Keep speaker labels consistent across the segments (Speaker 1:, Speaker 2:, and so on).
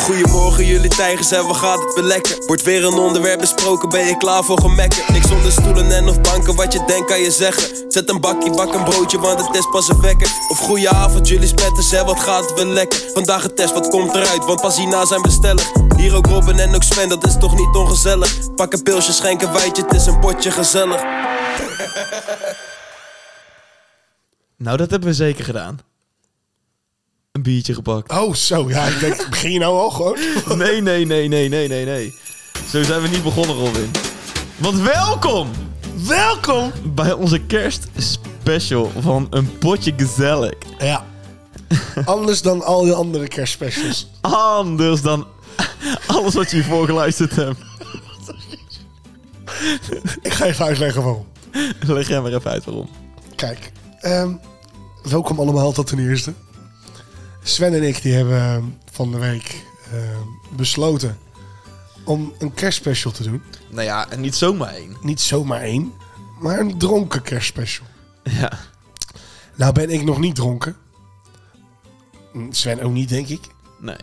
Speaker 1: Goedemorgen jullie tijgers en wat gaat het weer lekker? Wordt weer een onderwerp besproken, ben je klaar voor gemekken? Niks onder stoelen en of banken, wat je denkt kan je zeggen Zet een bakje, bak een broodje, want het is pas een wekker Of goeie avond jullie spetters en wat gaat het weer lekker? Vandaag een test, wat komt eruit, want pas hierna zijn we stellig Hier ook Robin en ook Sven, dat is toch niet ongezellig? Pak een pilsje, schenk een wijtje, het is een potje gezellig
Speaker 2: Nou, dat hebben we zeker gedaan. Een biertje gepakt.
Speaker 3: Oh, zo. Ja, ik denk, begin je nou al gewoon?
Speaker 2: Nee, nee, nee, nee, nee, nee, nee. Zo zijn we niet begonnen, Robin. Want welkom
Speaker 3: Welkom!
Speaker 2: bij onze kerstspecial van een potje gezellig.
Speaker 3: Ja. Anders dan al je andere kerstspecials.
Speaker 2: Anders dan alles wat je hiervoor geluisterd hebt.
Speaker 3: Ik ga even uitleggen waarom.
Speaker 2: Leg jij maar even uit waarom.
Speaker 3: Kijk, ehm, welkom allemaal tot ten eerste. Sven en ik die hebben ehm, van de week ehm, besloten om een kerstspecial te doen.
Speaker 2: Nou ja, en niet zomaar één.
Speaker 3: Niet zomaar één, maar een dronken kerstspecial.
Speaker 2: Ja.
Speaker 3: Nou ben ik nog niet dronken. Hm, Sven ook niet, denk ik.
Speaker 2: Nee.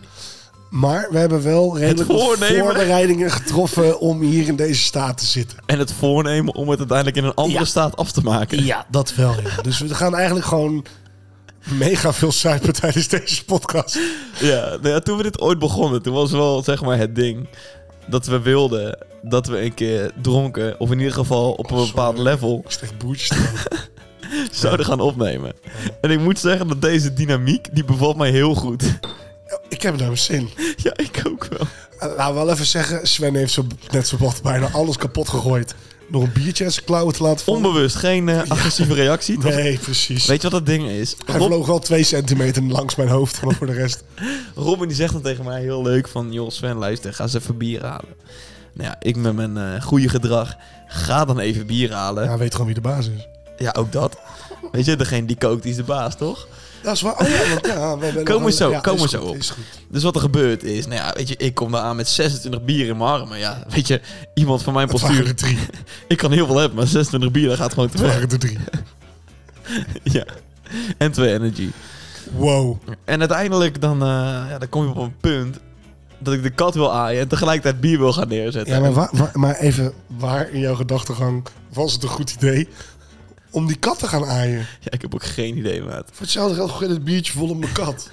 Speaker 3: Maar we hebben wel redelijk wat
Speaker 2: voornemen.
Speaker 3: voorbereidingen getroffen om hier in deze staat te zitten.
Speaker 2: En het voornemen om het uiteindelijk in een andere
Speaker 3: Ja.
Speaker 2: staat af te maken.
Speaker 3: Ja, dat wel. ja. Dus we gaan eigenlijk gewoon mega veel suipen tijdens deze podcast.
Speaker 2: Ja, nou ja, toen we dit ooit begonnen, toen was wel zeg maar het ding dat we wilden dat we een keer dronken, of in ieder geval op een
Speaker 3: Oh,
Speaker 2: bepaald
Speaker 3: sorry.
Speaker 2: level,
Speaker 3: Ik steek boertjes te maken.
Speaker 2: zouden gaan opnemen. En ik moet zeggen dat deze dynamiek, die bevalt mij heel goed.
Speaker 3: Ik heb daar mijn zin.
Speaker 2: ja, ik ook wel.
Speaker 3: Eh, Laten we wel even zeggen, Sven heeft zo, net zo wat bijna alles kapot gegooid. Door een biertje uit zijn klauwen te laten vallen.
Speaker 2: Onbewust, geen eh, agressieve reactie. toch?
Speaker 3: Nee, precies.
Speaker 2: Weet je wat dat ding is?
Speaker 3: Hij
Speaker 2: Rob-
Speaker 3: vloog wel twee centimeter langs mijn hoofd, maar voor de rest...
Speaker 2: Robin die zegt dan tegen mij heel leuk van... joh Sven, luister, ga eens even bier halen. Nou ja, ik met mijn eh, goede gedrag ga dan even bier halen.
Speaker 3: Ja,
Speaker 2: Ja.
Speaker 3: hij weet gewoon wie de baas is.
Speaker 2: ook dat. Weet je, degene die kookt, die is de baas, toch?
Speaker 3: Dat is waar. Oh ja, want ja, we hebben...
Speaker 2: Komen we zo, komen we
Speaker 3: is
Speaker 2: zo
Speaker 3: goed,
Speaker 2: op.
Speaker 3: is goed.
Speaker 2: Dus wat er gebeurt is... Nou ja, weet je, ik kom daar aan met 26 bier in mijn armen. Ja, weet je, iemand van mijn
Speaker 3: Het waren er
Speaker 2: postuur...
Speaker 3: drie.
Speaker 2: Ik kan heel veel hebben, maar 26 bier, dat gaat gewoon te
Speaker 3: Het
Speaker 2: ver.
Speaker 3: waren er drie.
Speaker 2: Ja. En twee energy.
Speaker 3: Wow.
Speaker 2: En uiteindelijk dan, eh, ja, dan kom je op een punt... dat ik de kat wil aaien en tegelijkertijd bier wil gaan neerzetten.
Speaker 3: Ja, maar, wa- wa- maar even, waar in jouw gedachtegang was het een goed idee om die kat te gaan aaien?
Speaker 2: Ja, ik heb ook geen idee, maat.
Speaker 3: Voor hetzelfde geld gooi je het biertje vol op mijn kat.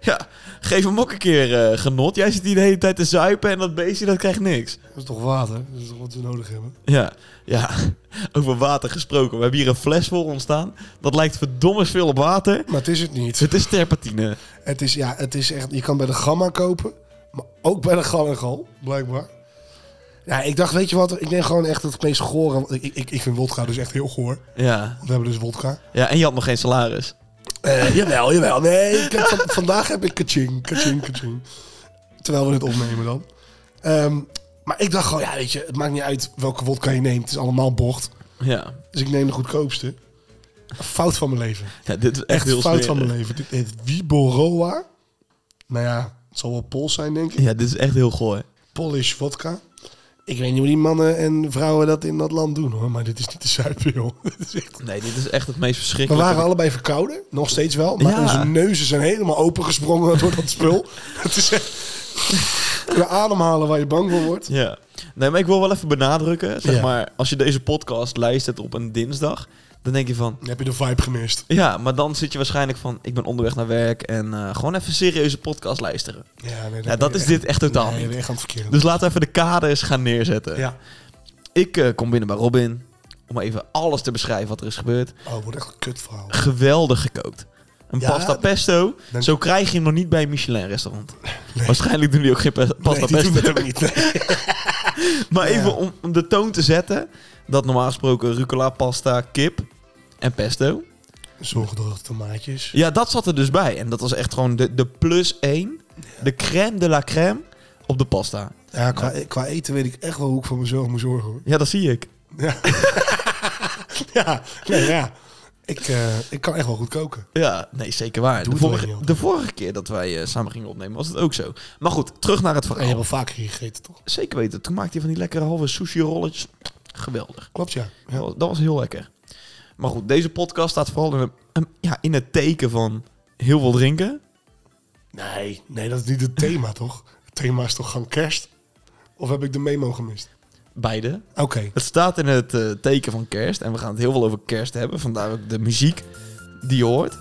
Speaker 2: Ja, geef hem ook een keer eh, genot. Jij zit hier de hele tijd te zuipen en dat beestje dat krijgt niks.
Speaker 3: Dat is toch water? Dat is toch wat we nodig hebben?
Speaker 2: Ja, ja. Over water gesproken. We hebben hier een fles voor ontstaan. Dat lijkt verdomme veel op water.
Speaker 3: Maar het is het niet.
Speaker 2: Het is terpentine.
Speaker 3: Het is, ja, het is echt, je kan bij de Gamma kopen, maar ook bij de Gallengal, blijkbaar. Ja, ik dacht, weet je wat, ik neem gewoon echt het meest gore. want Ik, ik, ik vind wodka dus echt heel goor.
Speaker 2: Ja.
Speaker 3: We hebben dus wodka.
Speaker 2: ja, en je had nog geen salaris.
Speaker 3: Eh, jawel, jawel. Nee, ik heb van- vandaag heb ik kaching, kaching, kaching. Terwijl we het opnemen dan. Ehm, maar ik dacht gewoon, ja, weet je, het maakt niet uit welke wodka je neemt. Het is allemaal bocht.
Speaker 2: Ja,
Speaker 3: Dus ik neem de goedkoopste. Fout van mijn leven.
Speaker 2: ja dit is echt,
Speaker 3: Echt,
Speaker 2: heel
Speaker 3: fout
Speaker 2: smerig.
Speaker 3: van mijn leven. Dit heet Wiboroa. Nou ja, het zal wel Pools zijn, denk ik.
Speaker 2: Ja, dit is echt heel gooi.
Speaker 3: Polish vodka. Ik weet niet hoe die mannen en vrouwen dat in dat land doen, hoor. Maar dit is niet de zuipen, joh. Dit is echt-
Speaker 2: Nee, dit is echt het meest
Speaker 3: We
Speaker 2: verschrikkelijke.
Speaker 3: waren allebei verkouden, nog steeds wel. Maar
Speaker 2: Ja.
Speaker 3: onze neuzen zijn helemaal opengesprongen door dat spul. Het is echt... De ademhalen waar je bang voor wordt.
Speaker 2: Ja. Nee, maar ik wil wel even benadrukken. Zeg
Speaker 3: Ja.
Speaker 2: maar, als je deze podcast luistert op een dinsdag, dan denk je van...
Speaker 3: Dan heb je de vibe gemist.
Speaker 2: Ja, maar dan zit je waarschijnlijk van... ik ben onderweg naar werk en eh, gewoon even serieuze podcast luisteren.
Speaker 3: Ja, nee,
Speaker 2: Ja, dat is dit echt totaal
Speaker 3: nee,
Speaker 2: niet.
Speaker 3: ben je echt aan het verkeerde.
Speaker 2: Dus laten we even de kaders gaan neerzetten.
Speaker 3: ja.
Speaker 2: Ik eh, kom binnen bij Robin... om maar even alles te beschrijven wat er is gebeurd.
Speaker 3: Oh, het wordt echt een kut verhaal.
Speaker 2: Geweldig gekookt. Een
Speaker 3: Ja,
Speaker 2: pasta pesto.
Speaker 3: dank-
Speaker 2: Zo krijg je hem nog niet bij een Michelin-restaurant. Waarschijnlijk doen die ook geen pe- pasta
Speaker 3: nee, die doen
Speaker 2: pesto.
Speaker 3: het ook niet. Nee.
Speaker 2: Maar
Speaker 3: Ja.
Speaker 2: even om, om de toon te zetten... dat normaal gesproken rucola, pasta, kip en pesto...
Speaker 3: Zorgdroogde tomaatjes.
Speaker 2: Ja, dat zat er dus bij. En dat was echt gewoon de, de plus één. De crème de la crème op de pasta.
Speaker 3: Ja, qua, e-, qua eten weet ik echt wel hoe ik voor mezelf moet zorgen, hoor.
Speaker 2: Ja, dat zie ik.
Speaker 3: Ja. ja, nee, ja. Ik, eh, ik kan echt wel goed koken.
Speaker 2: Ja, nee, zeker waar.
Speaker 3: Doe
Speaker 2: De
Speaker 3: het wel
Speaker 2: vorige,
Speaker 3: heel.
Speaker 2: de vorige keer dat wij eh, samen gingen opnemen was het ook zo. Maar goed, terug naar het
Speaker 3: En je hebt
Speaker 2: verhaal.
Speaker 3: wel vaker hier gegeten, toch?
Speaker 2: Zeker weten, toen maakte hij van die lekkere halve sushi rolletjes. Geweldig.
Speaker 3: Klopt, ja.
Speaker 2: Dat
Speaker 3: ja.
Speaker 2: was- dat was heel lekker. Maar goed, deze podcast staat vooral in, een- een- ja, in het teken van heel veel drinken.
Speaker 3: Nee, nee, dat is niet het thema, toch? thema is toch gewoon kerst? Of heb ik de memo gemist?
Speaker 2: Beide.
Speaker 3: Oké.
Speaker 2: Het staat in het eh, teken van kerst. En we gaan het heel veel over kerst hebben. Vandaar ook de muziek die je hoort.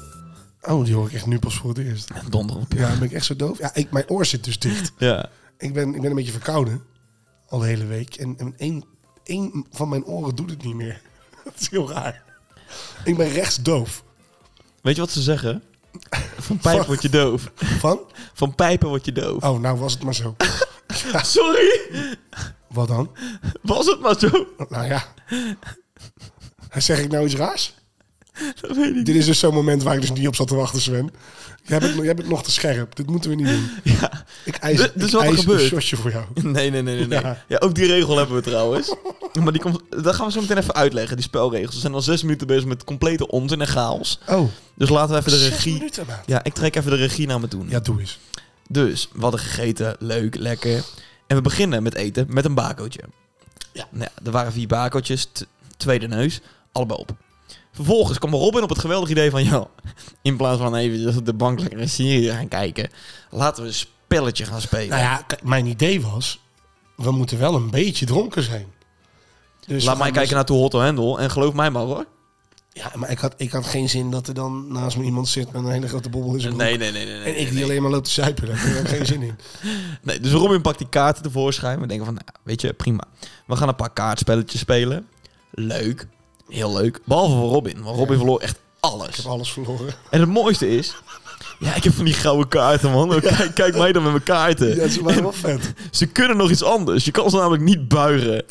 Speaker 3: Oh, die hoor ik echt nu pas voor het eerst.
Speaker 2: Donder op je.
Speaker 3: Ja, ben ik echt zo doof? Ja, ik, mijn oor zit dus dicht.
Speaker 2: Ja.
Speaker 3: Ik ben, ik ben een beetje verkouden. Al de hele week. En, en één, één van mijn oren doet het niet meer. Dat is heel raar. Ik ben rechtsdoof.
Speaker 2: Weet je wat ze zeggen? Van pijpen word je doof.
Speaker 3: Van?
Speaker 2: Van pijpen word je doof.
Speaker 3: Oh, nou was het maar zo.
Speaker 2: Sorry,
Speaker 3: Wat dan?
Speaker 2: was het maar zo?
Speaker 3: Nou ja. Zeg ik nou iets raars?
Speaker 2: Dat weet ik
Speaker 3: Dit is dus zo'n moment waar ik dus niet op zat te wachten, Sven. Jij bent, jij bent nog te scherp. Dit moeten we niet doen.
Speaker 2: niet. Ja.
Speaker 3: Ik eis,
Speaker 2: Dus- dus
Speaker 3: ik
Speaker 2: wat er
Speaker 3: eis
Speaker 2: gebeurt?
Speaker 3: een shotje voor jou.
Speaker 2: Nee, nee, nee, nee. nee. Ja.
Speaker 3: Ja.
Speaker 2: ook die regel hebben we trouwens. Maar die komt, dat gaan we zo meteen even uitleggen, die spelregels. We zijn al zes minuten bezig met complete onzin en chaos.
Speaker 3: Oh,
Speaker 2: Dus laten we even de
Speaker 3: zes
Speaker 2: regie...
Speaker 3: minuten, maat.
Speaker 2: Ja, ik trek even de regie naar me toe.
Speaker 3: Ja, doe eens.
Speaker 2: Dus, we hadden gegeten, leuk, lekker. En we beginnen met eten met een bakootje.
Speaker 3: Ja.
Speaker 2: Nou ja, er waren vier bakootjes, t- tweede neus, allebei op. Vervolgens kwam Robin op het geweldig idee van... joh, in plaats van even op de bank lekker een serie gaan kijken... laten we een spelletje gaan spelen.
Speaker 3: Nou ja, k- mijn idee was... We moeten wel een beetje dronken zijn. Dus
Speaker 2: Laat
Speaker 3: we
Speaker 2: mij
Speaker 3: gaan dus-
Speaker 2: kijken naar Too Hot to Handle en geloof mij maar hoor.
Speaker 3: Ja, maar ik had, ik had geen zin dat er dan naast me iemand zit met een hele grote bobbel in zijn broek.
Speaker 2: Nee, nee, nee. nee, nee,
Speaker 3: en ik
Speaker 2: nee,
Speaker 3: die alleen maar loopt te zuipen. Daar heb ik geen zin in.
Speaker 2: Nee, dus Robin pakt die kaarten tevoorschijn. We denken van, nou, ja, weet je, prima. We gaan een paar kaartspelletjes spelen. Leuk. Heel leuk. Behalve voor Robin. Want Robin verloor echt
Speaker 3: Ik
Speaker 2: alles.
Speaker 3: heb alles verloren.
Speaker 2: En het mooiste is... Ja, ik heb van die gouden kaarten, man. Kijk, kijk mij dan met mijn kaarten.
Speaker 3: Ja, ze waren wel vet.
Speaker 2: Ze kunnen nog iets anders. Je kan ze namelijk niet buigen.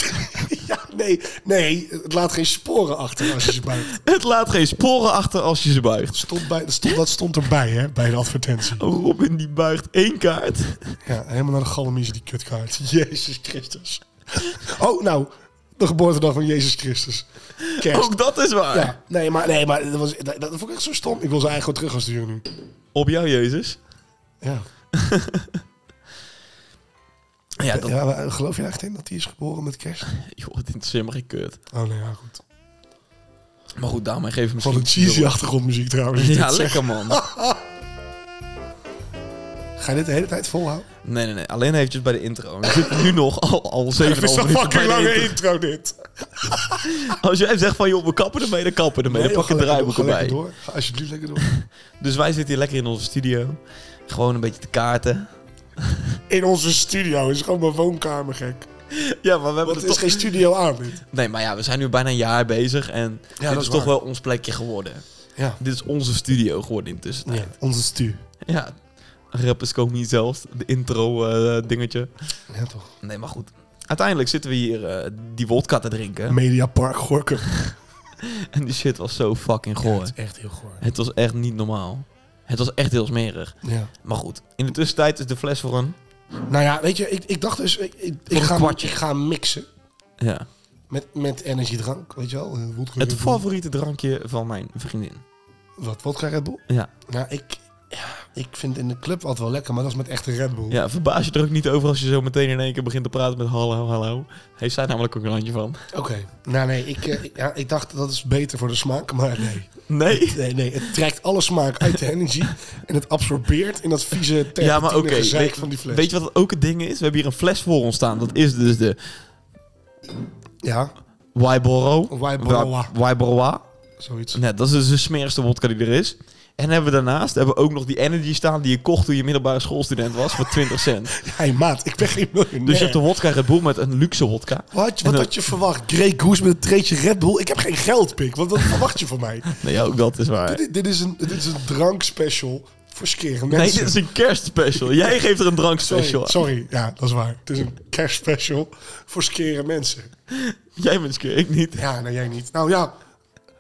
Speaker 3: Ja, nee, nee. Het laat geen sporen achter als je ze buigt.
Speaker 2: Het laat geen sporen achter als je ze buigt.
Speaker 3: Stond bij, stond, dat stond erbij, hè, bij de advertentie.
Speaker 2: Oh, Robin die buigt één kaart.
Speaker 3: Ja, helemaal naar de galmiezen die kutkaart. Jezus Christus. Oh, nou, de geboortedag van Jezus Christus. Kerst.
Speaker 2: Ook dat is waar.
Speaker 3: ja, nee, maar, nee, maar dat, was, dat, dat vond ik echt zo stom. Ik wil ze eigenlijk gewoon terug gaan sturen nu.
Speaker 2: Op jou, Jezus.
Speaker 3: Ja.
Speaker 2: Ja, dat...
Speaker 3: ja, maar eh, geloof je er echt in dat hij is geboren met kerst?
Speaker 2: Joh, dit is helemaal geen kut.
Speaker 3: Oh nee, ja, goed.
Speaker 2: Maar goed, daarmee geef ik
Speaker 3: Van
Speaker 2: misschien...
Speaker 3: een cheesy achtergrondmuziek trouwens. is
Speaker 2: Ja,
Speaker 3: dit.
Speaker 2: lekker man.
Speaker 3: Ga je dit de hele tijd volhouden?
Speaker 2: Nee, nee, nee. Alleen eventjes bij de intro. We zitten nu nog al, al
Speaker 3: Het
Speaker 2: 7,5
Speaker 3: is een
Speaker 2: minuten bij
Speaker 3: fucking
Speaker 2: de
Speaker 3: lange
Speaker 2: intro.
Speaker 3: intro dit.
Speaker 2: Als jij zegt van, joh, we kappen ermee, dan kappen ermee.
Speaker 3: Nee,
Speaker 2: dan
Speaker 3: joh,
Speaker 2: pak je
Speaker 3: ga
Speaker 2: het
Speaker 3: lekker
Speaker 2: draaiboek
Speaker 3: door, ga lekker
Speaker 2: erbij.
Speaker 3: door. Ga alsjeblieft lekker door.
Speaker 2: Dus wij zitten hier lekker in onze studio. Gewoon een beetje te kaarten.
Speaker 3: In onze studio. is gewoon mijn woonkamer, gek.
Speaker 2: Ja, maar we hebben
Speaker 3: Want
Speaker 2: het
Speaker 3: er is
Speaker 2: toch...
Speaker 3: geen studio aan dit.
Speaker 2: Nee, maar ja, we zijn nu bijna een jaar bezig. En dit
Speaker 3: dat
Speaker 2: is,
Speaker 3: is
Speaker 2: toch
Speaker 3: waar.
Speaker 2: wel ons plekje geworden.
Speaker 3: Ja.
Speaker 2: Dit is onze studio geworden intussen. Ja.
Speaker 3: Onze stu.
Speaker 2: ja. Rappers komen hier zelfs. De intro eh, dingetje.
Speaker 3: Ja, toch.
Speaker 2: Nee, maar goed. Uiteindelijk zitten we hier eh, die wodka te drinken.
Speaker 3: Mediapark Gorkum.
Speaker 2: En die shit was zo fucking goor.
Speaker 3: is echt heel goor.
Speaker 2: Het was echt niet normaal. Het was echt heel smerig.
Speaker 3: Ja.
Speaker 2: Maar goed, in de tussentijd is de fles voor een...
Speaker 3: Nou ja, weet je, ik, ik dacht dus, ik, ik, ik
Speaker 2: een
Speaker 3: ga,
Speaker 2: kwartje.
Speaker 3: ik ga mixen
Speaker 2: Ja.
Speaker 3: met, met energiedrank, weet je wel. eh, Wodka
Speaker 2: Het
Speaker 3: Red Bull.
Speaker 2: favoriete drankje van mijn vriendin.
Speaker 3: Wat, wodka Red Bull?
Speaker 2: Ja.
Speaker 3: Nou, ik, ja, ik vind in de club altijd wel lekker, maar dat is met echte Red Bull.
Speaker 2: ja, verbaas je er ook niet over als je zo meteen in één keer begint te praten met hallo, hallo. Heeft zij namelijk ook een handje van?
Speaker 3: Oké. Nou nee, ik, eh, ik- ja, ik dacht dat is beter voor de smaak, maar nee.
Speaker 2: Nee.
Speaker 3: Nee, nee, het trekt alle smaak uit de energy en het absorbeert in dat vieze
Speaker 2: Ja, maar oké.
Speaker 3: terpentine gezeik
Speaker 2: Weet,
Speaker 3: van die fles.
Speaker 2: weet je wat ook het ding is? We hebben hier een fles voor ons staan. Dat is dus de
Speaker 3: Ja,
Speaker 2: Waiboro.
Speaker 3: Waiboroa.
Speaker 2: Wa- Waiboroa.
Speaker 3: zoiets.
Speaker 2: Nee, dat is dus de smerigste wodka die er is. En hebben we daarnaast hebben we ook nog die energy staan die je kocht toen je middelbare schoolstudent was voor 20 cent.
Speaker 3: hey, maat, ik ben geen miljonair.
Speaker 2: Dus je hebt een wodka Red Bull met een luxe wodka.
Speaker 3: Wat,
Speaker 2: En
Speaker 3: wat
Speaker 2: dan-
Speaker 3: had je verwacht? Grey Goose met een treetje Red Bull? Ik heb geen geld, pik. Wat, wat verwacht je van mij?
Speaker 2: Nee, ook dat is waar.
Speaker 3: Dit, dit is een, dit is een drankspecial voor skere
Speaker 2: Nee,
Speaker 3: mensen.
Speaker 2: dit is een kerstspecial. Jij geeft er een drankspecial
Speaker 3: sorry,
Speaker 2: aan.
Speaker 3: sorry, ja, dat is waar. Het is een kerstspecial voor skere mensen.
Speaker 2: Jij bent skeer, ik niet.
Speaker 3: Ja, nou jij niet. Nou ja,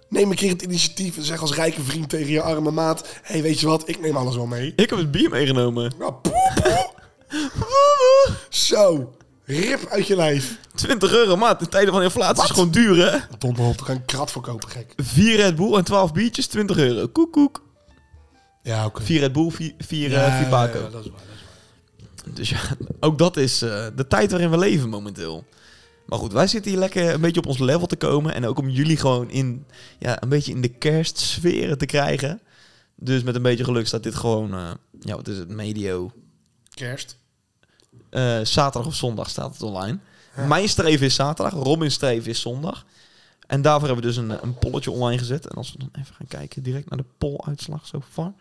Speaker 3: neem een keer het initiatief en zeg als rijke vriend tegen je arme maat... Hé, hey, weet je wat? Ik neem alles wel mee.
Speaker 2: Ik heb het bier meegenomen.
Speaker 3: Nou, poe, poe. Zo, rip uit je lijf.
Speaker 2: 20 euro, maat. In tijden van inflatie is gewoon duur, hè?
Speaker 3: Donder op, ik kan een krat verkopen, gek.
Speaker 2: 4 Red Bull en 12 biertjes, 20 euro. Koek, koek.
Speaker 3: Ja, oké.
Speaker 2: 4 Red Bull, eh, 4, 4,
Speaker 3: Ja, ja,
Speaker 2: Baco.
Speaker 3: ja, dat is waar, dat is waar.
Speaker 2: Dus ja, ook dat is eh, de tijd waarin we leven momenteel. Maar goed, wij zitten hier lekker een beetje op ons level te komen. En ook om jullie gewoon in, ja, een beetje in de kerstsferen te krijgen. Dus met een beetje geluk staat dit gewoon, eh, ja, wat is het, medio
Speaker 3: Kerst.
Speaker 2: eh, zaterdag of zondag staat het online. Mijn streven is zaterdag, Robin's streven is zondag. En daarvoor hebben we dus een, eh, een polletje online gezet. En als we dan even gaan kijken, direct naar de polluitslag zo far.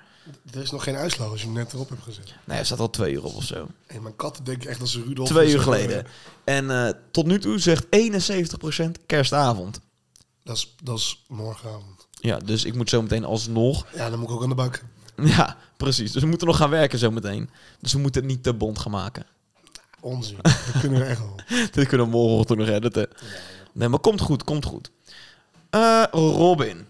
Speaker 3: Er is nog geen uitslag als je hem net erop hebt gezet.
Speaker 2: Nee, er staat al twee uur op of zo.
Speaker 3: En mijn kat denkt echt dat ze Rudolf...
Speaker 2: Twee
Speaker 3: is.
Speaker 2: uur geleden. En eh, tot nu toe zegt 71% kerstavond.
Speaker 3: Dat is, dat is morgenavond.
Speaker 2: Ja, dus ik moet zo meteen alsnog.
Speaker 3: Ja, dan moet ik ook aan de bak.
Speaker 2: Ja, precies. Dus we moeten nog gaan werken zo meteen. Dus we moeten het niet te bond gaan maken.
Speaker 3: Onzin. Dat kunnen we echt wel.
Speaker 2: Dit kunnen we morgenochtend nog editen. Nee, maar komt goed, komt goed. Eh, Robin,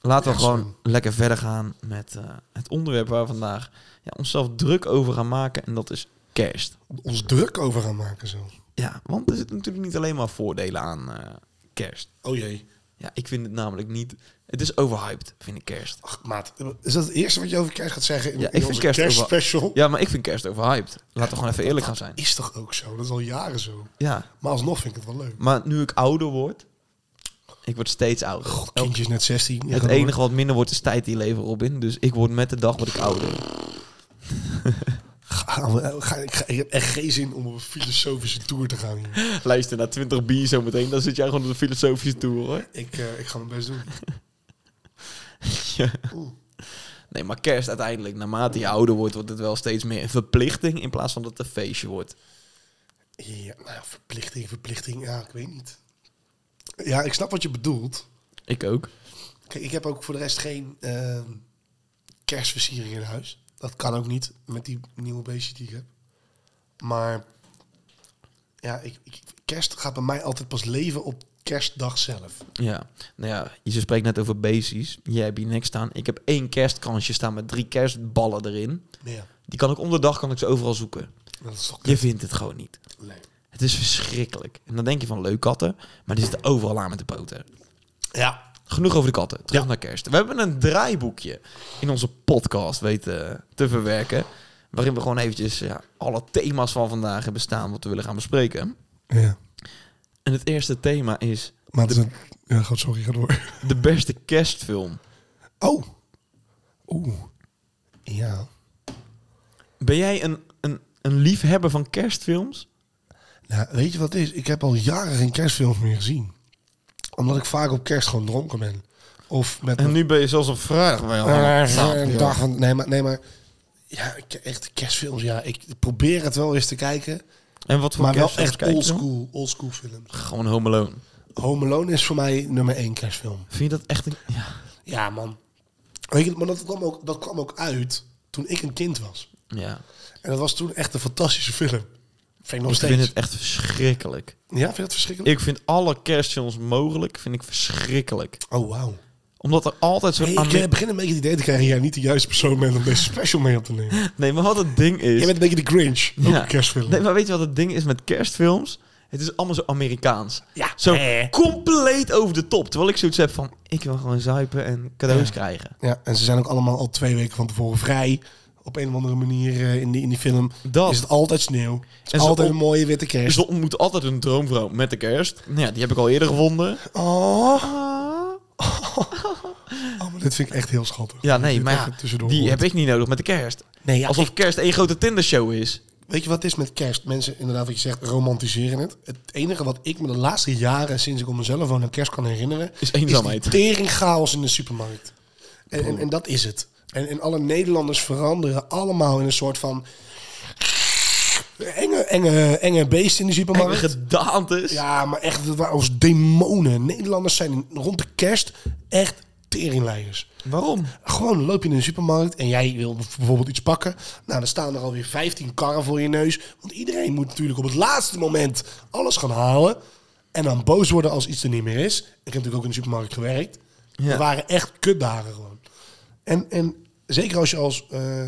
Speaker 2: laten we
Speaker 3: Ja,
Speaker 2: gewoon
Speaker 3: sorry.
Speaker 2: lekker verder gaan met eh, het onderwerp waar we vandaag ja, onszelf druk over gaan maken. En dat is kerst.
Speaker 3: Ons druk over gaan maken zo.
Speaker 2: Ja, want er zitten natuurlijk niet alleen maar voordelen aan eh, kerst.
Speaker 3: Oh jee.
Speaker 2: Ja, ik vind het namelijk niet... Het is overhyped, vind ik kerst.
Speaker 3: Ach, maat. Is dat het eerste wat je over kerst gaat zeggen in,
Speaker 2: Ja, ik
Speaker 3: in
Speaker 2: vind
Speaker 3: onze
Speaker 2: kerst ook wel-
Speaker 3: kerstspecial?
Speaker 2: Ja, maar ik vind kerst overhyped. Laten we gewoon even eerlijk gaan zijn.
Speaker 3: Is toch ook zo? Dat is al jaren zo.
Speaker 2: Ja,
Speaker 3: Maar alsnog vind ik het wel leuk.
Speaker 2: maar nu ik ouder word... Ik word steeds ouder.
Speaker 3: God,
Speaker 2: Elk-
Speaker 3: kindje is net 16. Je
Speaker 2: Het
Speaker 3: gaat door.
Speaker 2: enige wat minder wordt is tijd die leven, Robin. Dus ik word met de dag word ik ouder.
Speaker 3: Gaan we- ga- ik, ga- ik heb echt geen zin om op een filosofische tour te gaan hier.
Speaker 2: Luister, na 20 bier zo meteen, dan zit jij gewoon op de filosofische toer, hoor.
Speaker 3: Ik, eh, ik ga mijn best doen. Oeh.
Speaker 2: Nee, maar kerst uiteindelijk, naarmate je ouder wordt, wordt het wel steeds meer een verplichting in plaats van dat het een feestje wordt.
Speaker 3: Ja, nou, verplichting, verplichting. Ja, ik weet niet. Ja, ik snap wat je bedoelt.
Speaker 2: Ik ook.
Speaker 3: Kijk, ik heb ook voor de rest geen ehm, kerstversiering in huis. Dat kan ook niet met die nieuwe beestje die ik heb. Maar ja, ik, ik- kerst gaat bij mij altijd pas leven op kerstdag zelf.
Speaker 2: Ja, nou ja, je spreekt net over basis. Jij hebt hier niks staan. Ik heb één kerstkransje staan met drie kerstballen erin.
Speaker 3: Ja,
Speaker 2: Die kan ik om de dag kan ik ze overal zoeken.
Speaker 3: dat is toch
Speaker 2: Je vindt het gewoon niet.
Speaker 3: leuk.
Speaker 2: Het is verschrikkelijk. En dan denk je van leuk katten, maar die zitten overal aan met de poten.
Speaker 3: Ja,
Speaker 2: Genoeg over de katten. Terug
Speaker 3: Ja.
Speaker 2: naar kerst. We hebben een draaiboekje in onze podcast weten te verwerken. Waarin we gewoon eventjes ja, alle thema's van vandaag hebben staan wat we willen gaan bespreken.
Speaker 3: ja.
Speaker 2: En het eerste thema is
Speaker 3: Maar het is een... Ja, god, sorry, ga door.
Speaker 2: de beste kerstfilm.
Speaker 3: Oh. Oeh. Ja.
Speaker 2: Ben jij een, een, een liefhebber van kerstfilms?
Speaker 3: Nou, weet je wat het is? Ik heb al jaren geen kerstfilms meer gezien. Omdat ik vaak op kerst gewoon dronken ben. Of met...
Speaker 2: En nu ben je zelfs op vrijdag bij
Speaker 3: Eh,
Speaker 2: jou. Nou,
Speaker 3: een
Speaker 2: ja.
Speaker 3: dag van... Nee, maar... Nee, maar ja, ik- echt kerstfilms, ja. Ik probeer het wel eens te kijken.
Speaker 2: En wat voor
Speaker 3: Maar wel
Speaker 2: kerstfilms
Speaker 3: echt
Speaker 2: kijk je dan?
Speaker 3: oldschool oldschool films.
Speaker 2: Gewoon Home Alone.
Speaker 3: Home Alone is voor mij nummer één kerstfilm.
Speaker 2: Vind je dat echt een... Ja.
Speaker 3: Ja, man. Weet je, maar dat kwam, ook, dat kwam ook uit toen ik een kind was.
Speaker 2: ja.
Speaker 3: En dat was toen echt een fantastische film. Vind ik nog
Speaker 2: Ik
Speaker 3: steeds.
Speaker 2: vind het echt verschrikkelijk.
Speaker 3: Ja, vind je dat verschrikkelijk?
Speaker 2: Ik vind alle kerstfilms mogelijk, vind ik verschrikkelijk.
Speaker 3: Oh, wauw.
Speaker 2: Omdat er altijd zo'n...
Speaker 3: Hey, ik
Speaker 2: Amer-
Speaker 3: eh, begin een beetje het idee te krijgen dat jij niet de juiste persoon bent om deze special mee op te nemen.
Speaker 2: Nee, maar wat het ding is...
Speaker 3: Jij bent een beetje de Grinch. Ook
Speaker 2: Ja.
Speaker 3: een kerstfilm.
Speaker 2: Nee, maar weet je wat het ding is met kerstfilms? Het is allemaal zo Amerikaans.
Speaker 3: Ja.
Speaker 2: Zo
Speaker 3: Eh.
Speaker 2: compleet over de top. Terwijl ik zoiets heb van... Ik wil gewoon zuipen en cadeaus
Speaker 3: Ja.
Speaker 2: krijgen.
Speaker 3: Ja, en ze zijn ook allemaal al twee weken van tevoren vrij. Op een of andere manier eh, in, die, in die film
Speaker 2: Dat.
Speaker 3: is het altijd sneeuw. Het
Speaker 2: En
Speaker 3: is
Speaker 2: ze
Speaker 3: altijd
Speaker 2: op-
Speaker 3: een mooie witte
Speaker 2: Dus
Speaker 3: kerst.
Speaker 2: er ontmoet altijd een droomvrouw met de kerst. Nou ja, die heb ik al eerder gevonden.
Speaker 3: Oh, oh, maar dit vind ik echt heel schattig.
Speaker 2: Ja, nee,
Speaker 3: Dit
Speaker 2: maar
Speaker 3: even
Speaker 2: ja,
Speaker 3: tussendoor
Speaker 2: die
Speaker 3: hoort.
Speaker 2: heb ik niet nodig met de kerst.
Speaker 3: Nee, ja,
Speaker 2: Alsof kerst één grote Tindershow is.
Speaker 3: Weet je wat het is met kerst? Mensen, inderdaad, wat je zegt, romantiseren het. Het enige wat ik me de laatste jaren, sinds ik om mezelf aan een kerst kan herinneren,
Speaker 2: Is eenzaamheid.
Speaker 3: Is die teringchaos in de supermarkt. En, en, en dat is het. En, en alle Nederlanders veranderen allemaal in een soort van. enge, enge, enge beest in de
Speaker 2: Enge
Speaker 3: supermarkt.
Speaker 2: gedaantes.
Speaker 3: Ja, maar echt, dat waren als demonen. Nederlanders zijn in- rond de kerst echt teringleiders.
Speaker 2: Waarom?
Speaker 3: Gewoon loop je in de supermarkt en jij wil bijvoorbeeld iets pakken. Nou, dan staan er alweer 15 karren voor je neus. Want iedereen moet natuurlijk op het laatste moment alles gaan halen. En dan boos worden als iets er niet meer is. Ik heb natuurlijk ook in de supermarkt gewerkt.
Speaker 2: Ja.
Speaker 3: Er waren echt kutdagen gewoon. En, en zeker als je als eh,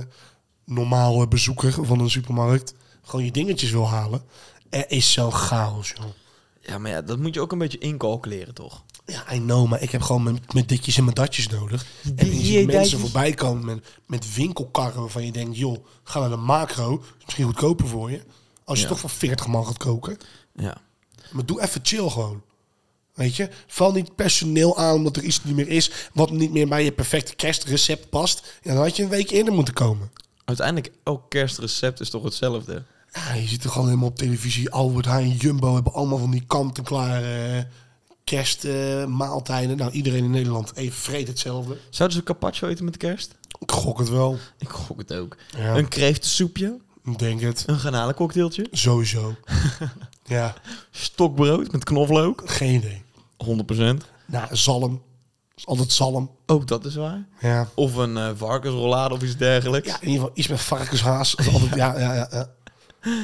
Speaker 3: normale bezoeker van een supermarkt gewoon je dingetjes wil halen. Er is zo'n chaos, joh.
Speaker 2: Ja, maar ja, dat moet je ook een beetje incalculeren, toch?
Speaker 3: Ja, I know, maar ik heb gewoon mijn, mijn ditjes en mijn datjes nodig. En je
Speaker 2: die-
Speaker 3: ziet mensen
Speaker 2: die-
Speaker 3: voorbij komen met, met winkelkarren waarvan je denkt... joh, ga naar de macro, is misschien goedkoper voor je. Als je
Speaker 2: Ja.
Speaker 3: toch voor 40 man gaat koken.
Speaker 2: Ja.
Speaker 3: Maar doe even chill gewoon. Weet je, val niet personeel aan omdat er iets niet meer is... wat niet meer bij je perfecte kerstrecept past. Ja, dan had je een week eerder moeten komen.
Speaker 2: Uiteindelijk, elk kerstrecept is toch hetzelfde?
Speaker 3: Ja, je ziet toch gewoon helemaal op televisie. Albert Heijn, Jumbo hebben allemaal van die kant-en-klaar kerstmaaltijden. nou, iedereen in Nederland even vreet hetzelfde.
Speaker 2: Zouden ze carpaccio eten met kerst?
Speaker 3: Ik gok het wel.
Speaker 2: Ik gok het ook.
Speaker 3: Ja.
Speaker 2: Een kreeftensoepje,
Speaker 3: Ik denk het.
Speaker 2: een garnalencocktailtje,
Speaker 3: Sowieso. ja,
Speaker 2: stokbrood met knoflook,
Speaker 3: geen idee.
Speaker 2: 100%.
Speaker 3: Nou, zalm. Is Altijd zalm.
Speaker 2: Ook dat is waar.
Speaker 3: Ja.
Speaker 2: Of een eh varkensrollade of iets dergelijks.
Speaker 3: ja, in ieder geval iets met varkenshaas. Dat is Altijd, ja. Ja, ja, ja,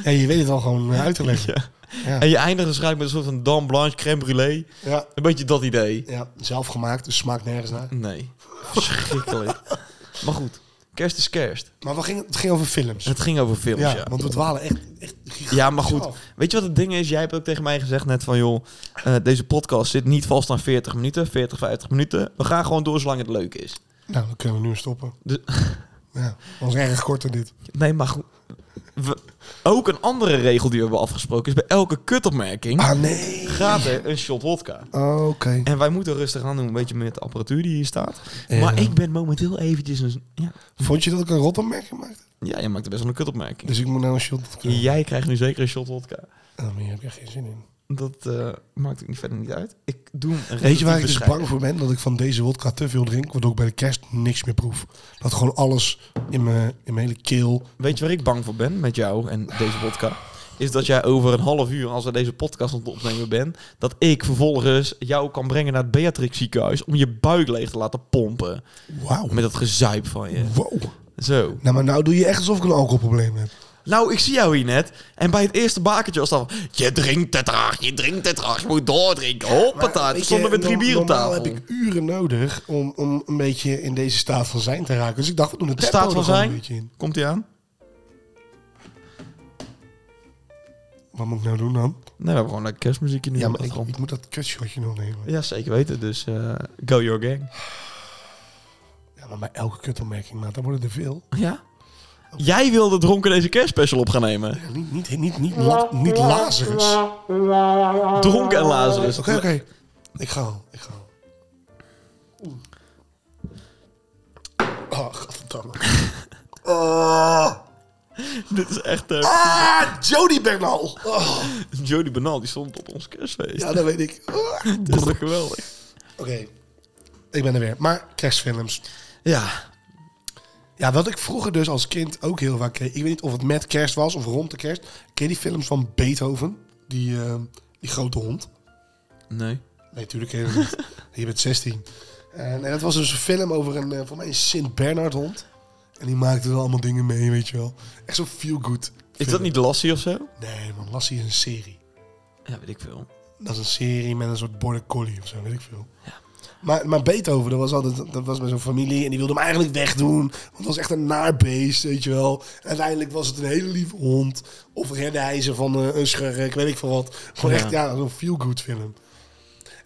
Speaker 3: Ja, je weet het wel gewoon eh, uit te leggen.
Speaker 2: Ja.
Speaker 3: Ja.
Speaker 2: En je eindigt waarschijnlijk met een soort van dame blanche, crème brûlée.
Speaker 3: Ja.
Speaker 2: Een beetje dat idee.
Speaker 3: ja, zelf gemaakt, dus smaakt nergens naar.
Speaker 2: Nee, verschrikkelijk. maar goed, kerst is kerst.
Speaker 3: Maar we gingen, het ging over films.
Speaker 2: Het ging over films, ja.
Speaker 3: Ja, want we dwalen echt, echt gigantisch
Speaker 2: Ja, maar goed.
Speaker 3: af.
Speaker 2: Weet je wat het ding is? Jij hebt ook tegen mij gezegd net van... joh, eh, deze podcast zit niet vast aan 40 minuten, 40, 50 minuten. We gaan gewoon door zolang het leuk is.
Speaker 3: Nou, dan kunnen we nu stoppen.
Speaker 2: De-
Speaker 3: Ja, dat was erg kort dan dit.
Speaker 2: Nee, maar goed. We- ook een andere regel die we hebben afgesproken... is bij elke kutopmerking
Speaker 3: Ah, nee.
Speaker 2: gaat er een shot wodka.
Speaker 3: Oké.
Speaker 2: En wij moeten rustig aan doen, een beetje met de apparatuur die hier staat.
Speaker 3: Ja.
Speaker 2: Maar ik ben momenteel eventjes een... Ja,
Speaker 3: Vond je dat ik een rotopmerking maakte?
Speaker 2: ja je maakt er best wel een kutopmerking.
Speaker 3: Dus ik moet nou een shot kunnen.
Speaker 2: Jij krijgt nu zeker een shot wodka.
Speaker 3: Ah, maar hier heb je geen zin in.
Speaker 2: Dat eh, maakt ook niet verder niet uit. Ik doe hem een
Speaker 3: Weet je waar ik dus
Speaker 2: relatief
Speaker 3: bang voor ben? Dat ik van deze wodka te veel drink, waardoor ik bij de kerst niks meer proef. Dat gewoon alles in mijn, in mijn hele keel...
Speaker 2: Weet je waar ik bang voor ben met jou en deze podcast? Is dat jij over een half uur, als we deze podcast aan het opnemen bent, dat ik vervolgens jou kan brengen naar het Beatrix ziekenhuis om je buik leeg te laten pompen.
Speaker 3: Wauw.
Speaker 2: Met dat gezuip van je.
Speaker 3: Wow.
Speaker 2: Zo.
Speaker 3: Nou, maar nou doe je echt alsof ik een alcoholprobleem heb.
Speaker 2: Nou, ik zie jou hier net. En bij het eerste bakertje was dan... Je drinkt te traag, je drinkt te traag, je moet doordrinken. Hoppata,
Speaker 3: Weet
Speaker 2: toen
Speaker 3: je,
Speaker 2: stonden we drie
Speaker 3: no-
Speaker 2: bier op
Speaker 3: eh, normaal
Speaker 2: tafel.
Speaker 3: heb ik uren nodig om, om een beetje in deze staat van zijn te raken. Dus ik dacht, we doen het
Speaker 2: De
Speaker 3: tempo
Speaker 2: staat van
Speaker 3: er gewoon een
Speaker 2: zijn.
Speaker 3: beetje in.
Speaker 2: Komt hij aan?
Speaker 3: Wat moet ik nou doen dan?
Speaker 2: Nee, we hebben gewoon lekker kerstmuziekje nu.
Speaker 3: Ja,
Speaker 2: op
Speaker 3: maar
Speaker 2: de
Speaker 3: ik,
Speaker 2: grond.
Speaker 3: ik moet dat kutshotje nog nemen.
Speaker 2: Ja, zeker weten. Dus eh, go your gang.
Speaker 3: Ja, maar bij elke kutopmerking, maat, dan worden er veel.
Speaker 2: Ja? Jij wilde dronken deze kerstspecial op gaan nemen.
Speaker 3: Ja, Niet, niet, niet, niet, la- niet Lazarus. Oké,
Speaker 2: Dronken en Lazarus.
Speaker 3: oké. Ik ga al, ik ga al. Oeh. Oh, godverdamme. Oh.
Speaker 2: Dit is echt... eh,
Speaker 3: Ah, Jody Bernal. Oh.
Speaker 2: Jody Banal, die stond op ons kerstfeest.
Speaker 3: Ja, dat weet ik. Ah.
Speaker 2: Dat is toch geweldig?
Speaker 3: Oké, ik ben er weer. Maar kerstfilms.
Speaker 2: Ja.
Speaker 3: Ja, wat ik vroeger dus als kind ook heel vaak kreeg. Ik weet niet of het met kerst was of rond de kerst. Ken je die films van Beethoven? Die, eh, die grote hond?
Speaker 2: Nee.
Speaker 3: Nee, natuurlijk ken je dat niet. je bent 16. En, en dat was dus een film over een, eh, voor mij een Sint-Bernard-hond. En die maakte er allemaal dingen mee, weet je wel. Echt zo'n feel-good
Speaker 2: Is
Speaker 3: film.
Speaker 2: dat niet Lassie of zo?
Speaker 3: Nee, man, Lassie is een serie.
Speaker 2: Ja, weet ik veel.
Speaker 3: Dat is een serie met een soort border collie of zo, weet ik veel.
Speaker 2: Ja.
Speaker 3: Maar, maar Beethoven, dat was altijd dat was met zo'n familie en die wilde hem eigenlijk wegdoen. Want het was echt een naar beest, weet je wel. En uiteindelijk was het een hele lieve hond. Of redde hij ze van eh, een schurk, weet ik veel wat. Gewoon
Speaker 2: Ja.
Speaker 3: echt, ja, zo'n feel-good film.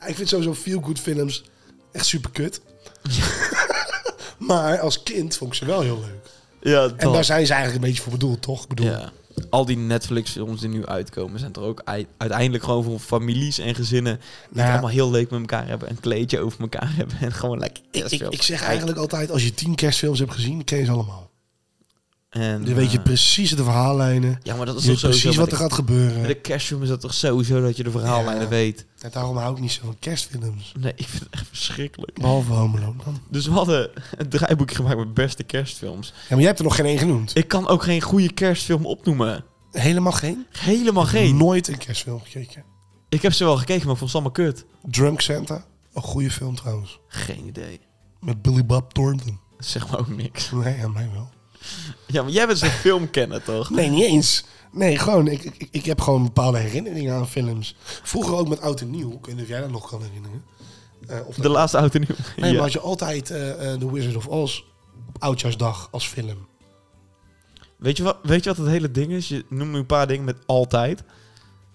Speaker 3: Ja, ik vind sowieso feel-good films echt super kut. maar als kind vond ik ze wel heel leuk.
Speaker 2: Ja,
Speaker 3: En daar zijn ze eigenlijk een beetje voor bedoeld, toch? Ik bedoel,
Speaker 2: Ja. Al die Netflix-films die nu uitkomen, zijn er ook ei- uiteindelijk gewoon voor families en gezinnen die het
Speaker 3: Nou ja.
Speaker 2: allemaal heel leuk met elkaar hebben. Een kleedje over elkaar hebben en gewoon lekker
Speaker 3: ik, ik,
Speaker 2: kerstfilms
Speaker 3: ik zeg
Speaker 2: kijken.
Speaker 3: eigenlijk altijd, als je tien kerstfilms hebt gezien, ken je ze allemaal.
Speaker 2: En,
Speaker 3: Dan weet je
Speaker 2: eh,
Speaker 3: precies de verhaallijnen.
Speaker 2: Ja, maar dat is
Speaker 3: Je
Speaker 2: toch
Speaker 3: weet
Speaker 2: sowieso...
Speaker 3: precies
Speaker 2: met
Speaker 3: wat er
Speaker 2: de-
Speaker 3: gaat gebeuren.
Speaker 2: Met de kerstfilm is dat toch sowieso dat je de verhaallijnen
Speaker 3: Ja.
Speaker 2: weet.
Speaker 3: En daarom hou ik niet zo van kerstfilms.
Speaker 2: Nee, ik vind het echt verschrikkelijk.
Speaker 3: Behalve Home Alone dan.
Speaker 2: Dus we hadden een draaiboekje gemaakt met beste kerstfilms.
Speaker 3: Ja, maar jij hebt er nog geen één genoemd.
Speaker 2: Ik kan ook geen goede kerstfilm opnoemen.
Speaker 3: Helemaal geen?
Speaker 2: Helemaal geen.
Speaker 3: Nooit een kerstfilm gekeken.
Speaker 2: Ik heb ze wel gekeken, maar ik vond ze allemaal kut.
Speaker 3: Drunk Santa. Een goede film trouwens.
Speaker 2: Geen idee.
Speaker 3: Met Billy Bob Thornton.
Speaker 2: Zeg maar ook niks.
Speaker 3: Nee, aan mij wel.
Speaker 2: Ja, maar jij bent zo'n filmkenner, toch?
Speaker 3: Nee, niet eens. Nee, gewoon. Ik, ik, ik heb gewoon bepaalde herinneringen aan films. Vroeger ook met Oud en Nieuw. Ik weet niet of jij dat nog kan herinneren. Eh, of
Speaker 2: De
Speaker 3: dat-
Speaker 2: laatste auto nieuw.
Speaker 3: nee, maar
Speaker 2: Ja.
Speaker 3: had je altijd eh, eh, The Wizard of Oz op Oudjaarsdag als film. Nou,
Speaker 2: Weet je, wat, weet je wat het hele ding is? Je noemt nu een paar dingen met altijd.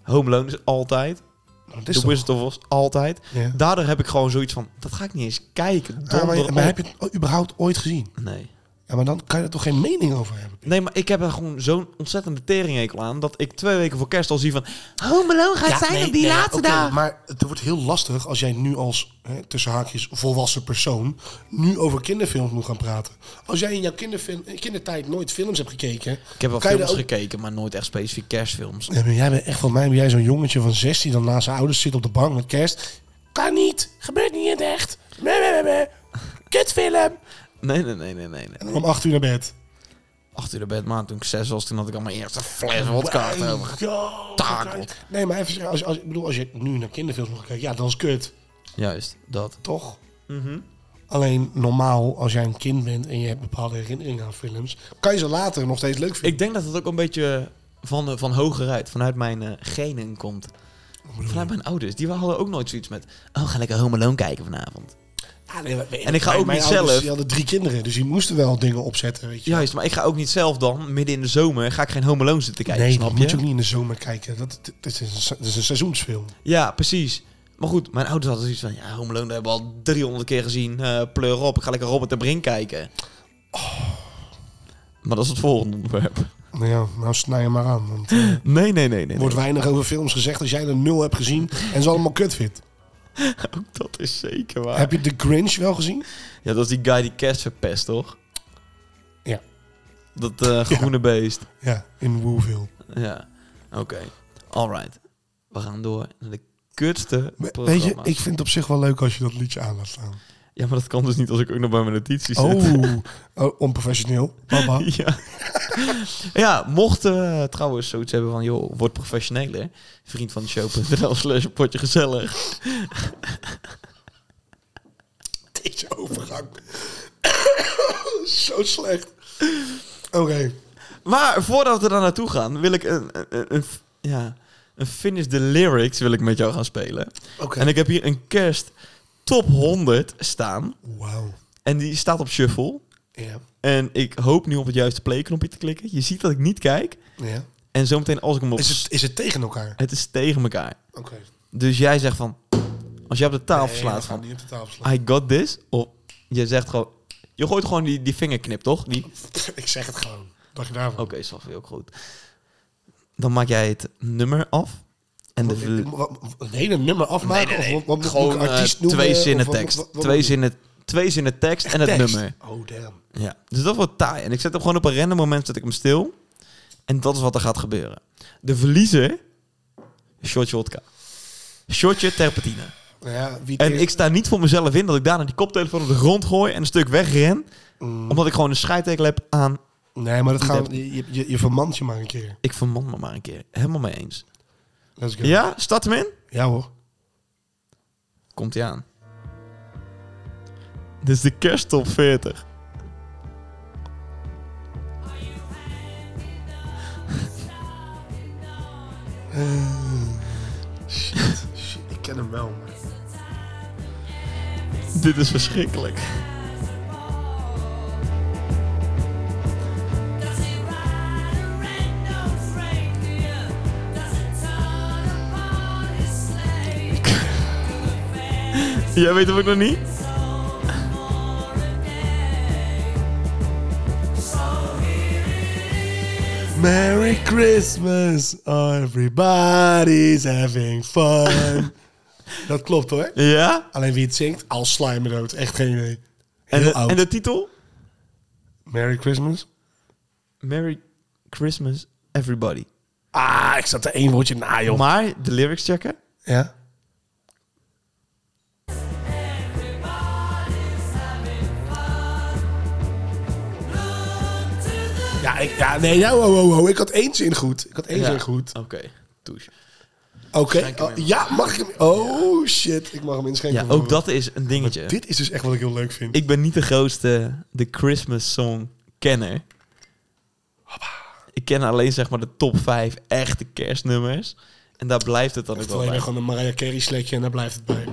Speaker 2: Home Alone is altijd.
Speaker 3: Nou, dat is
Speaker 2: The
Speaker 3: toch-
Speaker 2: Wizard of Oz altijd.
Speaker 3: Ja.
Speaker 2: Daardoor heb ik gewoon zoiets van... Dat ga ik niet eens kijken.
Speaker 3: Ja, maar,
Speaker 2: donder
Speaker 3: maar
Speaker 2: op.
Speaker 3: heb je het überhaupt ooit gezien?
Speaker 2: Nee.
Speaker 3: Ja, maar dan kan je er toch geen mening over hebben?
Speaker 2: Nee, maar ik heb er gewoon zo'n ontzettende teringhekel aan... dat ik twee weken voor kerst al zie van... Oh, Malone gaat zijn op die laatste
Speaker 3: Oké,
Speaker 2: dag.
Speaker 3: Maar het wordt heel lastig als jij nu als, hè, tussen haakjes, volwassen persoon... nu over kinderfilms moet gaan praten. Als jij in jouw kinderfilm, in kindertijd nooit films hebt gekeken...
Speaker 2: Ik heb wel
Speaker 3: kan je
Speaker 2: films
Speaker 3: er ook-
Speaker 2: gekeken, maar nooit echt specifiek kerstfilms.
Speaker 3: Ja, maar jij bent echt van mij, ben jij zo'n jongetje van 16... dan naast zijn ouders zit op de bank met kerst. Kan niet, gebeurt niet in het echt. Meh, meh, meh, meh. Kutfilm.
Speaker 2: Nee, nee, nee, nee, nee. nee.
Speaker 3: En dan om acht uur naar bed.
Speaker 2: Acht uur de bed, maar toen ik zes was, toen had ik al mijn eerste fles wodka
Speaker 3: Wow,
Speaker 2: over.
Speaker 3: yo,
Speaker 2: getakeld.
Speaker 3: Nee, maar even zeggen, als, als, ik bedoel, als je nu naar kinderfilms moet kijken, ja, dan is het kut.
Speaker 2: Juist, dat.
Speaker 3: Toch? Mhm. Alleen normaal, als jij een kind bent en je hebt bepaalde herinneringen aan films, kan je ze later nog steeds leuk vinden.
Speaker 2: Ik denk dat het ook een beetje van, eh, van hogeruit, vanuit mijn eh, genen komt. Vanuit mijn ouders. Die hadden ook nooit zoiets met... Oh, ga lekker Home Alone kijken vanavond.
Speaker 3: Ja, Ah, nee, maar-
Speaker 2: En ik ga
Speaker 3: mijn-
Speaker 2: ook
Speaker 3: mijn
Speaker 2: niet
Speaker 3: ouders,
Speaker 2: zelf.
Speaker 3: Die hadden drie kinderen, dus die moesten wel dingen opzetten, weet je.
Speaker 2: Juist, maar ik ga ook niet zelf dan, midden in de zomer, ga ik geen Home Alone zitten kijken,
Speaker 3: nee,
Speaker 2: snap
Speaker 3: dat
Speaker 2: je?
Speaker 3: moet je ook niet in de zomer kijken. Dat, dat, dat is, een, se- dat is een seizoensfilm.
Speaker 2: Ja, precies. Maar goed, mijn ouders hadden zoiets van... Ja, Home Alone, dat hebben we al 300 keer gezien. eh, pleur op, ik ga lekker Robert de Brink kijken. Oh. Maar dat is het volgende onderwerp.
Speaker 3: Nou ja, nou snij je maar aan. Want eh, er
Speaker 2: Nee, nee, nee, nee.
Speaker 3: wordt weinig over films gezegd als jij er nul hebt gezien en ze allemaal kut vindt.
Speaker 2: Ook dat is zeker waar.
Speaker 3: Heb je The Grinch wel gezien?
Speaker 2: Ja, dat is die guy die kerst verpest, toch?
Speaker 3: Ja.
Speaker 2: Dat eh, groene beest.
Speaker 3: Ja, in Woeville.
Speaker 2: Ja. Oké. Alright. We gaan door naar de kutste
Speaker 3: We- Weet je,
Speaker 2: programma's.
Speaker 3: ik vind het op zich wel leuk als je dat liedje aan laat staan.
Speaker 2: Ja, maar dat kan dus niet als ik ook nog bij mijn notities zit.
Speaker 3: Oh, oh, onprofessioneel. Papa.
Speaker 2: Ja. ja, mochten we trouwens zoiets hebben van... joh, word professioneler. Vriend van de show.nl slash potje gezellig.
Speaker 3: Deze overgang. Zo slecht. Oké.
Speaker 2: Maar voordat we daar naartoe gaan... wil ik een, een, een, een- ja, een finish the lyrics wil ik met jou gaan spelen.
Speaker 3: Oké.
Speaker 2: En ik heb hier een kerst top 100 staan.
Speaker 3: Wauw.
Speaker 2: En die staat op shuffle.
Speaker 3: Ja.
Speaker 2: En ik hoop nu op het juiste playknopje te klikken. Je ziet dat ik niet kijk.
Speaker 3: ja.
Speaker 2: En zometeen als ik hem op...
Speaker 3: Is, het, is het tegen elkaar?
Speaker 2: het is tegen elkaar.
Speaker 3: Oké.
Speaker 2: Dus jij zegt van... Als jij op de tafel
Speaker 3: Nee,
Speaker 2: slaat
Speaker 3: we gaan
Speaker 2: van...
Speaker 3: niet op de tafel slaan.
Speaker 2: I got this. Of je zegt gewoon... Je gooit gewoon die, die vingerknip, toch? Die... Oké,
Speaker 3: Ik zeg het gewoon. Dacht je daarvan?
Speaker 2: Saf, heel goed. Dan maak jij het nummer af. En
Speaker 3: Wat-
Speaker 2: de...
Speaker 3: wat- wat- Nee, een nummer afmaken? Of wat, wat,
Speaker 2: Gewoon
Speaker 3: moet ik
Speaker 2: eh,
Speaker 3: artiest noemen?
Speaker 2: twee
Speaker 3: Of
Speaker 2: zinnen
Speaker 3: wat- wat-
Speaker 2: tekst.
Speaker 3: wat- wat
Speaker 2: Twee
Speaker 3: moet ik?
Speaker 2: zinnen... Twee zinnen tekst en het
Speaker 3: Tekst.
Speaker 2: nummer.
Speaker 3: Oh, damn.
Speaker 2: Ja, dus dat wordt taai. En ik zet hem gewoon op een random moment zet ik hem stil. En dat is wat er gaat gebeuren. De verliezer, shotje vodka. Shotje terpentine.
Speaker 3: Nou Ja, wie
Speaker 2: En ik sta niet voor mezelf in dat ik daarna die koptelefoon op de grond gooi en een stuk wegren.
Speaker 3: Mm.
Speaker 2: Omdat ik gewoon een scheidtekel heb aan,
Speaker 3: Nee, maar dat
Speaker 2: Die
Speaker 3: gaan we- je, je, je vermant je maar een keer.
Speaker 2: ik verman me maar een keer. Helemaal mee eens.
Speaker 3: Let's go.
Speaker 2: Ja, start hem in.
Speaker 3: Ja, hoor.
Speaker 2: Komt hij aan. Dit is de kersttop 40.
Speaker 3: Shit, shit, ik ken hem wel. maar-
Speaker 2: Dit is verschrikkelijk. Jij weet hem ook nog niet?
Speaker 3: Merry Christmas, Oh, everybody's having fun. dat klopt hoor.
Speaker 2: Ja?
Speaker 3: Alleen wie het zingt, al slime dood. Echt geen idee. Heel
Speaker 2: En de,
Speaker 3: oud.
Speaker 2: en de titel?
Speaker 3: Merry Christmas.
Speaker 2: Merry Christmas, everybody.
Speaker 3: Ah, ik zat er één woordje na, joh.
Speaker 2: Maar de lyrics checken.
Speaker 3: ja? Ja, ik, ja, nee, nou, wow, wow, wow. ik had één zin goed. Ik had één zin goed.
Speaker 2: Oké, touche.
Speaker 3: Oké, oh, ja, mag ik hem... Oh, shit, ik mag hem inschenken.
Speaker 2: Ja,
Speaker 3: voor
Speaker 2: ook
Speaker 3: me.
Speaker 2: dat is een dingetje.
Speaker 3: Dit is dus echt wat ik heel leuk vind.
Speaker 2: Ik ben niet de grootste de Christmas song kenner. Ik ken alleen zeg maar de top 5 echte kerstnummers. En daar blijft het dan ook
Speaker 3: Het
Speaker 2: wel
Speaker 3: alleen maar
Speaker 2: bij.
Speaker 3: gewoon een Mariah Carey sletje en daar blijft het bij.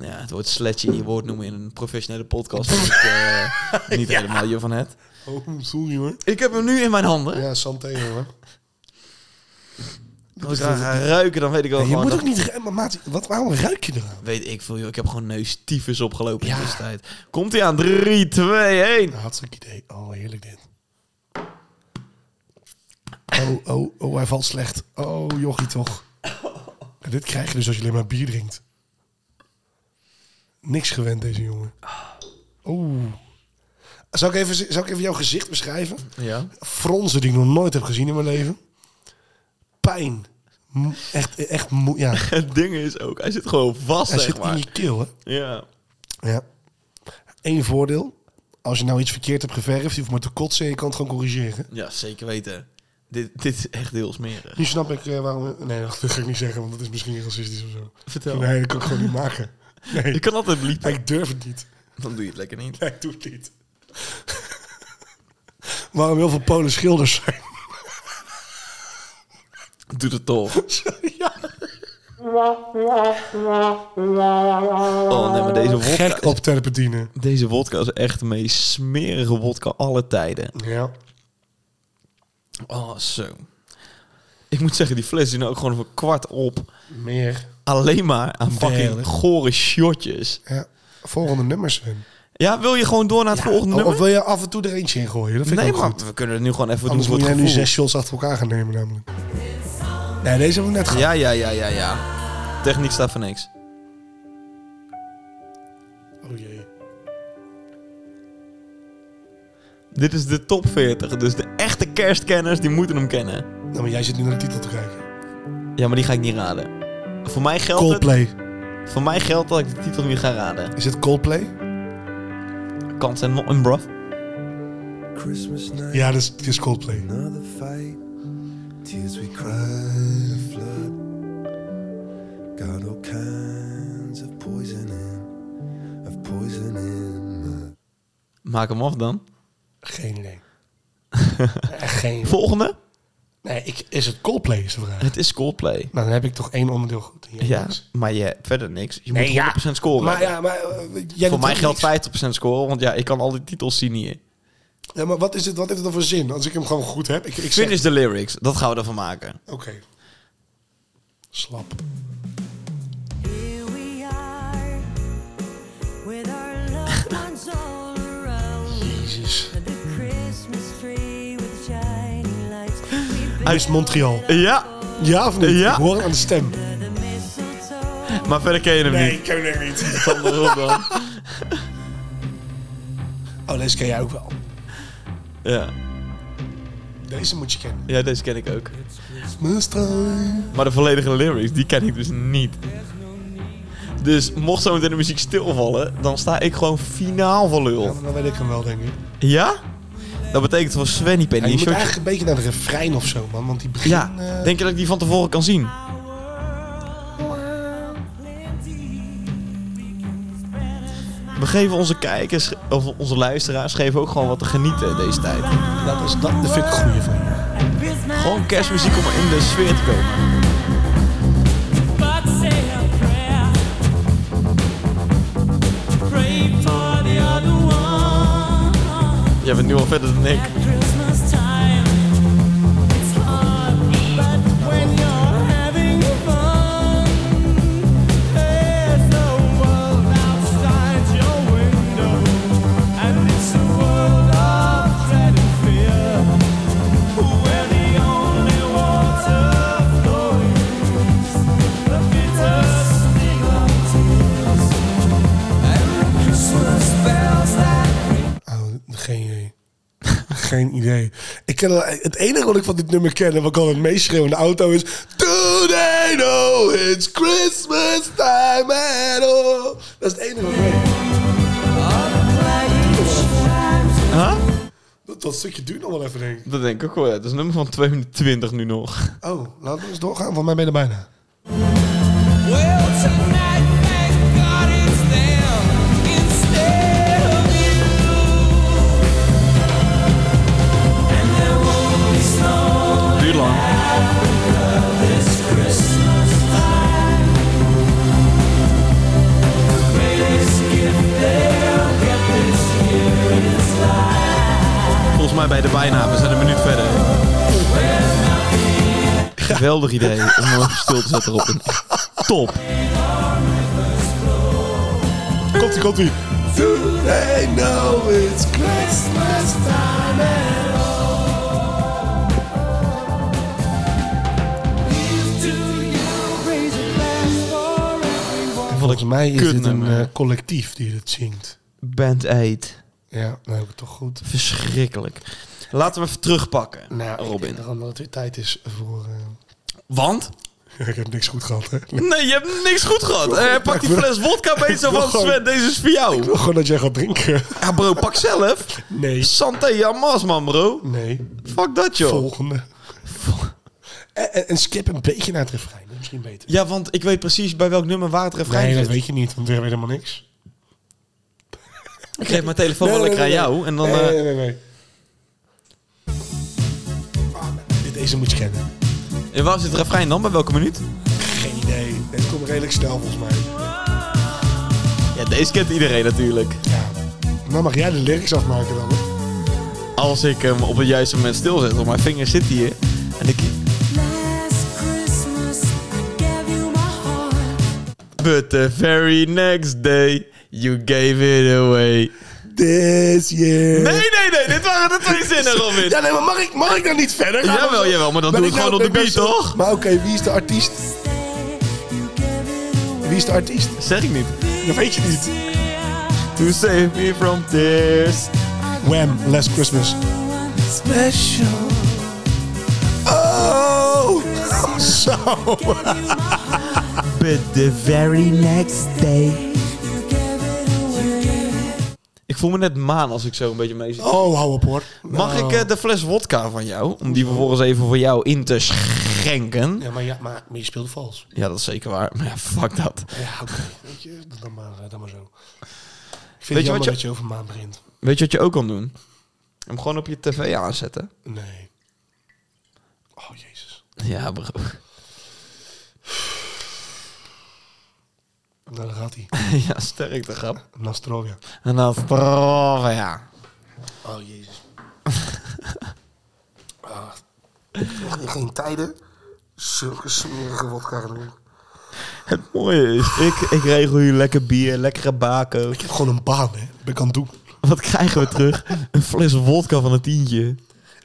Speaker 2: Ja, het woord sletje in je woord noemen in een professionele podcast. vind ik, eh, niet helemaal je van het.
Speaker 3: Oh, sorry hoor.
Speaker 2: Ik heb hem nu in mijn handen.
Speaker 3: Ja, santé hoor.
Speaker 2: Als ik eraan ga ruiken, dan weet ik wel
Speaker 3: Nee, je
Speaker 2: gewoon...
Speaker 3: moet
Speaker 2: dat-
Speaker 3: ook niet... re- Maar maat, wat, waarom ruik je eraan?
Speaker 2: Weet ik veel, joh. Ik heb gewoon neustiefes opgelopen
Speaker 3: Ja.
Speaker 2: in deze tijd. Komt hij aan? 3, 2, 1.
Speaker 3: Nou, hartstikke idee. Oh, heerlijk dit. Oh, oh, oh, hij valt slecht. Oh, jochie toch. En dit krijg je dus als je alleen maar bier drinkt. Niks gewend, deze jongen. Oeh. Zal ik, even, zal ik even jouw gezicht beschrijven?
Speaker 2: Ja.
Speaker 3: Fronsen die ik nog nooit heb gezien in mijn leven. Pijn. M- Echt, echt moe. Ja,
Speaker 2: Het ding is ook, hij zit gewoon vast,
Speaker 3: hij
Speaker 2: zeg
Speaker 3: zit in
Speaker 2: maar.
Speaker 3: je keel, hè?
Speaker 2: Ja.
Speaker 3: Ja. Eén voordeel. Als je nou iets verkeerd hebt geverfd, je hoeft maar te kotsen en je kan het gewoon corrigeren.
Speaker 2: ja, zeker weten. Dit, dit is echt heel smerig.
Speaker 3: Nu snap ik eh, waarom... Nee, dat ga ik niet zeggen, want dat is misschien racistisch of zo.
Speaker 2: Vertel.
Speaker 3: Nee, dat kan ik gewoon niet maken. Nee,
Speaker 2: Je kan altijd liepen.
Speaker 3: ik durf het niet.
Speaker 2: Dan doe je het lekker niet.
Speaker 3: Nee, ik doe het niet. waarom heel veel Polen schilders zijn.
Speaker 2: Doe het toch.
Speaker 3: ja.
Speaker 2: Oh nee, maar deze wodka,
Speaker 3: Gek op terpentine.
Speaker 2: deze wodka is echt de meest smerige wodka alle tijden.
Speaker 3: Ja.
Speaker 2: Oh, zo. Ik moet zeggen, die fles is nou ook gewoon voor kwart op.
Speaker 3: Meer.
Speaker 2: Alleen maar aan fucking
Speaker 3: Heerlijk.
Speaker 2: gore shotjes.
Speaker 3: Ja. Volgende nummers, Sven. Oh,
Speaker 2: Ja, wil je gewoon door naar het volgende
Speaker 3: Of
Speaker 2: nummer?
Speaker 3: wil je af en toe er eentje in gooien? Dat vind
Speaker 2: nee,
Speaker 3: ik ook
Speaker 2: maar
Speaker 3: goed.
Speaker 2: we kunnen het nu gewoon even
Speaker 3: Anders
Speaker 2: doen
Speaker 3: moet
Speaker 2: voor
Speaker 3: jij
Speaker 2: het
Speaker 3: nu
Speaker 2: gevoel.
Speaker 3: zes shots achter elkaar gaan nemen namelijk. Nee, deze hebben we net gehad.
Speaker 2: Ja, ja, ja, ja, ja. Techniek staat voor niks.
Speaker 3: Oh jee.
Speaker 2: Dit is de top 40, dus de echte kerstkenners die moeten hem kennen.
Speaker 3: Nou, maar jij zit nu naar de titel te kijken.
Speaker 2: Ja, maar die ga ik niet raden. Voor mij geldt, het,
Speaker 3: Coldplay.
Speaker 2: voor mij geldt dat ik de titel niet ga raden.
Speaker 3: Is het Coldplay?
Speaker 2: Kans en not een bruv.
Speaker 4: Christmas night,
Speaker 3: Ja, dat is, dat is Coldplay.
Speaker 4: another fight. Tears we cried, a flood. Got all kinds of poison in, of poison in my
Speaker 2: Maak hem af dan.
Speaker 3: Geen idee. Echt geen.
Speaker 2: Volgende.
Speaker 3: Nee, ik, is het Coldplay is de vraag.
Speaker 2: Het is Coldplay.
Speaker 3: Nou, dan heb ik toch één onderdeel goed. in je
Speaker 2: Ja,
Speaker 3: box.
Speaker 2: maar je hebt verder niks. Je
Speaker 3: Nee,
Speaker 2: moet
Speaker 3: ja.
Speaker 2: 100% scoren.
Speaker 3: Maar ja, maar... eh, jij
Speaker 2: Voor
Speaker 3: doet
Speaker 2: mij
Speaker 3: ook
Speaker 2: geldt
Speaker 3: niks.
Speaker 2: 50% scoren, want ja, ik kan al die titels zien hier.
Speaker 3: Ja, maar wat, is het, wat heeft het dan voor zin? Als ik hem gewoon goed heb. Ik, ik zeg...
Speaker 2: Finish de lyrics, dat gaan we ervan maken.
Speaker 3: Oké. Slap.
Speaker 5: Here we are with our loved ones all around
Speaker 3: Jezus.
Speaker 5: the Christmas tree with shining lights.
Speaker 3: Hij is Montreal.
Speaker 2: Ja,
Speaker 3: Ja of niet?
Speaker 2: Ja.
Speaker 3: Ik hoor het aan de stem.
Speaker 5: The mistletoe.
Speaker 2: maar verder ken je hem niet.
Speaker 3: ik ken hem niet.
Speaker 2: Van de rol dan.
Speaker 3: Oh, deze ken jij ook wel.
Speaker 2: Ja.
Speaker 3: Deze moet je kennen.
Speaker 2: ja, deze ken ik ook.
Speaker 3: Mistletoe.
Speaker 2: Maar de volledige lyrics, die ken ik dus niet. Dus mocht zo meteen de muziek stilvallen, dan sta ik gewoon finaal voor
Speaker 3: Ja,
Speaker 2: lul.
Speaker 3: maar dan weet ik hem wel, denk ik.
Speaker 2: Ja? Dat betekent voor Svenny
Speaker 3: Ja,
Speaker 2: Penny een
Speaker 3: je moet
Speaker 2: shotje.
Speaker 3: eigenlijk een beetje naar de refrein of zo, man. Want die begin...
Speaker 2: Ja,
Speaker 3: eh,
Speaker 2: denk je dat ik die van tevoren kan zien? We geven onze kijkers, of onze luisteraars, geven ook gewoon wat te genieten in deze tijd.
Speaker 3: dat, is, dat dat vind ik een goeie van je.
Speaker 2: Gewoon kerstmuziek om in de sfeer te komen.
Speaker 6: But say a prayer. Pray for the other one.
Speaker 2: Jij bent nu al verder dan ik.
Speaker 6: At Christmas time, it's hard, but when you're having fun, there's a world outside your window, and it's a world of dread and fear, where the only water flows the bitter sting of tears, and the Christmas bells that.
Speaker 3: Oh, geen idee. geen idee. Ik ken, al- het enige wat ik van dit nummer ken en wat ik al het meest schreeuw in de auto is... Do they know it's Christmas time at all? Dat is het enige wat ik weet.
Speaker 2: Huh?
Speaker 3: Dat, dat stukje duurt nog wel even, denk ik.
Speaker 2: Dat denk ik ook wel. ja. Het is een nummer van 22 nu nog.
Speaker 3: Oh, laten we eens doorgaan. Van mij ben je er bijna.
Speaker 6: Well, tonight, thank God it's them instead of you. And there won't be snow
Speaker 2: Duur lang.
Speaker 6: this Christmas time. The greatest gift they'll get this year is life.
Speaker 2: Volgens mij bij de bijna. We zijn een minuut verder. Geweldig idee om hem even stil te zetten erop. Top.
Speaker 3: Komt-ie, komt-ie. Do they know it's Christmas time at all? Volgens mij is dit een
Speaker 2: kutnummer.
Speaker 3: eh, collectief die dit zingt.
Speaker 2: Band 8.
Speaker 3: Ja, nou heb ik het toch goed.
Speaker 2: Verschrikkelijk. Laten we even terugpakken,
Speaker 3: Nou, ik denk
Speaker 2: Robin.
Speaker 3: daarom dat het weer tijd is voor... eh,
Speaker 2: Want?
Speaker 3: ik heb niks goed gehad, hè. Ik
Speaker 2: Nee, je hebt niks goed gehad. Eh, pak die
Speaker 3: Ik wil-
Speaker 2: fles wodka mee zo
Speaker 3: wil
Speaker 2: van
Speaker 3: gewoon-
Speaker 2: Sven, deze is voor jou.
Speaker 3: wil gewoon dat jij gaat drinken.
Speaker 2: Ja bro, pak zelf.
Speaker 3: Nee.
Speaker 2: Santé amas man bro.
Speaker 3: Nee.
Speaker 2: Fuck dat joh.
Speaker 3: Volgende. En, en- en skip een beetje naar het refrein. hè, Misschien beter.
Speaker 2: Ja, want ik weet precies bij welk nummer waar het refrein
Speaker 3: Nee, dat
Speaker 2: zit.
Speaker 3: weet je niet, want we hebben helemaal niks.
Speaker 2: Ik geef mijn telefoon wel lekker aan jou en dan...
Speaker 3: Nee,
Speaker 2: eh,
Speaker 3: nee, nee, nee. Ah, dit- Deze moet je kennen.
Speaker 2: En waar zit het refrein dan? Bij welke minuut?
Speaker 3: Geen idee. Het komt redelijk snel volgens mij.
Speaker 2: Ja, deze kent iedereen natuurlijk.
Speaker 3: Ja. Nou mag jij de lyrics afmaken dan. hè?
Speaker 2: Als ik hem op het juiste moment stilzet, want mijn vinger zit hier. En ik... But the very next day, you gave it away.
Speaker 3: This year.
Speaker 2: Nee, nee, nee, dit waren de twee zinnen, Robin.
Speaker 3: Ja, nee, maar mag ik, mag ik nou niet verder? Ga
Speaker 2: Jawel,
Speaker 3: maar-
Speaker 2: jawel, maar dan
Speaker 3: Ben
Speaker 2: doe
Speaker 3: ik
Speaker 2: het gewoon
Speaker 3: nou-
Speaker 2: op de
Speaker 3: ben ik
Speaker 2: beat,
Speaker 3: nou zo-
Speaker 2: toch?
Speaker 3: Maar oké, wie is de artiest? Wie is de artiest?
Speaker 2: Zeg ik niet.
Speaker 3: Dat weet je niet.
Speaker 2: To save me from tears.
Speaker 3: Wham, Last Christmas. Special. Oh! Zo.
Speaker 2: But the very next day. Ik voel me net maan als ik zo een beetje mee zit.
Speaker 3: Oh, hou op hoor.
Speaker 2: Mag ik
Speaker 3: Nou.
Speaker 2: eh, de fles wodka van jou? Om die vervolgens even voor jou in te schenken.
Speaker 3: Ja, maar, ja, maar, maar je speelde vals.
Speaker 2: Ja, dat is zeker waar. Maar ja, fuck dat.
Speaker 3: Ja, oké. Weet je, dan maar, eh, dan maar zo. Ik
Speaker 2: Weet
Speaker 3: vind
Speaker 2: je
Speaker 3: het
Speaker 2: wat
Speaker 3: jammer
Speaker 2: je-
Speaker 3: dat je over maan begint.
Speaker 2: Weet je wat je ook kan doen? Hem gewoon op je tv aanzetten.
Speaker 3: Nee. Oh, jezus.
Speaker 2: Ja, bro.
Speaker 3: Nou, daar gaat hij.
Speaker 2: ja, sterk de grap.
Speaker 3: Nastrovia.
Speaker 2: En dan... Brrr, ja.
Speaker 3: Oh, jezus. Ah. In geen tijden. Zulke smerige wodka gedronken.
Speaker 2: Het mooie is, ik, ik regel hier lekker bier, lekkere bako.
Speaker 3: Ik heb gewoon een baan, hè. Dat ben ik aan het doen.
Speaker 2: Wat krijgen we terug? Een fles wodka van een tientje.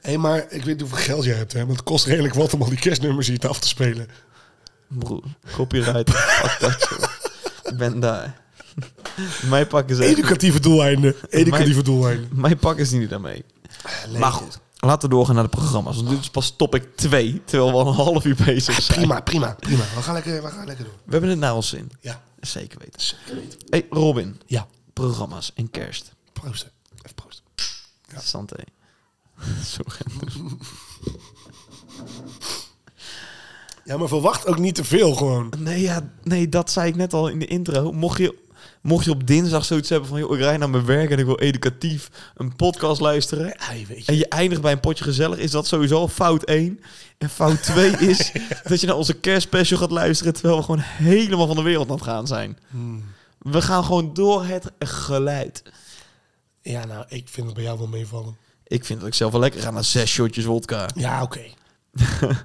Speaker 3: Hé, maar ik weet niet hoeveel geld jij hebt, hè? Want het kost redelijk wat om al die kerstnummers hier te af te spelen.
Speaker 2: Broer, copyright. Fuck dat, joh. Ik ben daar. Mij pakken ze...
Speaker 3: Educatieve doeleinden. Educatieve doeleinden.
Speaker 2: Mij pakken ze niet daarmee.
Speaker 3: Leuk.
Speaker 2: Maar goed, laten we doorgaan naar de programma's. Want dit is pas topic 2, terwijl we al een half uur bezig zijn.
Speaker 3: Prima, prima, prima. We gaan lekker, we gaan lekker doen.
Speaker 2: We hebben het naar ons zin.
Speaker 3: Ja,
Speaker 2: Zeker weten.
Speaker 3: zeker weten.
Speaker 2: hey, Robin.
Speaker 3: Ja,
Speaker 2: Programma's en kerst.
Speaker 3: proosten. Even proosten.
Speaker 2: Ja. Santé. Zo genderig.
Speaker 3: Ja, maar verwacht ook niet te veel gewoon.
Speaker 2: Nee, ja, nee, dat zei ik net al in de intro. Mocht je, mocht je op dinsdag zoiets hebben van... Joh, ik rij naar mijn werk en ik wil educatief een podcast luisteren...
Speaker 3: Hij weet
Speaker 2: en je eindigt bij een potje gezellig... is dat sowieso al fout 1. En fout 2 is dat je naar onze kerstspecial gaat luisteren... terwijl we gewoon helemaal van de wereld aan het gaan zijn. We gaan gewoon door het geluid.
Speaker 3: Ja, nou, ik vind het bij jou wel meevallen.
Speaker 2: Ik vind dat ik zelf wel lekker ga naar zes shotjes wodka.
Speaker 3: Ja, oké.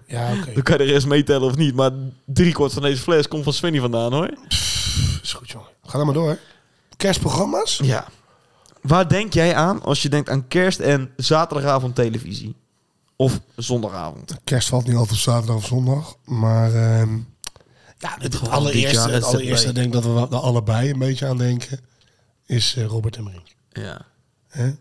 Speaker 3: ja, oké.
Speaker 2: Dan kan je de rest meetellen of niet, maar driekwart van deze fles komt van Svenny vandaan hoor.
Speaker 3: Is goed, jongen. Ga dan maar door. Kerstprogramma's?
Speaker 2: Ja. Waar denk jij aan als je denkt aan kerst en zaterdagavond televisie? Of zondagavond?
Speaker 3: Kerst valt niet altijd op zaterdag of zondag, maar... ehm, ja, het,
Speaker 2: Gewoon dit jaar
Speaker 3: allereerste,
Speaker 2: is
Speaker 3: het
Speaker 2: het
Speaker 3: allereerste
Speaker 2: bij.
Speaker 3: denk ik dat we wel- er allebei een beetje aan denken, is eh, Robert en Brink.
Speaker 2: Ja.
Speaker 3: Hè?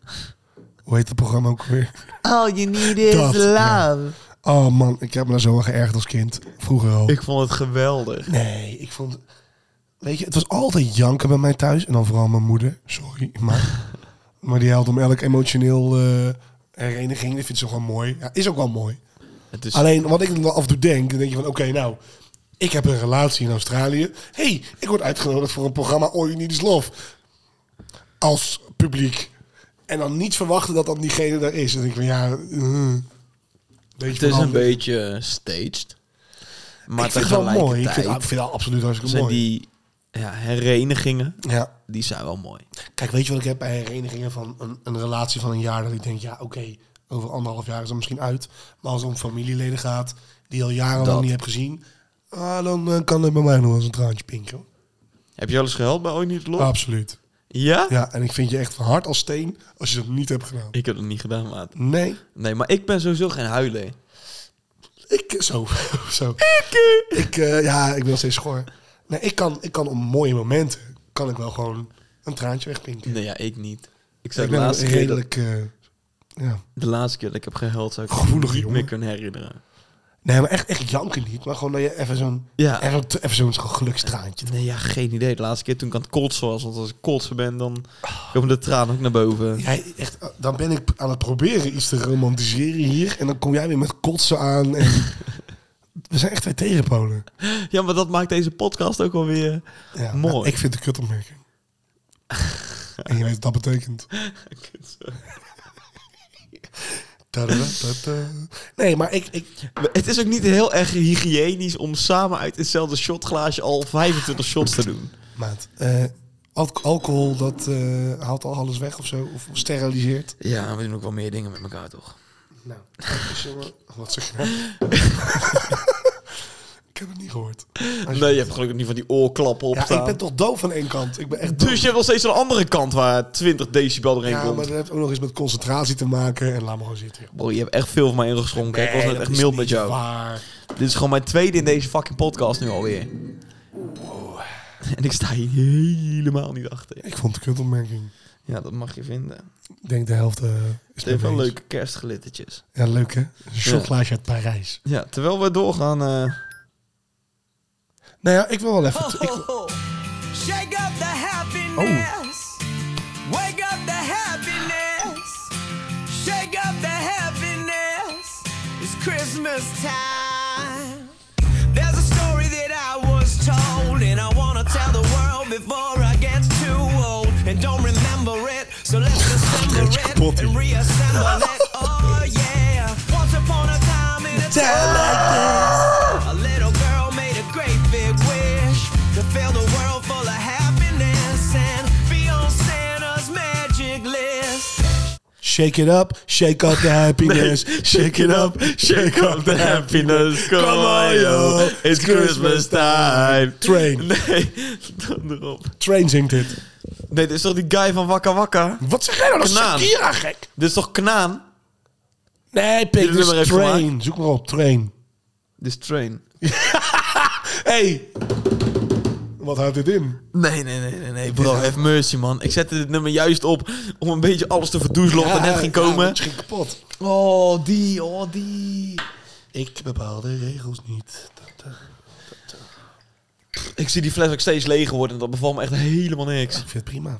Speaker 3: Hoe heet het programma ook weer?
Speaker 2: All you need is
Speaker 3: Dat, ja. Oh man, ik heb me daar zo aan geërgerd als kind. Vroeger al.
Speaker 2: Ik vond het geweldig.
Speaker 3: Nee, ik vond... Weet je, het was altijd janken bij mij thuis. En dan vooral mijn moeder. Sorry, maar... maar die helpt om elk emotioneel eh hereniging. Dat vindt ze gewoon mooi. Ja, is ook wel mooi.
Speaker 2: Het is,
Speaker 3: Alleen, wat ik dan wel af en toe denk... Dan denk je van, oké, nou... Ik heb een relatie in Australië. hey, ik word uitgenodigd voor een programma All You Need Is Love. Als publiek. En dan niet verwachten dat dan diegene daar is. En dan denk ik van, ja... eh, beetje
Speaker 2: het is een
Speaker 3: veranderd.
Speaker 2: beetje eh, staged. Maar
Speaker 3: ik vind het wel mooi. Ik vind,
Speaker 2: tegelijkertijd
Speaker 3: ik vind het absoluut hartstikke
Speaker 2: zijn
Speaker 3: mooi.
Speaker 2: die ja, herenigingen,
Speaker 3: Ja.
Speaker 2: die zijn wel mooi.
Speaker 3: Kijk, weet je wat ik heb bij herenigingen van een, een relatie van een jaar? Dat ik denk, ja, oké, Over anderhalf jaar is dat misschien uit. Maar als het om familieleden gaat, die je al jarenlang
Speaker 2: Dat.
Speaker 3: niet hebt gezien. Ah, dan eh, kan het bij mij nog wel eens een traantje pinken. hoor.
Speaker 2: Heb je wel eens gehuild bij Ooit Niet Lof?
Speaker 3: Absoluut.
Speaker 2: ja?
Speaker 3: Oh. Ja, en ik vind je echt van hard als steen als je dat niet hebt gedaan.
Speaker 2: Ik heb dat niet gedaan, maat.
Speaker 3: Nee,
Speaker 2: Nee, maar ik ben sowieso geen huiler.
Speaker 3: ik... Zo, zo. Ik, eh, ja, ik ben nog steeds schor. Nee, ik kan, ik kan op mooie momenten, kan ik wel gewoon een traantje wegpinken.
Speaker 2: Nee, ja, ik niet. Ik zou
Speaker 3: ik
Speaker 2: de
Speaker 3: ben een
Speaker 2: laatste, keer dat,
Speaker 3: redelijk... eh, ja.
Speaker 2: de laatste keer dat ik heb gehuild, zou ik me
Speaker 3: Gevoelige
Speaker 2: niet
Speaker 3: jongen.
Speaker 2: meer kunnen herinneren.
Speaker 3: Nee, maar echt, echt janken niet. Maar gewoon dat je even zo'n...
Speaker 2: Ja.
Speaker 3: Even, even zo'n gelukstraantje.
Speaker 2: Nee, ja, geen idee. De laatste keer toen ik aan het kotsen was, want als ik kotsen ben, dan
Speaker 3: Oh.
Speaker 2: komen de tranen ook naar boven.
Speaker 3: Jij, echt, dan ben ik aan het proberen iets te romantiseren hier. En dan kom jij weer met kotsen aan. En we zijn echt twee tegenpolen.
Speaker 2: Ja, maar dat maakt deze podcast ook wel weer
Speaker 3: Ja,
Speaker 2: mooi.
Speaker 3: nou, ik vind het een kutopmerking. en je weet wat dat betekent. Tadadadada. Nee, maar ik, ik,
Speaker 2: Het is ook niet heel erg hygiënisch om samen uit hetzelfde shotglaasje al 25 shots te doen.
Speaker 3: maat, eh, alc- alcohol, dat eh, haalt al alles weg of zo. Of steriliseert.
Speaker 2: Ja, we doen ook wel meer dingen met elkaar, toch?
Speaker 3: Nou, wat zeg je nou? Ik heb het niet gehoord.
Speaker 2: Nee, je hebt gelukkig niet van die oorklappen op
Speaker 3: Ja, ik ben toch doof aan één kant. Ik ben echt doof.
Speaker 2: Dus je hebt nog steeds een andere kant waar 20 decibel doorheen
Speaker 3: Ja,
Speaker 2: komt.
Speaker 3: maar dat heeft ook nog eens met concentratie te maken. En laat me gewoon zitten. joh.
Speaker 2: Bro, je hebt echt veel van mij ingeschonken. ik was
Speaker 3: Nee,
Speaker 2: net
Speaker 3: dat
Speaker 2: echt
Speaker 3: is
Speaker 2: mild
Speaker 3: niet
Speaker 2: met jou.
Speaker 3: Waar.
Speaker 2: Dit is gewoon mijn tweede in deze fucking podcast nu alweer. En ik sta hier helemaal niet achter.
Speaker 3: Ik vond het een kutopmerking.
Speaker 2: Ja, dat mag je vinden.
Speaker 3: Ik denk de helft eh, is
Speaker 2: Het heeft wel
Speaker 3: mee eens.
Speaker 2: leuke kerstglittertjes.
Speaker 3: Ja, leuk hè? Een shotglaasje uit Parijs.
Speaker 2: Ja, terwijl we doorgaan... eh,
Speaker 3: Nou ja, ik wil wel even... Ik,
Speaker 7: Shake up the happiness. Wake up the happiness. Shake up the happiness. It's Christmas time. There's a story that I was told, and I wanna tell the world before I get too old and don't remember it. So let's assemble
Speaker 3: kapot,
Speaker 7: it and
Speaker 3: joh.
Speaker 7: reassemble it. Oh yeah. Once upon a time in a time like a little girl made a great big wish to fill the world full of happiness and be on Santa's magic list.
Speaker 3: shake it up, shake up the happiness. shake it up, shake up the happiness. Come on yo, it's Christmas time. Train.
Speaker 2: Nee, dan erop.
Speaker 3: Train zingt dit.
Speaker 2: Nee, dit is toch die guy van Wakka Wakka?
Speaker 3: Wat zeg jij nou? Dat is
Speaker 2: Knaan.
Speaker 3: Shakira, gek.
Speaker 2: Dit is toch Knaan?
Speaker 3: Nee, Pik,
Speaker 2: Dit
Speaker 3: dit
Speaker 2: nummer
Speaker 3: is
Speaker 2: heeft
Speaker 3: Train. Zoek maar op, Train.
Speaker 2: Dit is Train.
Speaker 3: Hey. Wat houdt dit in?
Speaker 2: Nee, nee, nee, nee, nee, bro, have mercy, man. Ik zette dit nummer juist op om een beetje alles te verdoezelen wat er net ging
Speaker 3: Ja,
Speaker 2: komen.
Speaker 3: het ging kapot.
Speaker 2: Oh, die, oh, die.
Speaker 3: Ik bepaal de regels niet. Dat, eh,
Speaker 2: Ik zie die fles ook steeds leger worden en dat bevalt me echt helemaal niks.
Speaker 3: Ik vind het prima.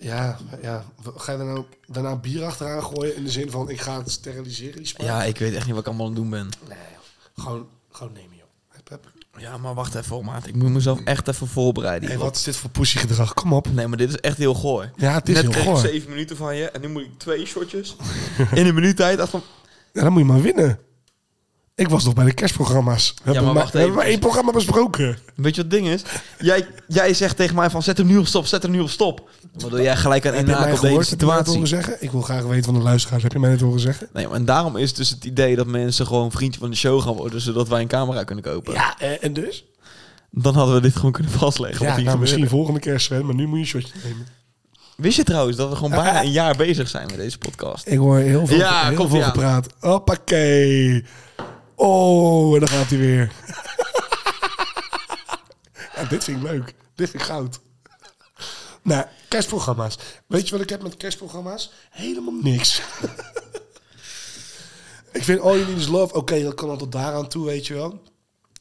Speaker 3: Ja, ja. Ga je daar nou daarna bier achteraan gooien in de zin van ik ga het steriliseren, die smaak?
Speaker 2: Ja, ik weet echt niet wat ik allemaal aan het doen ben.
Speaker 3: Nee, joh. gewoon, gewoon nemen, joh. Hup, hup.
Speaker 2: Ja, maar wacht even, oh, maat. Ik moet mezelf echt even voorbereiden.
Speaker 3: Hey,
Speaker 2: hierop.
Speaker 3: wat is dit voor pussygedrag? Kom op.
Speaker 2: Nee, maar dit is echt heel goor.
Speaker 3: Ja, het is
Speaker 2: Net
Speaker 3: heel
Speaker 2: kreeg ik
Speaker 3: goor.
Speaker 2: zeven minuten van je en nu moet ik twee shotjes in een minuut tijd. Dacht van,
Speaker 3: Ja, dan moet je maar winnen. Ik was nog bij de kerstprogramma's. We hebben,
Speaker 2: maar
Speaker 3: maar,
Speaker 2: wacht
Speaker 3: we hebben
Speaker 2: even.
Speaker 3: maar één programma besproken.
Speaker 2: Weet je wat het ding is? Jij, jij zegt tegen mij van zet hem nu op stop, zet hem nu op stop. Waardoor jij gelijk aan en
Speaker 3: heb
Speaker 2: haak op deze
Speaker 3: heb je mij het horen
Speaker 2: situatie.
Speaker 3: zeggen? Ik wil graag weten van de luisteraars. Heb je mij net horen zeggen?
Speaker 2: Nee, maar en daarom is dus het idee dat mensen gewoon vriendje van de show gaan worden, zodat wij een camera kunnen kopen.
Speaker 3: Ja, eh, en dus?
Speaker 2: Dan hadden we dit gewoon kunnen vastleggen. wat
Speaker 3: Ja,
Speaker 2: hier
Speaker 3: nou,
Speaker 2: gebeurde.
Speaker 3: misschien volgende keer, Sven. Maar nu moet je een shotje nemen.
Speaker 2: Wist je trouwens dat we gewoon bijna een jaar bezig zijn met deze podcast?
Speaker 3: Ik hoor heel veel,
Speaker 2: Ja,
Speaker 3: heel
Speaker 2: komt
Speaker 3: veel
Speaker 2: ie aan.
Speaker 3: gepraat. Hoppakee. Oh, en dan gaat hij weer. ja, dit vind ik leuk. Dit vind ik goud. Nou, kerstprogramma's. Weet je wat ik heb met kerstprogramma's? Helemaal niks. ik vind All You Need Is Love... Oké, dat kan al tot daaraan toe, weet je wel.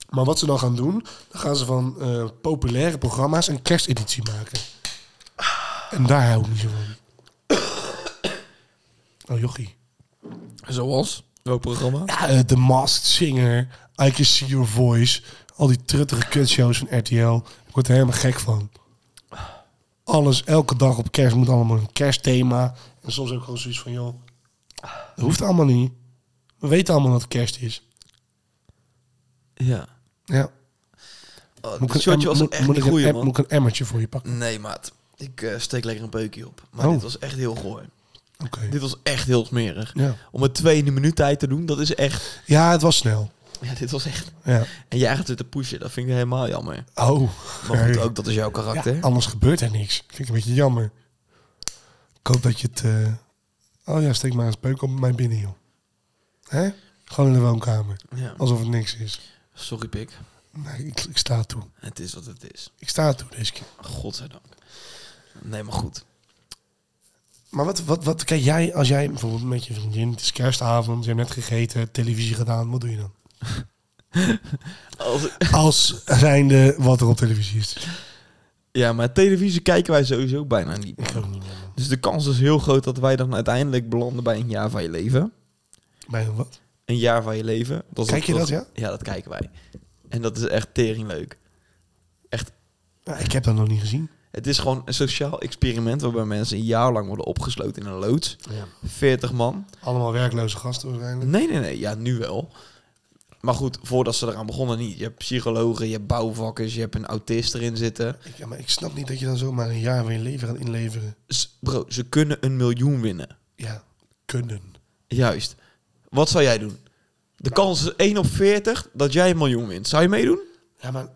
Speaker 3: Maar wat ze dan gaan doen... Dan gaan ze van eh, populaire programma's een kersteditie maken. En daar hou ik niet zo van. Oh, jochie.
Speaker 2: Zoals? Welk programma?
Speaker 3: Ja, eh, The Masked Singer, I Can See Your Voice. Al die truttige kutshows van RTL. Ik word er helemaal gek van. Alles, elke dag op kerst moet allemaal een kerstthema. En soms ook gewoon zoiets van, joh, dat hoeft allemaal niet. We weten allemaal dat het kerst is.
Speaker 2: Ja.
Speaker 3: Ja.
Speaker 2: Oh, dit
Speaker 3: Moet ik, een,
Speaker 2: shotje
Speaker 3: em-
Speaker 2: was
Speaker 3: moet,
Speaker 2: echt
Speaker 3: moet
Speaker 2: niet
Speaker 3: ik, een,
Speaker 2: goeie,
Speaker 3: em-
Speaker 2: man.
Speaker 3: moet ik een emmertje voor je pakken?
Speaker 2: Nee, maat. Ik eh, steek lekker een beukje op. Maar
Speaker 3: Oh.
Speaker 2: dit was echt heel goor.
Speaker 3: Oké.
Speaker 2: Mm. Dit was echt heel smerig.
Speaker 3: Ja.
Speaker 2: Om het twee in de minuut tijd te doen, dat is echt...
Speaker 3: ja, het was snel.
Speaker 2: Ja, dit was echt...
Speaker 3: Ja.
Speaker 2: En jij gaat het te pushen, dat vind ik helemaal jammer.
Speaker 3: Oh.
Speaker 2: Maar goed,
Speaker 3: Hey.
Speaker 2: ook dat is jouw karakter.
Speaker 3: Ja, anders gebeurt er niks. Vind ik een beetje jammer. Ik hoop dat je het... eh, Oh ja, steek maar een speuk op mij binnen, joh. Hè? Gewoon in de woonkamer.
Speaker 2: Ja.
Speaker 3: Alsof het niks is.
Speaker 2: Sorry, pik.
Speaker 3: Nee, ik, ik sta toe.
Speaker 2: Het is wat het is.
Speaker 3: Ik sta toe deze keer.
Speaker 2: Godzijdank. Nee, maar goed.
Speaker 3: Maar wat, wat, wat kijk jij als jij bijvoorbeeld met je vriendin... Het is kerstavond, je hebt net gegeten, televisie gedaan. Wat doe je dan?
Speaker 2: Als-
Speaker 3: Als zijnde wat er op televisie is.
Speaker 2: Ja, maar televisie kijken wij sowieso bijna niet.
Speaker 3: Ik ook niet meer. man.
Speaker 2: Dus de kans is heel groot dat wij dan uiteindelijk belanden bij een jaar van je leven.
Speaker 3: Bij een wat?
Speaker 2: Een jaar van je leven. Dat is
Speaker 3: Kijk je dat, ja?
Speaker 2: Ja, dat kijken wij. En dat is echt tering leuk. Echt,
Speaker 3: Nou, ik heb dat nog niet gezien.
Speaker 2: het is gewoon een sociaal experiment waarbij mensen een jaar lang worden opgesloten in een loods.
Speaker 3: Ja.
Speaker 2: 40 man.
Speaker 3: Allemaal werkloze gasten waarschijnlijk.
Speaker 2: Nee, nee, nee. Ja, nu wel. Maar goed, voordat ze eraan begonnen niet. Je hebt psychologen, je hebt bouwvakkers, je hebt een autist erin zitten.
Speaker 3: Ik- Ja, maar ik snap niet dat je dan zomaar een jaar van je leven gaat inleveren.
Speaker 2: S- Bro, ze kunnen een miljoen winnen.
Speaker 3: Ja, kunnen.
Speaker 2: Juist. Wat zou jij doen? De kans is 1 op 40 dat jij een miljoen wint. Zou je meedoen?
Speaker 3: Ja, maar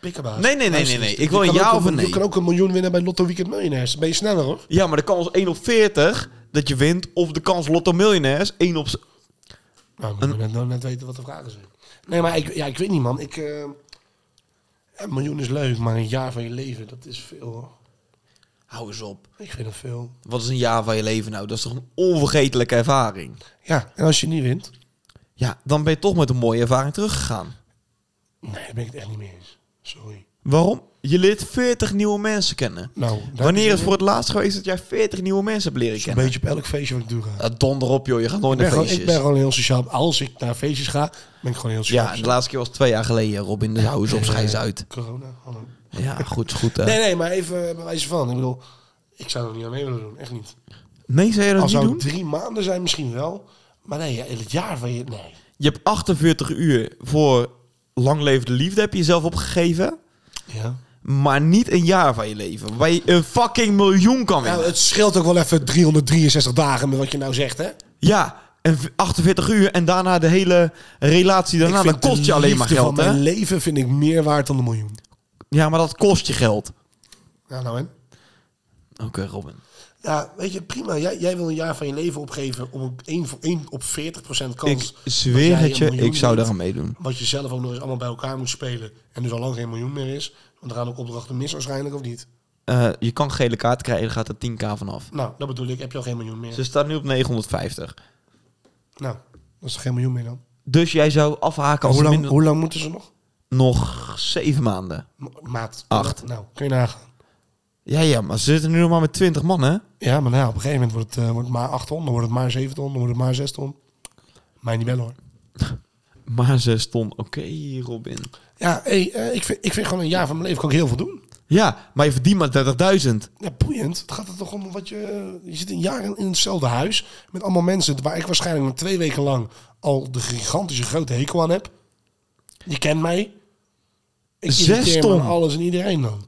Speaker 3: pikkenbaas.
Speaker 2: Nee, nee, nee,
Speaker 3: Luister
Speaker 2: nee, nee.
Speaker 3: eens.
Speaker 2: Ik wil
Speaker 3: Je
Speaker 2: een
Speaker 3: kan
Speaker 2: ja
Speaker 3: ook
Speaker 2: of een nee.
Speaker 3: Je kan ook een miljoen winnen bij Lotto Weekend Miljonairs. Dan ben je sneller, hoor.
Speaker 2: Ja, maar de kans 1 op 40 dat je wint. Of de kans Lotto Miljonairs 1 op... z-
Speaker 3: Nou, moet je net, nou net weten wat de vragen zijn. Nee, maar ik, ja, ik weet niet, man. Ik, eh, een miljoen is leuk, maar een jaar van je leven, dat is veel, hoor.
Speaker 2: Hou eens op.
Speaker 3: Ik vind dat veel.
Speaker 2: Wat is een jaar van je leven nou? Dat is toch een onvergetelijke ervaring?
Speaker 3: Ja, en als je niet wint?
Speaker 2: Ja, dan ben je toch met een mooie ervaring teruggegaan.
Speaker 3: Nee, daar ben ik het echt niet mee eens. Sorry.
Speaker 2: Waarom? Je leert 40 nieuwe mensen kennen.
Speaker 3: Nou, daar-
Speaker 2: Wanneer is het voor het laatst geweest dat jij 40 nieuwe mensen hebt leren
Speaker 3: Zo'n
Speaker 2: kennen?
Speaker 3: beetje op elk feestje wat ik doe ga.
Speaker 2: Ja, donder op joh, je gaat nooit
Speaker 3: Ik ben,
Speaker 2: naar
Speaker 3: gewoon,
Speaker 2: feestjes.
Speaker 3: ik ben gewoon heel sociaal. Als ik naar feestjes ga, ben ik gewoon heel sociaal. Eh,
Speaker 2: Ja, en de laatste keer was twee jaar geleden, Robin. Dus hou eens op, schijs uit.
Speaker 3: Corona, hallo.
Speaker 2: Ja, goed, is goed. Hè.
Speaker 3: Nee, nee, maar even eh, bij wijze van. Ik bedoel, ik zou er niet aan mee willen doen. Echt niet.
Speaker 2: Nee, zou je dat
Speaker 3: Al
Speaker 2: niet
Speaker 3: zou
Speaker 2: doen?
Speaker 3: het drie maanden zijn misschien wel. Maar nee, ja, het jaar van je... Nee.
Speaker 2: Je hebt 48 uur voor lang levende liefde heb je jezelf opgegeven.
Speaker 3: Ja.
Speaker 2: Maar niet een jaar van je leven. Waar je een fucking miljoen kan winnen.
Speaker 3: Nou, het scheelt ook wel even 363 dagen met wat je nou zegt, hè?
Speaker 2: Ja, en v- 48 uur en daarna de hele relatie daarna.
Speaker 3: Ik
Speaker 2: Dat
Speaker 3: vind
Speaker 2: nou, kost
Speaker 3: de
Speaker 2: je alleen maar
Speaker 3: liefde
Speaker 2: geld,
Speaker 3: van
Speaker 2: hè?
Speaker 3: mijn leven vind ik meer waard dan een miljoen.
Speaker 2: Ja, maar dat kost je geld.
Speaker 3: Ja, nou en?
Speaker 2: Oké, Robin.
Speaker 3: Ja, weet je, prima. Jij, jij wil een jaar van je leven opgeven om op 1, voor 1 op 40 kans...
Speaker 2: Ik
Speaker 3: dat
Speaker 2: zweer
Speaker 3: jij
Speaker 2: het je,
Speaker 3: een miljoen
Speaker 2: ik zou
Speaker 3: wint.
Speaker 2: daar aan meedoen.
Speaker 3: Wat je zelf ook nog eens allemaal bij elkaar moet spelen. En dus al lang geen miljoen meer is. Want er gaan ook opdrachten mis waarschijnlijk, of niet?
Speaker 2: Eh, je kan gele kaart krijgen, daar gaat er 10k vanaf.
Speaker 3: Nou, dat bedoel ik. Heb je al geen miljoen meer?
Speaker 2: Ze staat nu op 950.
Speaker 3: Nou, dat is toch geen miljoen meer dan?
Speaker 2: Dus jij zou afhaken als
Speaker 3: hoe,
Speaker 2: er
Speaker 3: lang,
Speaker 2: minder...
Speaker 3: hoe lang moeten ze nog?
Speaker 2: Nog zeven maanden.
Speaker 3: M- Maat.
Speaker 2: Acht.
Speaker 3: Nou, kun je nagaan.
Speaker 2: Ja, ja, maar ze zitten nu nog maar met 20 man, hè?
Speaker 3: Ja, maar nou, ja, op een gegeven moment wordt het, eh, wordt het maar 8 ton, dan wordt het maar 7 ton, dan wordt het maar 6 ton. Mij niet bellen hoor.
Speaker 2: Maar ze stond oké, Robin.
Speaker 3: Ja, hey, eh, ik, vind, ik vind gewoon een jaar van mijn leven kan ik heel veel doen.
Speaker 2: Ja, maar je verdient maar 30.000.
Speaker 3: Ja, boeiend. Het gaat er toch om wat je... eh, Je zit een jaar in, in hetzelfde huis met allemaal mensen waar ik waarschijnlijk nog twee weken lang al de gigantische grote hekel aan heb. Je kent mij. Ik
Speaker 2: Zes
Speaker 3: irriteer me
Speaker 2: ton.
Speaker 3: aan alles en iedereen dan.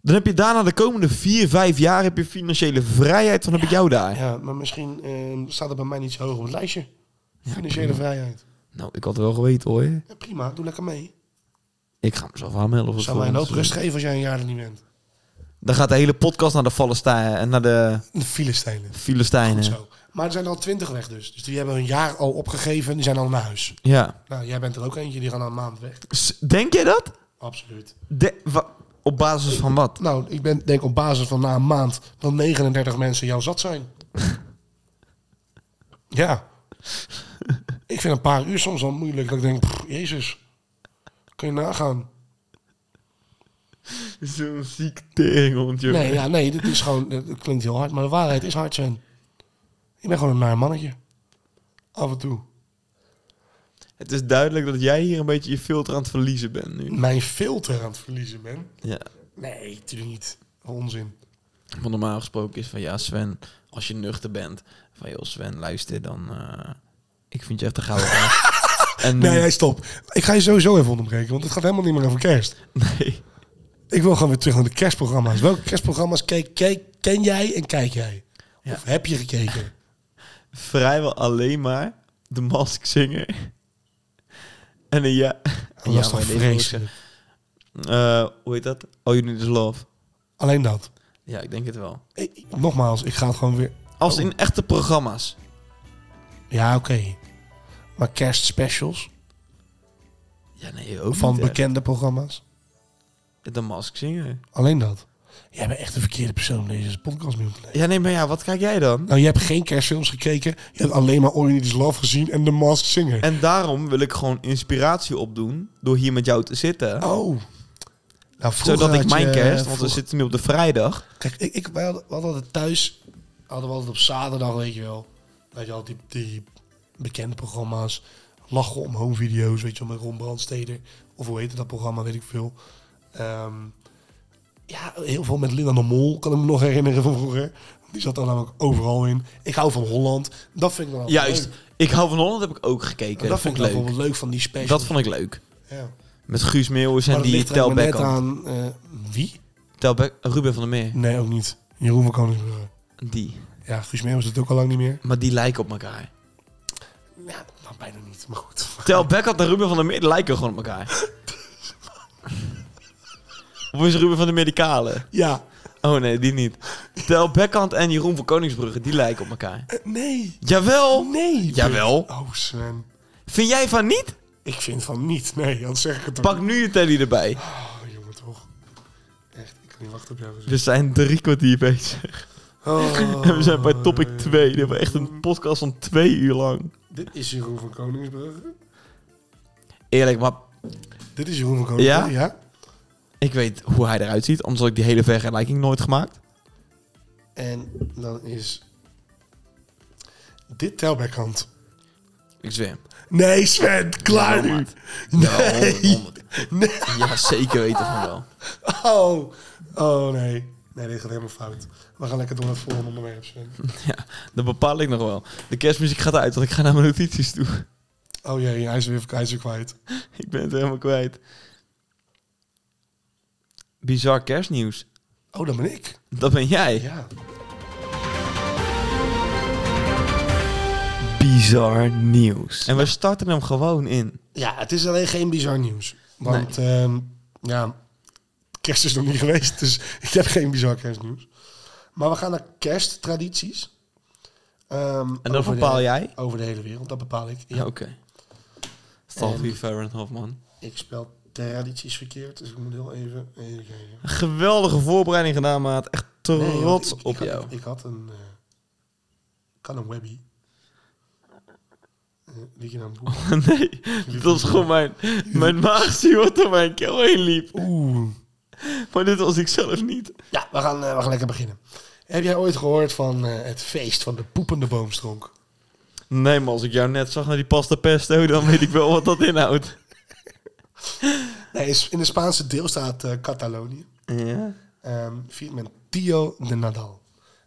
Speaker 2: Dan heb je daarna de komende 4, 5 jaar heb je financiële vrijheid. Dan heb ik jou daar.
Speaker 3: Ja, maar misschien eh, staat het bij mij niet zo hoog op het lijstje. Financiële vrijheid.
Speaker 2: Nou, ik had het wel geweten hoor.
Speaker 3: Ja, prima, doe lekker mee.
Speaker 2: Ik ga mezelf aanmelden. Of
Speaker 3: Zou mij een hoop rust geven als jij een jaar er niet bent.
Speaker 2: Dan gaat de hele podcast naar de Palestijnen en naar de
Speaker 3: De Filistijnen.
Speaker 2: Filistijnen.
Speaker 3: Zo. Maar er zijn al twintig weg dus. Dus die hebben hun jaar al opgegeven en die zijn al naar huis.
Speaker 2: Ja.
Speaker 3: Nou, jij bent er ook eentje, die gaan al een maand weg.
Speaker 2: S- Denk jij dat?
Speaker 3: Absoluut.
Speaker 2: De- wa- op basis van wat?
Speaker 3: Nou, ik ben, denk op basis van na een maand dat 39 mensen jou zat zijn. ja. Ik vind een paar uur soms al moeilijk. Dat ik denk, pff, jezus, kun je nagaan.
Speaker 2: Zo'n ziek teringhond, joh.
Speaker 3: Nee, ja, nee, dit is gewoon, het klinkt heel hard, maar de waarheid is hard zijn. Ik ben gewoon een naar mannetje. Af en toe.
Speaker 2: Het is duidelijk dat jij hier een beetje je filter aan het verliezen bent nu.
Speaker 3: Mijn filter aan het verliezen ben.
Speaker 2: Ja.
Speaker 3: Nee, natuurlijk niet. Onzin.
Speaker 2: Want normaal gesproken is van ja, Sven, als je nuchter bent, van joh, Sven, luister dan. eh, ik vind je echt een gouden gast. En nu-
Speaker 3: Nee, nee, stop. Ik ga je sowieso even onderbreken, want het gaat helemaal niet meer over kerst.
Speaker 2: nee.
Speaker 3: Ik wil gewoon weer terug naar de kerstprogramma's. Welke kerstprogramma's keek, keek, ken jij en kijk jij? Of heb je gekeken?
Speaker 2: vrijwel alleen maar de Mask Singer. En een ja...
Speaker 3: was
Speaker 2: ja,
Speaker 3: toch
Speaker 2: maar deze
Speaker 3: vreselijk.
Speaker 2: moet ik zeggen. Eh, hoe heet dat? All You Need Is Love.
Speaker 3: Alleen dat.
Speaker 2: Ja, ik denk het wel.
Speaker 3: Ik- ik- nogmaals, ik ga het gewoon weer...
Speaker 2: Als in echte programma's.
Speaker 3: Ja, oké. Maar kerstspecials
Speaker 2: Ja, nee, ook
Speaker 3: van
Speaker 2: niet echt.
Speaker 3: bekende programma's?
Speaker 2: De Mask Singer.
Speaker 3: Alleen dat. Jij bent echt de verkeerde persoon om deze podcast mee om te nemen.
Speaker 2: Ja, nee, maar ja, wat kijk jij dan?
Speaker 3: Nou, je hebt geen kerstfilms gekeken. Je hebt alleen maar All You Need Is Love gezien en The Masked Singer.
Speaker 2: En daarom wil ik gewoon inspiratie opdoen door hier met jou te zitten.
Speaker 3: Oh. Nou, vroeger
Speaker 2: Zodat ik
Speaker 3: had
Speaker 2: mijn
Speaker 3: je-
Speaker 2: kerst, want we
Speaker 3: vroeger-
Speaker 2: zitten nu op de vrijdag.
Speaker 3: Kijk, ik, ik, wij hadden, we hadden het thuis, hadden we altijd op zaterdag, weet je wel. Weet je al, die, die bekende programma's. Lachen om home video's, weet je wel, met Ron Brandsteder. Of hoe heette dat programma, weet ik veel. Ehm, ja, heel veel met Linda de Mol, kan ik me nog herinneren van vroeger. Die zat daar namelijk overal in. Ik hou van Holland. Dat vind ik dan altijd
Speaker 2: Juist.
Speaker 3: leuk.
Speaker 2: Ik hou van Holland heb ik ook gekeken.
Speaker 3: Dat,
Speaker 2: Dat
Speaker 3: vind
Speaker 2: vond
Speaker 3: ik
Speaker 2: ik leuk.
Speaker 3: bijvoorbeeld leuk van die specials.
Speaker 2: Dat vond ik leuk.
Speaker 3: Ja.
Speaker 2: Met Guus Meeuwis en
Speaker 3: Maar dat
Speaker 2: die
Speaker 3: ligt er ook maar
Speaker 2: Telbeck.
Speaker 3: net aan... eh, wie?
Speaker 2: Telbeck, Ruben van der Meer.
Speaker 3: Nee, ook niet. Jeroen van Koningsbrugge.
Speaker 2: Die.
Speaker 3: Ja, Guus Meeuwis doet het ook al lang niet meer.
Speaker 2: Maar die lijken op elkaar.
Speaker 3: Ja, nou, bijna niet, maar goed.
Speaker 2: Telbeck had en Ruben van der Meer die lijken gewoon op elkaar. of is Ruben van der Meer die kale?
Speaker 3: Ja.
Speaker 2: Oh nee, die niet. Tel Beckhand en Jeroen van Koningsbrugge, die lijken op elkaar.
Speaker 3: Nee.
Speaker 2: Jawel!
Speaker 3: Nee.
Speaker 2: Jawel.
Speaker 3: Oh, Sven.
Speaker 2: Vind jij van niet?
Speaker 3: Ik vind van niet. Nee, dan zeg ik het
Speaker 2: Pak nu je telly erbij.
Speaker 3: Oh, jongen, toch. Echt, ik kan niet wachten op jou. Oh.
Speaker 2: We zijn drie kwartier bezig. En we zijn bij topic 2. Dit was echt een podcast van twee uur lang.
Speaker 3: Dit is Jeroen van Koningsbrugge.
Speaker 2: Eerlijk, maar
Speaker 3: Dit is Jeroen van Koningsbrugge, ja?
Speaker 2: ik weet hoe hij eruit ziet. Anders had ik die hele vergelijking nooit gemaakt.
Speaker 3: En dan is... Dit telbackhand.
Speaker 2: Ik zweer.
Speaker 3: Nee, Sven, klaar
Speaker 2: Jawel,
Speaker 3: nu.
Speaker 2: maat. Jawel,
Speaker 3: Nee.
Speaker 2: 100, 100.
Speaker 3: nee.
Speaker 2: Ja, zeker weten van wel.
Speaker 3: Oh. Oh, nee. Nee, dit gaat helemaal fout. We gaan lekker door naar het volgende onderwerp, Sven.
Speaker 2: Ja, dat bepaal ik nog wel. De kerstmuziek gaat uit, want ik ga naar mijn notities toe.
Speaker 3: Oh jee, hij is weer, hij is weer kwijt.
Speaker 2: Ik ben het helemaal kwijt. Bizar kerstnieuws.
Speaker 3: Oh, dat ben ik.
Speaker 2: Dat ben jij.
Speaker 3: Ja.
Speaker 2: Bizar nieuws. En we starten hem gewoon in.
Speaker 3: Ja, het is alleen geen bizar nieuws. Want ehm, ja, kerst is nog niet geweest, dus ik heb geen bizar kerstnieuws. Maar we gaan naar kersttradities. Ehm,
Speaker 2: dat
Speaker 3: over de-
Speaker 2: bepaal jij? Oh.
Speaker 3: Over de hele wereld, dat bepaal ik. Ja,
Speaker 2: Ja, oké. Stalfie Fair Farron Hofman.
Speaker 3: Ik spel tradities verkeerd, dus ik moet heel even... even kijken.
Speaker 2: Geweldige voorbereiding gedaan, maat. Echt
Speaker 3: Nee, joh,
Speaker 2: trots
Speaker 3: ik- ik
Speaker 2: op
Speaker 3: had-
Speaker 2: jou.
Speaker 3: Ik had een... eh, ik kan een webby. Eh, die je nou een boek...
Speaker 2: nee, dat was gewoon mijn, mijn maagzie wat door mijn keel heen liep.
Speaker 3: Oeh.
Speaker 2: Maar dit was ik zelf niet.
Speaker 3: Ja, we gaan, eh, we gaan lekker beginnen. Heb jij ooit gehoord van eh, het feest van de poepende boomstronk?
Speaker 2: Nee, maar als ik jou net zag naar die pasta pesto, dan weet ik wel wat dat inhoudt.
Speaker 3: Nee, is in de Spaanse deelstaat eh, Catalonië
Speaker 2: Ja?
Speaker 3: ehm viert men Tio de Nadal.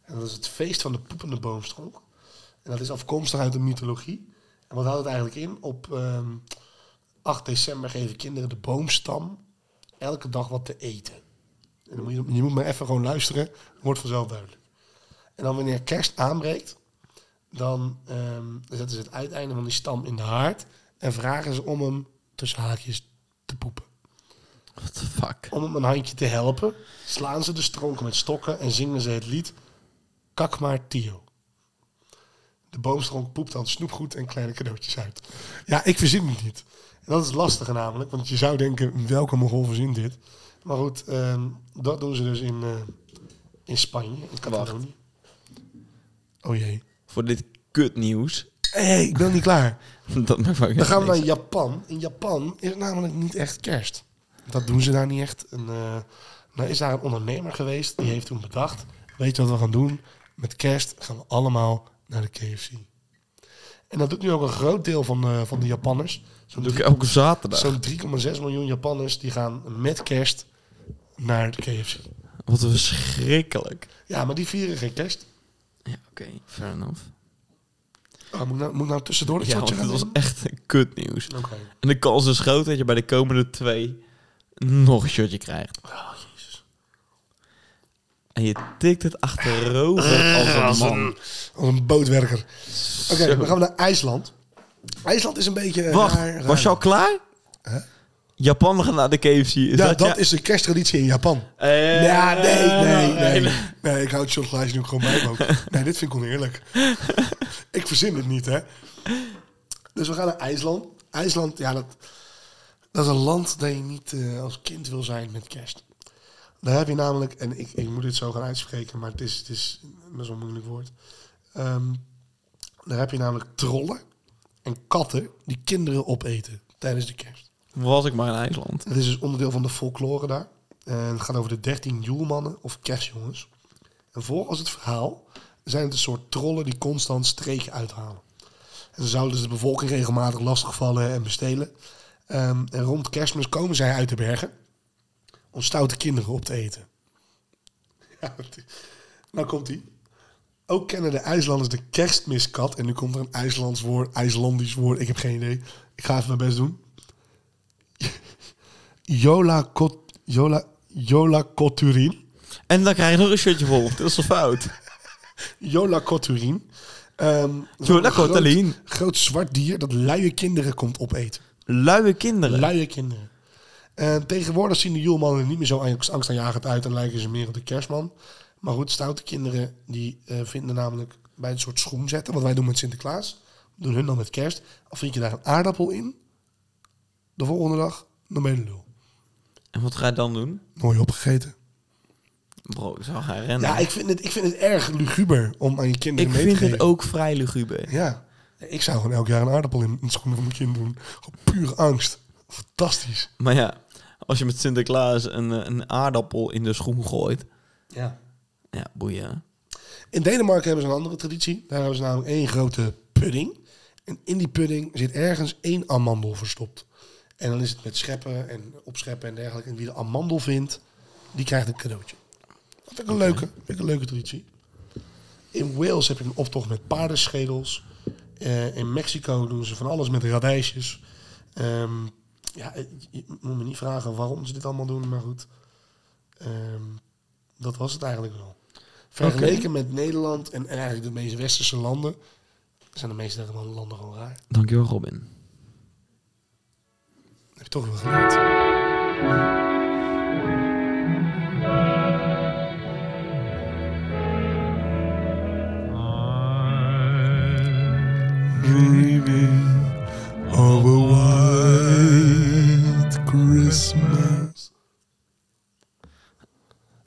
Speaker 3: En dat is het feest van de poepende boomstronk. En dat is afkomstig uit de mythologie. En wat houdt het eigenlijk in? Op ehm, 8 december geven kinderen de boomstam elke dag wat te eten. En dan moet je, je moet maar even gewoon luisteren, het wordt vanzelf duidelijk. En dan wanneer kerst aanbreekt, dan ehm, zetten ze het uiteinde van die stam in de haard en vragen ze om hem tussen haakjes te poepen.
Speaker 2: What the fuck?
Speaker 3: Om hem een handje te helpen, slaan ze de stronken met stokken en zingen ze het lied Kak maar Tio. De boomstronk poept dan snoepgoed en kleine cadeautjes uit. Ja, ik verzin het niet. En dat is lastig namelijk, want je zou denken, welke mogol verzint dit? Maar goed, ehm, dat doen ze dus in, eh, in Spanje, in Catalonië. Oh jee.
Speaker 2: Voor dit kutnieuws.
Speaker 3: Hé, hey, ik ben niet klaar.
Speaker 2: Dat maakt me ook
Speaker 3: Dan gaan we
Speaker 2: niks.
Speaker 3: naar Japan. In Japan is het namelijk niet echt kerst. Dat doen ze daar niet echt. En, eh, nou is daar een ondernemer geweest die heeft toen bedacht: weet je wat we gaan doen? Met kerst gaan we allemaal naar de KFC. En dat doet nu ook een groot deel van de, van de Japanners. Zo'n
Speaker 2: doe ik
Speaker 3: drie-
Speaker 2: elke zaterdag.
Speaker 3: Zo'n 3,6 miljoen Japanners die gaan met kerst naar de KFC.
Speaker 2: Wat verschrikkelijk.
Speaker 3: Ja, maar die vieren geen kerst.
Speaker 2: Ja, oké. Fair enough.
Speaker 3: Oh, moet, ik nou, moet ik nou tussendoor dat
Speaker 2: Ja,
Speaker 3: shotje
Speaker 2: want het
Speaker 3: gaan
Speaker 2: was
Speaker 3: doen?
Speaker 2: echt kutnieuws.
Speaker 3: Oké.
Speaker 2: En de kans is groot dat je bij de komende twee nog een shotje krijgt.
Speaker 3: Oh, jezus. Eh,
Speaker 2: En je tikt het achterover als een man.
Speaker 3: Als een bootwerker. Oké,
Speaker 2: Zo.
Speaker 3: dan gaan we naar IJsland. IJsland is een beetje... eh,
Speaker 2: Wacht,
Speaker 3: raar-
Speaker 2: was
Speaker 3: raar.
Speaker 2: je al klaar? Japan gaat naar de KFC. Is
Speaker 3: Ja,
Speaker 2: dat,
Speaker 3: dat,
Speaker 2: ja?
Speaker 3: is een kersttraditie in Japan.
Speaker 2: Eh,
Speaker 3: ja, nee, nee, nee, nee. ik hou het shot glaasje nu gewoon bij me ook. Nee, dit vind ik oneerlijk. ik verzin het niet, hè. Dus we gaan naar IJsland. IJsland, ja, dat, dat is een land dat je niet eh, als kind wil zijn met kerst. Daar heb je namelijk, en ik, ik moet dit zo gaan uitspreken, maar het is, het is best wel een moeilijk woord. Ehm, daar heb je namelijk trollen en katten die kinderen opeten tijdens de kerst.
Speaker 2: Was ik maar in IJsland.
Speaker 3: Het is dus onderdeel van de folklore daar. En het gaat over de 13 joelmannen of kerstjongens. En volgens het verhaal zijn het een soort trollen die constant streken uithalen. En ze zouden dus de bevolking regelmatig lastigvallen en bestelen. Ehm, en rond kerstmis komen zij uit de bergen om stoute kinderen op te eten. Ja, het is- nou komt ie. Ook kennen de IJslanders de kerstmiskat. En nu komt er een IJslands woord, IJslandisch woord. Ik heb geen idee. Ik ga even mijn best doen. Jola, Kot, Jola, Jola Koturin.
Speaker 2: En dan krijg je nog een shirtje vol. Dat is toch fout?
Speaker 3: Jola Koturin. Ehm, dat is
Speaker 2: Jola
Speaker 3: een groot-
Speaker 2: Koturin.
Speaker 3: Groot, zwart dier dat luie kinderen komt opeten.
Speaker 2: Luie kinderen.
Speaker 3: Luie kinderen. En tegenwoordig zien de joelmannen er niet meer zo angst- angstaanjagend uit en lijken ze meer op de kerstman. Maar goed, stoute kinderen die eh, vinden namelijk bij een soort schoen zetten, wat wij doen met Sinterklaas, doen hun dan met kerst. Al vind je daar een aardappel in, de volgende dag, dan ben je de lul.
Speaker 2: en wat ga je dan doen?
Speaker 3: Mooi opgegeten.
Speaker 2: Bro, ik zou gaan rennen.
Speaker 3: Ja, ik vind het, ik vind het erg luguber om aan je kinderen
Speaker 2: Ik
Speaker 3: mee te
Speaker 2: vind
Speaker 3: geven.
Speaker 2: het ook vrij luguber.
Speaker 3: Ja. Ik zou gewoon elk jaar een aardappel in de schoenen van mijn kind doen. Gewoon puur angst. Fantastisch.
Speaker 2: Maar ja, als je met Sinterklaas een, eh, een aardappel in de schoen gooit.
Speaker 3: Ja.
Speaker 2: Ja, boeien.
Speaker 3: In Denemarken hebben ze een andere traditie. Daar hebben ze namelijk één grote pudding. En in die pudding zit ergens één amandel verstopt. En dan is het met scheppen en opscheppen en dergelijke. En wie de amandel vindt, die krijgt een cadeautje. Dat vind ik een, leuke, vind ik een leuke traditie. In Wales heb je een optocht met paardenschedels. Eh, in Mexico doen ze van alles met radijsjes. Ehm, ja, eh, je moet me niet vragen waarom ze dit allemaal doen, maar goed. Ehm, dat was het eigenlijk wel. Vergeleken met Nederland en, en eigenlijk de meeste westerse landen... zijn de meeste landen gewoon raar.
Speaker 2: Dankjewel, Robin.
Speaker 3: Dat heb je toch wel geleerd.
Speaker 8: of a white Christmas.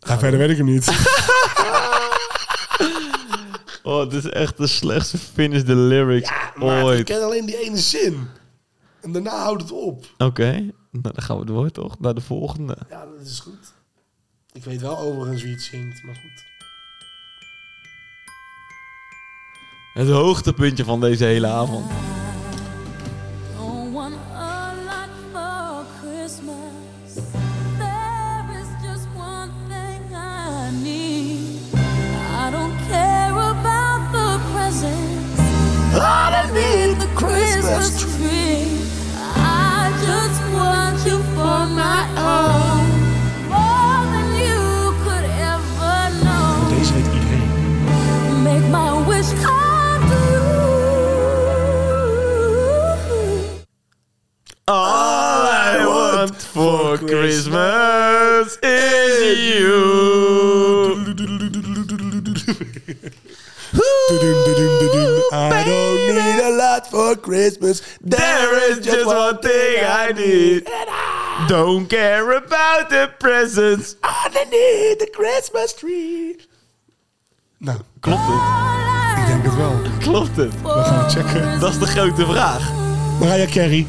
Speaker 3: Ga verder weet ik hem niet.
Speaker 2: Oh, dit is echt de slechtste finish de lyrics
Speaker 3: Maar ik
Speaker 2: ooit.
Speaker 3: ken alleen die ene zin. En daarna houdt het op.
Speaker 2: Oké, nou, dan gaan we door toch? Naar de volgende.
Speaker 3: Ja, dat is goed. Ik weet wel overigens wie het zingt, maar goed.
Speaker 2: Het hoogtepuntje van deze hele avond.
Speaker 6: Don't want a lot for Christmas. There is just one thing I need. I don't care about the presents underneath the Christmas tree. I just want you for my own, more than you could ever know.
Speaker 3: Deze heet iedereen.
Speaker 6: Make my wish come true.
Speaker 2: All I want for Christmas is you.
Speaker 3: I don't need a lot for Christmas.
Speaker 2: There is just one thing I need. Don't care about the presents.
Speaker 3: Underneath the Christmas tree. Nou,
Speaker 2: Klopt het?
Speaker 3: ik denk het wel.
Speaker 2: Klopt het?
Speaker 3: We gaan het checken.
Speaker 2: Dat is de grote vraag.
Speaker 3: Mariah Carey.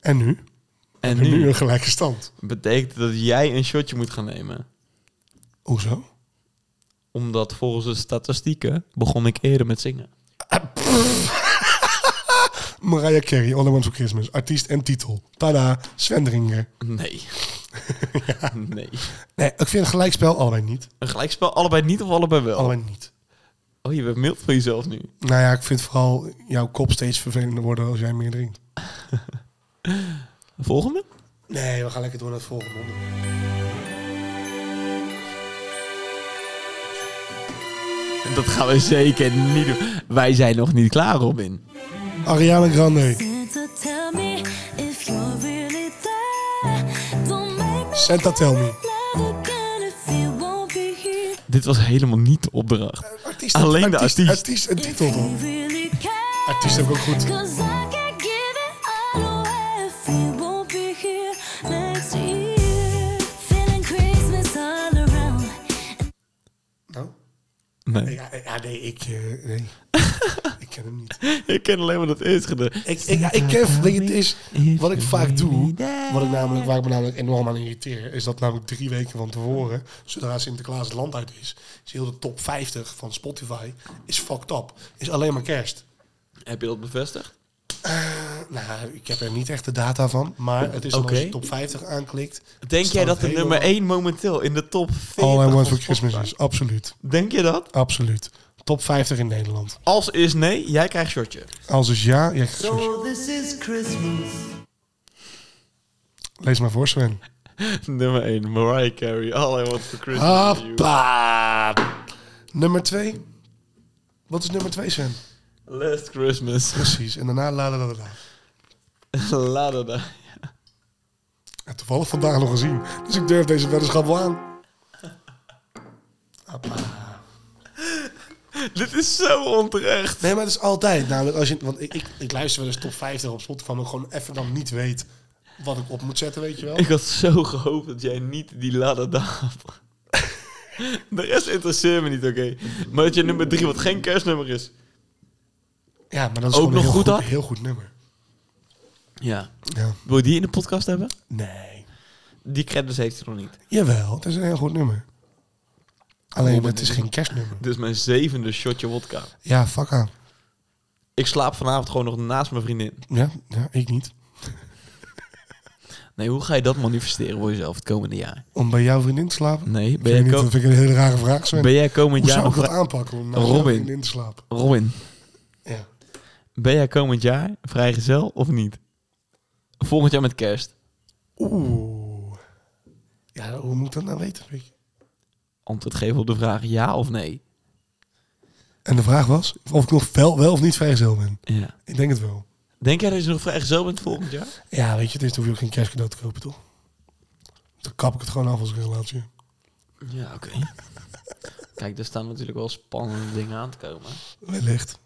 Speaker 3: En nu?
Speaker 2: En
Speaker 3: En nu
Speaker 2: nu
Speaker 3: een gelijke stand.
Speaker 2: betekent dat jij een shotje moet gaan nemen.
Speaker 3: Hoezo?
Speaker 2: Omdat volgens de statistieken begon ik eerder met zingen.
Speaker 3: Mariah Carey, All I Want For Christmas. Artiest en titel. Tada, Swendringer.
Speaker 2: Nee. Nee.
Speaker 3: Nee, ik vind een gelijkspel allebei niet.
Speaker 2: Een gelijkspel, allebei niet of allebei wel?
Speaker 3: Allebei niet.
Speaker 2: Oh, je bent mild voor jezelf nu.
Speaker 3: Nou ja, ik vind vooral jouw kop steeds vervelender worden als jij meer drinkt.
Speaker 2: Volgende?
Speaker 3: Nee, we gaan lekker door naar het volgende onderwerp.
Speaker 2: Dat gaan we zeker niet doen. Wij zijn nog niet klaar, Robin.
Speaker 3: Ariana Grande,
Speaker 6: Santa, tell me if you're really there. Don't make me
Speaker 3: Santa Tell Me.
Speaker 6: love again if you won't be here.
Speaker 2: Dit was helemaal niet de opdracht.
Speaker 3: Artiest,
Speaker 2: Alleen de artiest.
Speaker 3: Artiest en titel
Speaker 6: You
Speaker 3: dan.
Speaker 6: really care.
Speaker 3: Artiest heb ik ook goed.
Speaker 6: Cause I can't give it all away if you won't be here next year. Feeling Christmas all around.
Speaker 3: Nou?
Speaker 2: Nee.
Speaker 3: Ja, ja, nee, ik... eh, nee. ik ken hem niet.
Speaker 2: Ik ken alleen maar dat eerste gedeelte.
Speaker 3: Ik, ik, ja, ik ken... Weet je, het is wat ik vaak doe, wat ik namelijk, waar ik me namelijk enorm aan irriteer, is dat namelijk drie weken van tevoren, zodra Sinterklaas het land uit is, is heel de top 50 van Spotify, is fucked up. Is alleen maar kerst.
Speaker 2: Heb je dat bevestigd?
Speaker 3: Nou, ik heb er niet echt de data van, maar het is dan
Speaker 2: Oké.
Speaker 3: als je top 50 aanklikt.
Speaker 2: Denk jij dat de
Speaker 3: helemaal-
Speaker 2: nummer 1 momenteel in de top 40
Speaker 3: All I
Speaker 2: van
Speaker 3: Want For
Speaker 2: Spotify-
Speaker 3: Christmas is, absoluut.
Speaker 2: Denk je dat?
Speaker 3: Absoluut. Top 50 in Nederland.
Speaker 2: Als is nee, jij krijgt shotje.
Speaker 3: Als is ja, ja
Speaker 7: So this is Christmas.
Speaker 3: lees maar voor Sven.
Speaker 2: Nummer 1, Mariah Carey. All I want for Christmas is you.
Speaker 3: Hoppa! Nummer 2. Wat is nummer 2 Sven?
Speaker 2: Last Christmas.
Speaker 3: Precies, en daarna la la la la, la.
Speaker 2: La da da.
Speaker 3: Ja, toevallig vandaag nog gezien. Dus ik durf deze weddenschap wel aan. Hoppa.
Speaker 2: Dit is zo onterecht.
Speaker 3: Nee, maar het is altijd. Namelijk als je, want ik, ik, ik luister wel eens top 50 op Spotify, maar gewoon even dan niet weet wat ik op moet zetten, weet je wel.
Speaker 2: Ik had zo gehoopt dat jij niet die la da da had. De rest interesseert me niet, oké. Maar dat je nummer 3, wat geen kerstnummer is.
Speaker 3: Ja, maar dat is
Speaker 2: Ook
Speaker 3: gewoon
Speaker 2: nog
Speaker 3: een heel
Speaker 2: goed dat?
Speaker 3: heel goed nummer.
Speaker 2: Ja.
Speaker 3: Ja.
Speaker 2: Wil je die in de podcast hebben?
Speaker 3: Nee.
Speaker 2: Die credits heeft hij nog niet.
Speaker 3: Jawel, het is een heel goed nummer. Alleen, het is geen kerstnummer.
Speaker 2: Dit is mijn zevende shotje wodka.
Speaker 3: Ja, fuck aan.
Speaker 2: Ik slaap vanavond gewoon nog naast mijn vriendin.
Speaker 3: Ja, ja, ik niet.
Speaker 2: Nee, hoe ga je dat manifesteren voor jezelf het komende jaar?
Speaker 3: Om bij jouw vriendin te slapen?
Speaker 2: Nee, ben
Speaker 3: Ben ik
Speaker 2: jij,
Speaker 3: niet,
Speaker 2: ko-
Speaker 3: dat vind ik een hele rare vraag, Sven.
Speaker 2: ben jij komend
Speaker 3: Hoe
Speaker 2: jaar
Speaker 3: zou ik
Speaker 2: nog...
Speaker 3: dat
Speaker 2: vrij-
Speaker 3: aanpakken om naar jouw
Speaker 2: Robin.
Speaker 3: vriendin te slapen?
Speaker 2: Robin,
Speaker 3: Ja.
Speaker 2: ben jij komend jaar vrijgezel of niet? Volgend jaar met kerst.
Speaker 3: Oeh. Ja, hoe moet ik dat nou weten, Pik?
Speaker 2: Antwoord geven op de vraag ja of nee.
Speaker 3: En de vraag was of ik nog wel, wel of niet vrijgezel ben.
Speaker 2: Ja.
Speaker 3: Ik denk het wel.
Speaker 2: Denk jij dat je nog vrijgezel bent volgend jaar?
Speaker 3: Ja, weet je, het is, dan hoef je ook geen kerstcadeau te kopen, toch? Dan kap ik het gewoon af als een relatie.
Speaker 2: Ja, oké. Kijk, er staan natuurlijk wel spannende dingen aan te komen.
Speaker 3: Wellicht.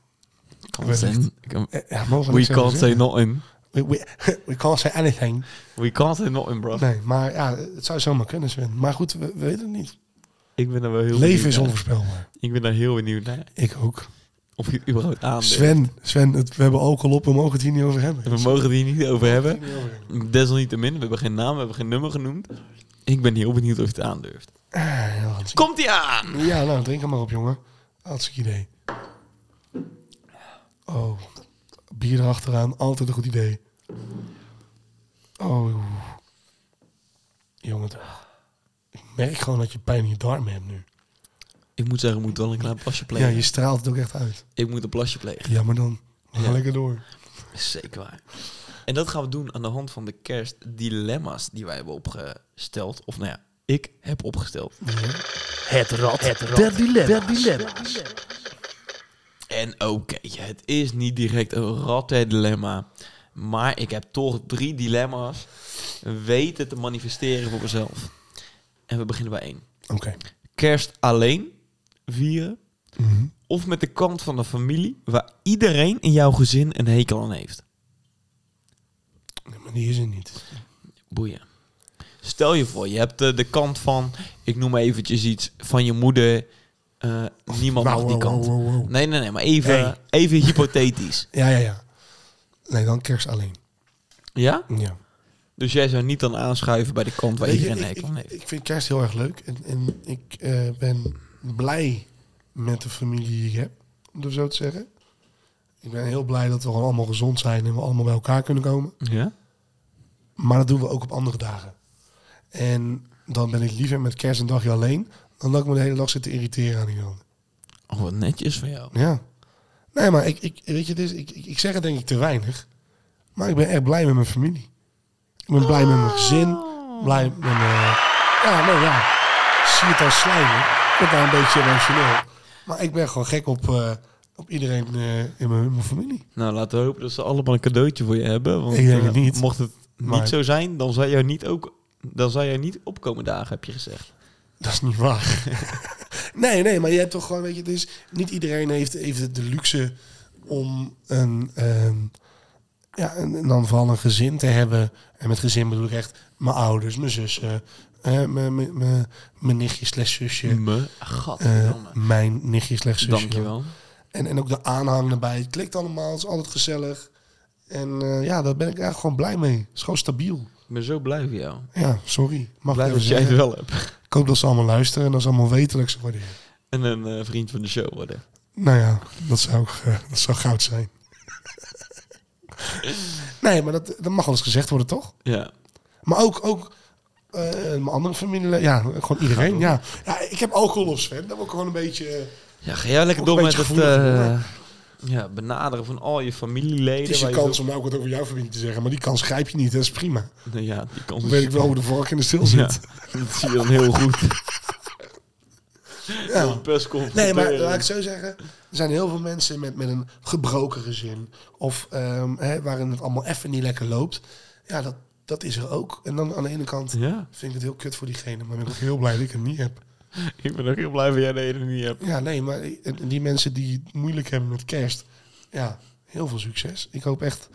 Speaker 2: Kan
Speaker 3: Wellicht.
Speaker 2: zijn. kan-
Speaker 3: Eh, Ja, mogen
Speaker 2: We
Speaker 3: niks over
Speaker 2: can't say
Speaker 3: zeggen.
Speaker 2: not in.
Speaker 3: We, we, we can't say anything.
Speaker 2: We can't say not in, bro.
Speaker 3: Nee, maar ja, het zou zomaar kunnen, Sven. Maar goed, we, we weten het niet.
Speaker 2: Ik ben er wel heel
Speaker 3: Leven
Speaker 2: benieuwd
Speaker 3: is
Speaker 2: naar.
Speaker 3: onvoorspelbaar.
Speaker 2: Ik ben daar heel benieuwd naar.
Speaker 3: Ik ook.
Speaker 2: Of je überhaupt aan
Speaker 3: Sven, Sven het, we hebben alcohol op, we mogen het hier niet over hebben.
Speaker 2: We mogen het hier niet over
Speaker 3: het
Speaker 2: hebben.
Speaker 3: hier niet over hebben.
Speaker 2: Desalniettemin, we hebben geen naam, we hebben geen nummer genoemd. Ik ben heel benieuwd of je het aandurft.
Speaker 3: Ah, ja, hartstikke-
Speaker 2: Komt ie aan!
Speaker 3: Ja, nou, drink hem maar op, jongen. Hartstikke idee. Oh, bier erachteraan, altijd een goed idee. Oh, jongen. toch. Ik merk gewoon dat je pijn in je darmen hebt nu.
Speaker 2: Ik moet zeggen, ik moet wel een klein plasje
Speaker 3: Ja,
Speaker 2: plegen.
Speaker 3: je straalt het ook echt uit.
Speaker 2: Ik moet een plasje plegen.
Speaker 3: Ja, maar dan. We gaan
Speaker 2: Ja.
Speaker 3: lekker door.
Speaker 2: Zeker waar. En dat gaan we doen aan de hand van de kerstdilemma's die wij hebben opgesteld. Of nou ja, ik heb opgesteld. En oké, het is niet direct een ratten-dilemma. Maar ik heb toch drie dilemma's weten te manifesteren voor mezelf. En we beginnen bij één.
Speaker 3: Oké.
Speaker 2: Kerst alleen vieren.
Speaker 3: Mhm.
Speaker 2: Of met de kant van de familie waar iedereen in jouw gezin een hekel aan heeft.
Speaker 3: Nee, maar die is er niet.
Speaker 2: Boeien. Stel je voor, je hebt eh, de kant van, ik noem maar eventjes iets, van je moeder. Eh, niemand
Speaker 3: Oh, Wauw,
Speaker 2: mag die
Speaker 3: wauw,
Speaker 2: kant.
Speaker 3: wauw, wauw.
Speaker 2: Nee, nee, nee, maar even,
Speaker 3: Hey.
Speaker 2: even hypothetisch.
Speaker 3: Ja, ja, ja. Nee, dan kerst alleen.
Speaker 2: Ja?
Speaker 3: Ja.
Speaker 2: Dus jij zou niet dan aanschuiven bij de kant waar
Speaker 3: Weet je,
Speaker 2: iedereen een
Speaker 3: ik,
Speaker 2: hekel aan
Speaker 3: ik,
Speaker 2: heeft.
Speaker 3: ik vind kerst heel erg leuk. En, en ik eh, ben blij met de familie die ik heb, om het zo te zeggen. Ik ben heel blij dat we gewoon allemaal gezond zijn en we allemaal bij elkaar kunnen komen.
Speaker 2: Ja?
Speaker 3: Maar dat doen we ook op andere dagen. En dan ben ik liever met kerst een dagje alleen, dan dat ik me de hele dag zit te irriteren aan iemand.
Speaker 2: Oh, wat netjes van jou.
Speaker 3: Ja. Nee, maar ik, ik, weet je, het is, ik, ik, ik zeg het denk ik te weinig. Maar ik ben echt blij met mijn familie. Ik ben blij met mijn gezin. Blij met mijn... eh, ja, nee, ja. Zie het als slijmen. Ik word daar een beetje emotioneel. Maar ik ben gewoon gek op, eh, op iedereen eh, in, mijn, in mijn familie.
Speaker 2: Nou, laten we hopen dat ze allemaal een cadeautje voor je hebben. Want,
Speaker 3: Ik denk
Speaker 2: eh,
Speaker 3: het niet.
Speaker 2: Mocht het
Speaker 3: Maar-
Speaker 2: niet zo zijn, dan zou jij niet ook... Dan zou jij niet opkomen dagen, heb je gezegd.
Speaker 3: Dat is niet waar. nee, nee, maar je hebt toch gewoon, weet je, het is, niet iedereen heeft even de luxe om een, ehm, ja, en, en dan vooral een gezin te hebben. En met gezin bedoel ik echt mijn ouders, mijn zussen, eh, mijn- mijn- mijn mijn nichtje slash zusje,
Speaker 2: Me,
Speaker 3: eh,
Speaker 2: gadverdamme.
Speaker 3: mijn nichtje slash zusje.
Speaker 2: Dankjewel.
Speaker 3: En, en ook de aanhang erbij. Het klikt allemaal, het is altijd gezellig. En eh, ja, daar ben ik eigenlijk gewoon blij mee. Het is gewoon stabiel.
Speaker 2: Ik ben zo blij voor jou.
Speaker 3: Ja, sorry. Mag ik
Speaker 2: Blij
Speaker 3: even
Speaker 2: dat jij het
Speaker 3: zeggen.
Speaker 2: wel hebt.
Speaker 3: Ik hoop dat ze allemaal luisteren en dat ze allemaal weten dat ik ze waardeer.
Speaker 2: En een eh, vriend van de show worden.
Speaker 3: Nou ja, dat zou, eh, dat zou goud zijn. nee, maar dat, dat mag wel eens gezegd worden, toch?
Speaker 2: Ja.
Speaker 3: Maar ook, ook eh, mijn andere familieleden. Ja, gewoon iedereen. Ja. ja, ik heb alcohol op Sven. Dat word ik gewoon een beetje... eh,
Speaker 2: Ja, ga jij lekker
Speaker 3: Ook
Speaker 2: door
Speaker 3: een
Speaker 2: met het
Speaker 3: beetje gevoelig,
Speaker 2: eh, ja, benaderen van al je familieleden.
Speaker 3: het is
Speaker 2: waar
Speaker 3: je
Speaker 2: je
Speaker 3: kans
Speaker 2: zo-
Speaker 3: om nou ook wat over jouw familie te zeggen. Maar die kans grijp je niet. Dat is prima.
Speaker 2: Nee, Ja, die kans
Speaker 3: Dan
Speaker 2: is-
Speaker 3: weet ik wel hoe de vork in de stil
Speaker 2: Ja,
Speaker 3: zit.
Speaker 2: dat zie je dan heel goed.
Speaker 3: Ja.
Speaker 2: Persconferentie.
Speaker 3: Nee, maar laat ik het zo zeggen. Er zijn heel veel mensen met, met een gebroken gezin. Of ehm, hè, waarin het allemaal even niet lekker loopt. Ja, dat, dat is er ook. En dan aan de ene kant...
Speaker 2: Ja,
Speaker 3: vind ik het heel kut voor diegene, maar ben ik ook heel blij dat ik het niet heb.
Speaker 2: ik ben ook heel blij dat jij dat ene niet hebt.
Speaker 3: Ja, nee, maar i- en die mensen die het moeilijk hebben met kerst, ja, heel veel succes. Ik hoop echt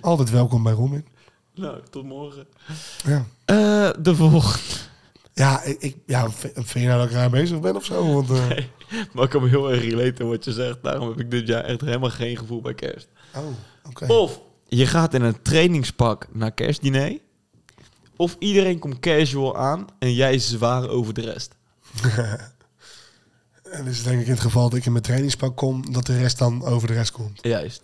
Speaker 3: altijd welkom bij Robin.
Speaker 2: Nou, tot morgen.
Speaker 3: Ja,
Speaker 2: Eh, de volgende.
Speaker 3: ja, ik, ik- ja v- vind je nou dat ik raar bezig ben of zo? Want, eh,
Speaker 2: Maar ik kan me heel erg relaten aan wat je zegt. Daarom heb ik dit jaar echt helemaal geen gevoel bij kerst.
Speaker 3: Oh, oké.
Speaker 2: Of je gaat in een trainingspak naar kerstdiner. Of iedereen komt casual aan en jij is zwaar over de rest.
Speaker 3: En dus denk ik in het geval dat ik in mijn trainingspak kom, dat de rest dan over de rest komt.
Speaker 2: Juist.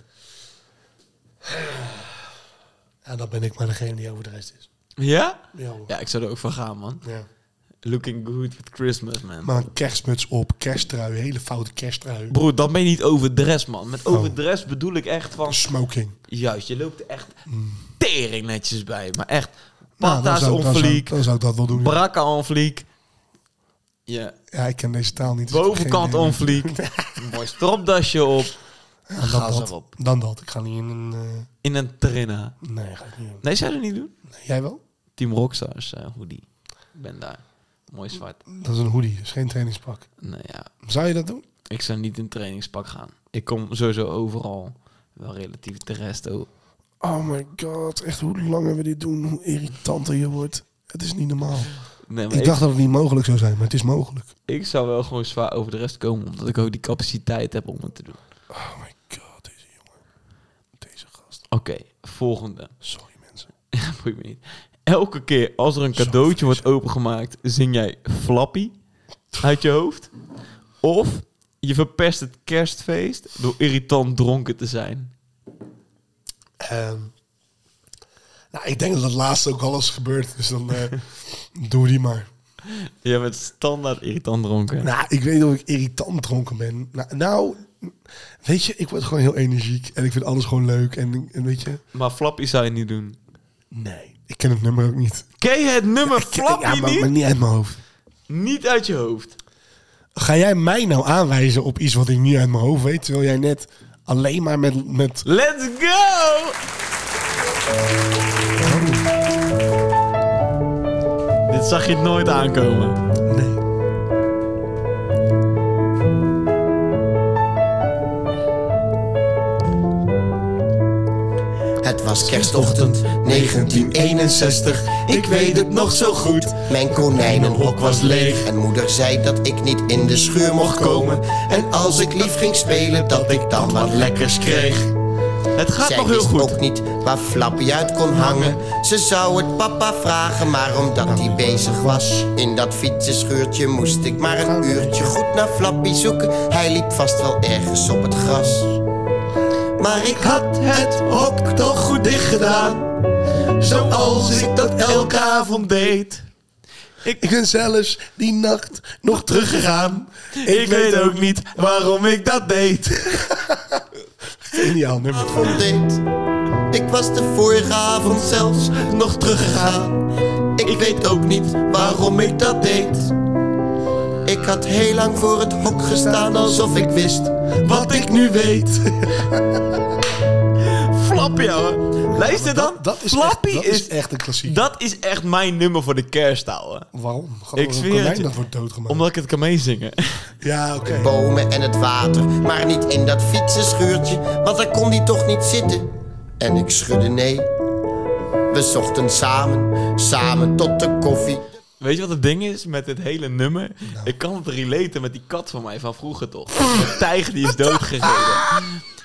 Speaker 3: Ja, dan ben ik maar degene die over de rest is.
Speaker 2: Ja?
Speaker 3: Ja, hoor.
Speaker 2: Ja, ik zou er ook van gaan, man.
Speaker 3: ja.
Speaker 2: Looking good with Christmas, man.
Speaker 3: Maar een kerstmuts op, kersttrui, hele foute kersttrui.
Speaker 2: Broer, dan ben je niet overdress, man. Met
Speaker 3: Oh.
Speaker 2: overdress bedoel ik echt van...
Speaker 3: Smoking.
Speaker 2: Juist, je loopt er echt tering netjes bij. Maar echt,
Speaker 3: Nou, dan
Speaker 2: pata's
Speaker 3: zou,
Speaker 2: nou,
Speaker 3: ik- dan, zou,
Speaker 2: onfliek,
Speaker 3: dan zou ik dat wel doen. ja.
Speaker 2: brakka onfliek. Ja,
Speaker 3: Ja, ik ken deze taal niet. dus ik heb geen
Speaker 2: bovenkant
Speaker 3: idee.
Speaker 2: onfliek. Een mooi stropdasje op.
Speaker 3: Ja, dan
Speaker 2: Ga
Speaker 3: dat.
Speaker 2: zo op.
Speaker 3: Dan dat. Ik ga niet in een... eh,
Speaker 2: In een trinna.
Speaker 3: Nee, ga ik niet doen.
Speaker 2: Nee, zou je dat niet doen?
Speaker 3: Jij wel?
Speaker 2: Team Rockstars eh, hoodie. Ik ben daar. Mooi zwart.
Speaker 3: Dat is een hoodie, dus geen trainingspak.
Speaker 2: Nou ja,
Speaker 3: Zou je dat doen?
Speaker 2: ik zou niet in trainingspak gaan. Ik kom sowieso overal wel relatief de rest over.
Speaker 3: Oh my god, echt hoe langer we dit doen, hoe irritanter je wordt. Het is niet normaal.
Speaker 2: Nee, maar
Speaker 3: Ik dacht dat het niet mogelijk zou zijn, maar het is mogelijk.
Speaker 2: ik zou wel gewoon zwaar over de rest komen, omdat ik ook die capaciteit heb om het te doen.
Speaker 3: Oh my god, deze jongen. Deze gast.
Speaker 2: Oké, volgende.
Speaker 3: Sorry mensen.
Speaker 2: Ja, boeit me niet. Elke keer als er een cadeautje wordt opengemaakt, zing jij Flappy uit je hoofd. Of je verpest het kerstfeest door irritant dronken te zijn.
Speaker 3: Ehm, nou, ik denk dat het laatste ook al is gebeurd, dus dan eh, doe die maar.
Speaker 2: Je bent standaard irritant dronken.
Speaker 3: Nou, ik weet niet of ik irritant dronken ben. Nou, nou, weet je, ik word gewoon heel energiek en ik vind alles gewoon leuk. En, en weet je,
Speaker 2: Maar Flappy zou je niet doen.
Speaker 3: nee, ik ken het nummer ook niet.
Speaker 2: Ken je het nummer
Speaker 3: Ik-
Speaker 2: Flappy
Speaker 3: ja, maar,
Speaker 2: niet?
Speaker 3: maar niet uit mijn hoofd.
Speaker 2: Niet uit je hoofd.
Speaker 3: Ga jij mij nou aanwijzen op iets wat ik niet uit mijn hoofd weet, terwijl jij net alleen maar met... met
Speaker 2: Let's go! Dit zag je nooit aankomen.
Speaker 3: nee.
Speaker 4: Het was kerstochtend 1961, ik weet het nog zo goed. Mijn konijnenhok was leeg en moeder zei dat ik niet in de schuur mocht komen. En als ik lief ging spelen, dat ik dan wat lekkers kreeg.
Speaker 2: Het gaat
Speaker 4: Zij
Speaker 2: nog heel
Speaker 4: wist
Speaker 2: goed.
Speaker 4: ook niet waar Flappy uit kon hangen. Ze zou het papa vragen, maar omdat hij bezig was in dat fietsenschuurtje, moest ik maar een uurtje goed naar Flappy zoeken. Hij liep vast wel ergens op het gras. Maar ik had het hok toch goed dicht gedaan.
Speaker 2: Zoals ik dat elke avond deed.
Speaker 3: Ik ben zelfs die nacht nog teruggegaan.
Speaker 2: Ik, weet ook niet waarom ik dat deed.
Speaker 3: Geniaal nummer.
Speaker 4: Avond deed. Ik was de vorige avond zelfs nog teruggegaan. Ik weet ook niet waarom ik dat deed. Ik had heel lang voor het hok gestaan alsof ik wist
Speaker 3: Wat ik nu weet.
Speaker 2: Flappy, ouwe. Luister dan.
Speaker 3: Dat, dat, is,
Speaker 2: Flappy
Speaker 3: echt, dat is, echt een klassiek.
Speaker 2: Dat is echt mijn nummer voor de kerst, ouwe.
Speaker 3: Waarom? Gaat
Speaker 2: Ik
Speaker 3: er
Speaker 2: zweer
Speaker 3: een konijn
Speaker 2: het je.
Speaker 3: dat wordt doodgemaakt.
Speaker 2: Omdat ik het kan meezingen.
Speaker 3: Ja, oké.
Speaker 4: bomen en het water, maar niet in dat fietsenschuurtje, want daar kon die toch niet zitten. En ik schudde nee. We zochten samen, samen tot de koffie.
Speaker 2: Weet je wat het ding is met dit hele nummer?
Speaker 3: Nou.
Speaker 2: Ik kan het relaten met die kat van mij van vroeger toch? De tijger die is doodgegeten.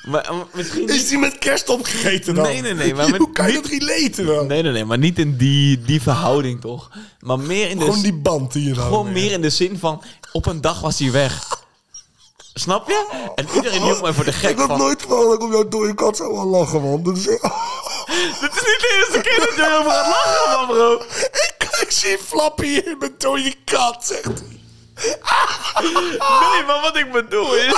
Speaker 2: Maar eh, misschien niet-
Speaker 3: Is die met kerst opgegeten dan?
Speaker 2: Nee, nee, nee, maar met-
Speaker 3: Hoe kan je dat relaten dan?
Speaker 2: Nee, nee, nee, maar niet in die, die verhouding toch? Maar meer in de,
Speaker 3: Gewoon die band die je dan...
Speaker 2: dus- gewoon meer in de zin van: op een dag was hij weg. Snap je? En iedereen hield mij voor de
Speaker 3: Ik
Speaker 2: gek
Speaker 3: heb
Speaker 2: van.
Speaker 3: nooit gewoon dat ik op jouw dode kat zo aan lachen, man. Dat is
Speaker 2: Dit is niet de eerste keer dat je erover gaat lachen, man, bro.
Speaker 3: ik, ik zie Flappy in mijn dode kat, zegt hij.
Speaker 2: Nee, maar wat ik bedoel is.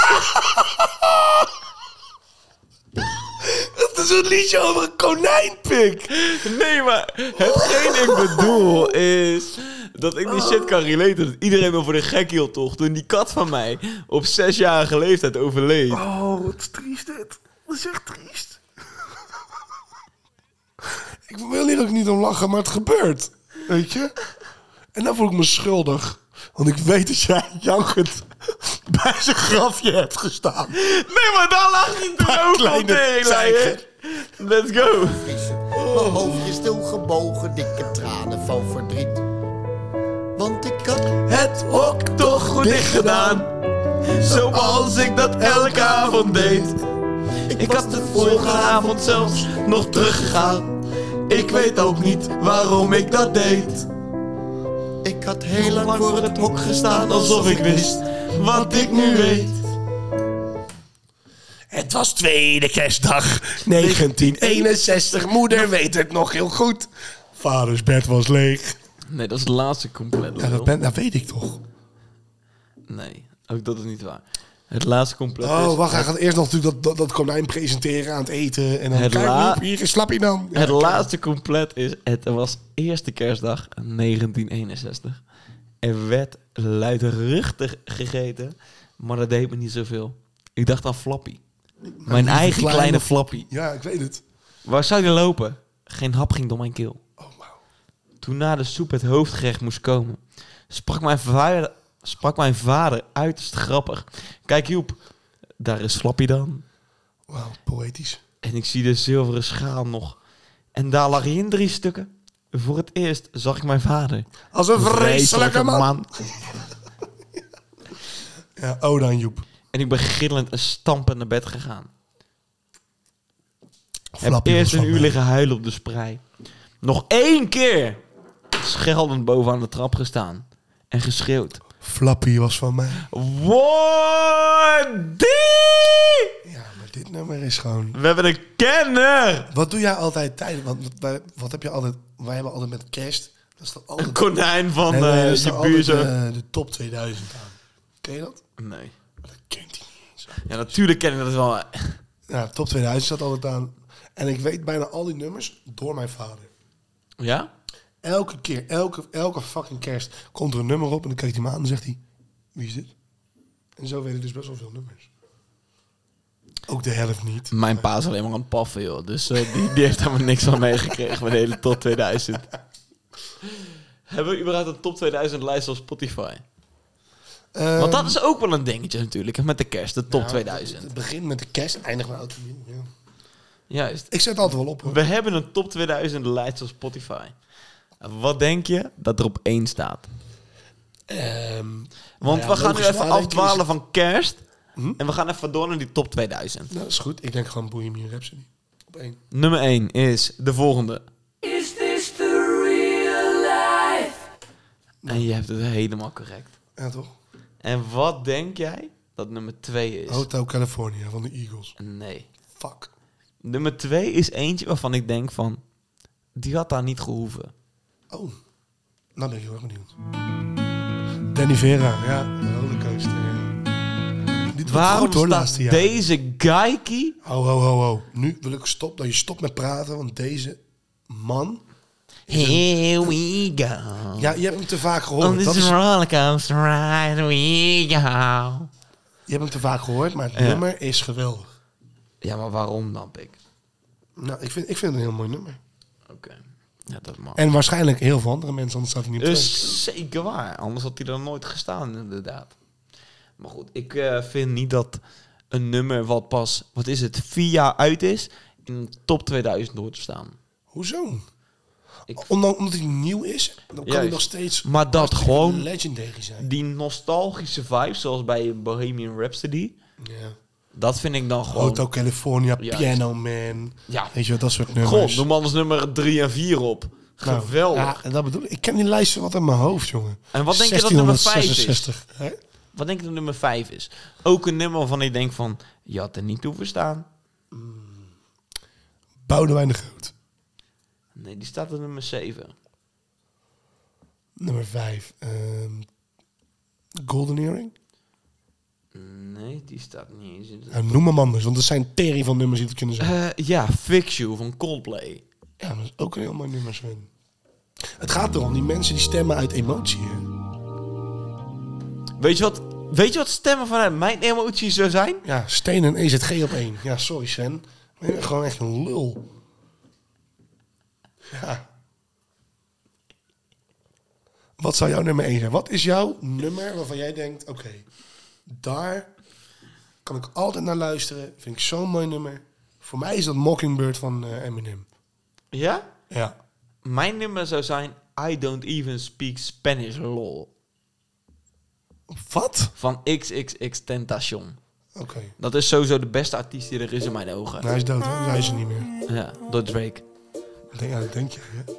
Speaker 3: Dat is een liedje over een konijnpik.
Speaker 2: Nee, maar hetgeen ik bedoel is dat ik die shit kan relaten. Dat iedereen me voor de gek hield, toch? Toen die kat van mij op zesjarige leeftijd overleed.
Speaker 3: Oh, wat is triest dit. Dat is echt triest. ik wil hier ook niet om lachen, maar het gebeurt. Weet je? En dan voel ik me schuldig. Want ik weet dat jij jankend bij zijn grafje hebt gestaan.
Speaker 2: Nee, maar daar lag niet de over op
Speaker 3: kleine
Speaker 2: de
Speaker 3: tijger.
Speaker 2: Let's go.
Speaker 4: Mijn hoofdje stil gebogen, dikke tranen van verdriet. Want ik had
Speaker 2: Het hok toch goed dicht gedaan. Zoals ik dat elke avond deed. Ik had de vorige avond zelfs nog teruggegaan. Ik weet ook niet waarom ik dat deed.
Speaker 4: Ik had heel lang
Speaker 2: Lang
Speaker 4: voor het hok gestaan alsof ik wist.
Speaker 2: wat ik nu weet.
Speaker 3: Het was tweede kerstdag 1961. Moeder weet het nog heel goed. Vaders bed was leeg.
Speaker 2: Nee, dat is het laatste compleet.
Speaker 3: Ja, dat, ben, dat weet ik toch.
Speaker 2: Nee, ook dat is niet waar. Het laatste compleet
Speaker 3: Oh,
Speaker 2: is...
Speaker 3: wacht. Hij gaat eerst nog natuurlijk dat, dat, dat konijn presenteren aan het eten. En dan
Speaker 2: Het
Speaker 3: kijk,
Speaker 2: la-
Speaker 3: Joep, hier is Slappy dan. Ja,
Speaker 2: Het
Speaker 3: kijk.
Speaker 2: laatste compleet is... Het was eerste kerstdag 1961. Er werd luidruchtig gegeten, maar dat deed me niet zoveel. Ik dacht aan Flappy. Mijn eigen
Speaker 3: kleine-
Speaker 2: kleine, Flappy.
Speaker 3: Ja, ik weet het.
Speaker 2: Waar zou die lopen? Geen hap ging door mijn keel.
Speaker 3: Oh, wauw.
Speaker 2: Toen na de soep het hoofdgerecht moest komen, sprak mijn vader, sprak mijn vader uiterst grappig. Kijk Joep, daar is Flappy dan.
Speaker 3: Wauw, poëtisch.
Speaker 2: En ik zie de zilveren schaal nog. En daar lag hij in drie stukken. Voor het eerst zag ik mijn vader.
Speaker 3: Als een vreselijke man. Ja, oh dan Joep.
Speaker 2: En ik ben gillend en stampend naar bed gegaan. Heb
Speaker 3: Flappy
Speaker 2: eerst
Speaker 3: was
Speaker 2: een
Speaker 3: van
Speaker 2: uur
Speaker 3: mij.
Speaker 2: liggen huilen op de sprei. Nog één keer! Scheldend bovenaan de trap gestaan. En geschreeuwd.
Speaker 3: Flappy was van mij.
Speaker 2: Wordie!
Speaker 3: Ja, maar dit nummer is gewoon...
Speaker 2: We hebben een kenner!
Speaker 3: Wat doe jij altijd tijdens... Want wij- wat heb je altijd... Wij hebben altijd met kerst... Dat is dan altijd...
Speaker 2: Een konijn van
Speaker 3: Nee, nee,
Speaker 2: eh,
Speaker 3: er staat
Speaker 2: je
Speaker 3: altijd,
Speaker 2: buurzo.
Speaker 3: eh, de top 2000 aan. Ken je dat?
Speaker 2: Nee.
Speaker 3: Dat kent hij niet eens.
Speaker 2: Ja, natuurlijk ken ik dat wel.
Speaker 3: Ja, top 2000 staat altijd aan. En ik weet bijna al die nummers door mijn vader.
Speaker 2: Ja?
Speaker 3: Elke keer, elke, elke fucking kerst komt er een nummer op en dan kijkt hij me aan en zegt hij... Wie is dit? En zo weet ik dus best wel veel nummers. Ook de helft niet.
Speaker 2: Mijn pa is alleen maar aan het paffen, joh. Dus eh, die, die heeft helemaal niks van meegekregen met de hele top 2000. Hebben we überhaupt een top 2000 lijst op Spotify?
Speaker 3: Eh,
Speaker 2: Want dat is ook wel een dingetje natuurlijk, hè, met de kerst, de top
Speaker 3: Het
Speaker 2: 2000.
Speaker 3: begint met de kerst, eindigt met oud en nieuw, ja.
Speaker 2: Juist.
Speaker 3: Ik zet altijd wel op. hoor.
Speaker 2: We hebben een top 2000 lijst op Spotify. Wat denk je dat er op één staat?
Speaker 3: Ehm,
Speaker 2: Want
Speaker 3: ja,
Speaker 2: we gaan nu
Speaker 3: Ehm, nou logisch Hm?
Speaker 2: even
Speaker 3: nadenken is-
Speaker 2: afdwalen van kerst En we gaan even door naar die top 2000.
Speaker 3: Nou, dat is goed. Ik denk gewoon Bohemian Rhapsody. Op één.
Speaker 2: Nummer 1 is de volgende.
Speaker 9: Is this the real life?
Speaker 2: En je hebt het helemaal correct.
Speaker 3: Ja, toch?
Speaker 2: En wat denk jij dat nummer 2 is?
Speaker 3: Hotel California van de Eagles.
Speaker 2: Nee.
Speaker 3: Fuck.
Speaker 2: Nummer 2 is eentje waarvan ik denk van... Die had daar niet gehoeven.
Speaker 3: Oh, nou ben ik heel erg benieuwd. Danny Vera, ja. De rollercoaster, ja. Dit
Speaker 2: Waarom staat
Speaker 3: laatste jaar.
Speaker 2: deze Geikie
Speaker 3: Ho, ho, ho, ho. Nu wil ik stop, dat je stopt met praten, want deze man...
Speaker 2: Here we go.
Speaker 3: Ja, je hebt hem te vaak
Speaker 2: On
Speaker 3: gehoord. Dat
Speaker 2: Oh, this
Speaker 3: is,
Speaker 2: rollercoaster ride we go.
Speaker 3: je hebt hem te vaak gehoord, maar het
Speaker 2: Ja.
Speaker 3: nummer is geweldig.
Speaker 2: Ja, maar waarom dan, Pik?
Speaker 3: Nou, ik vind, ik vind het een heel mooi nummer.
Speaker 2: Oké. Ja, dat mag.
Speaker 3: En waarschijnlijk heel veel andere mensen, anders staat hij niet op twee.
Speaker 2: Dus zeker waar. Anders had hij er nooit gestaan, inderdaad. Maar goed, ik eh, vind niet dat een nummer wat pas, wat is het, vier jaar uit is, in de top 2000 hoort te staan.
Speaker 3: Hoezo?
Speaker 2: Ik-
Speaker 3: Omdat, omdat hij nieuw is, dan kan hij
Speaker 2: Juist.
Speaker 3: nog steeds
Speaker 2: Maar dat gewoon
Speaker 3: legendary zijn.
Speaker 2: die nostalgische vibe, zoals bij Bohemian Rhapsody,
Speaker 3: Ja.
Speaker 2: dat vind ik dan gewoon...
Speaker 3: Hotel California,
Speaker 2: Ja.
Speaker 3: Piano Man.
Speaker 2: Ja.
Speaker 3: Weet je wel, dat soort nummers.
Speaker 2: God, noem anders nummer 3 en 4 op.
Speaker 3: Nou,
Speaker 2: Geweldig.
Speaker 3: Ja, en dat bedoel ik. Ik ken die lijst wat in mijn hoofd, jongen.
Speaker 2: En wat denk je dat nummer vijf is?
Speaker 3: 1666, hè?
Speaker 2: Wat denk ik dat nummer 5 is? Ook een nummer waarvan ik denk van, je had er niet toe verstaan.
Speaker 3: Boudewijn de Groot.
Speaker 2: Nee, die staat op nummer 7.
Speaker 3: Nummer 5. Golden Earring.
Speaker 2: Nee, die staat niet eens in de
Speaker 3: Nou, noem hem anders, want er zijn tering van nummers die het kunnen zijn.
Speaker 2: Eh, ja, Fix You van Coldplay.
Speaker 3: Ja, maar dat is ook een heel mooi nummer, Sven. Het gaat erom, die mensen die stemmen uit emotie. Hè?
Speaker 2: Weet je wat, weet je wat stemmen vanuit mijn emoties zou zijn?
Speaker 3: Ja, Steen en EZG op één. Ja, sorry Sven. Maar je bent gewoon echt een lul. Ja. Wat zou jouw nummer 1 zijn? Wat is jouw nummer waarvan jij denkt... Oké, daar kan ik altijd naar luisteren. Vind ik zo'n mooi nummer. Voor mij is dat Mockingbird van eh, Eminem.
Speaker 2: Ja?
Speaker 3: Ja.
Speaker 2: Mijn nummer zou zijn I Don't Even Speak Spanish Lol
Speaker 3: Wat?
Speaker 2: van XXX Tentacion.
Speaker 3: Oké.
Speaker 2: Dat is sowieso de beste artiest die er is in mijn ogen.
Speaker 3: Nou, hij is dood, hè? Hij is er niet meer.
Speaker 2: Ja, door Drake.
Speaker 3: Ik denk- Ja, dat denk je. Hè?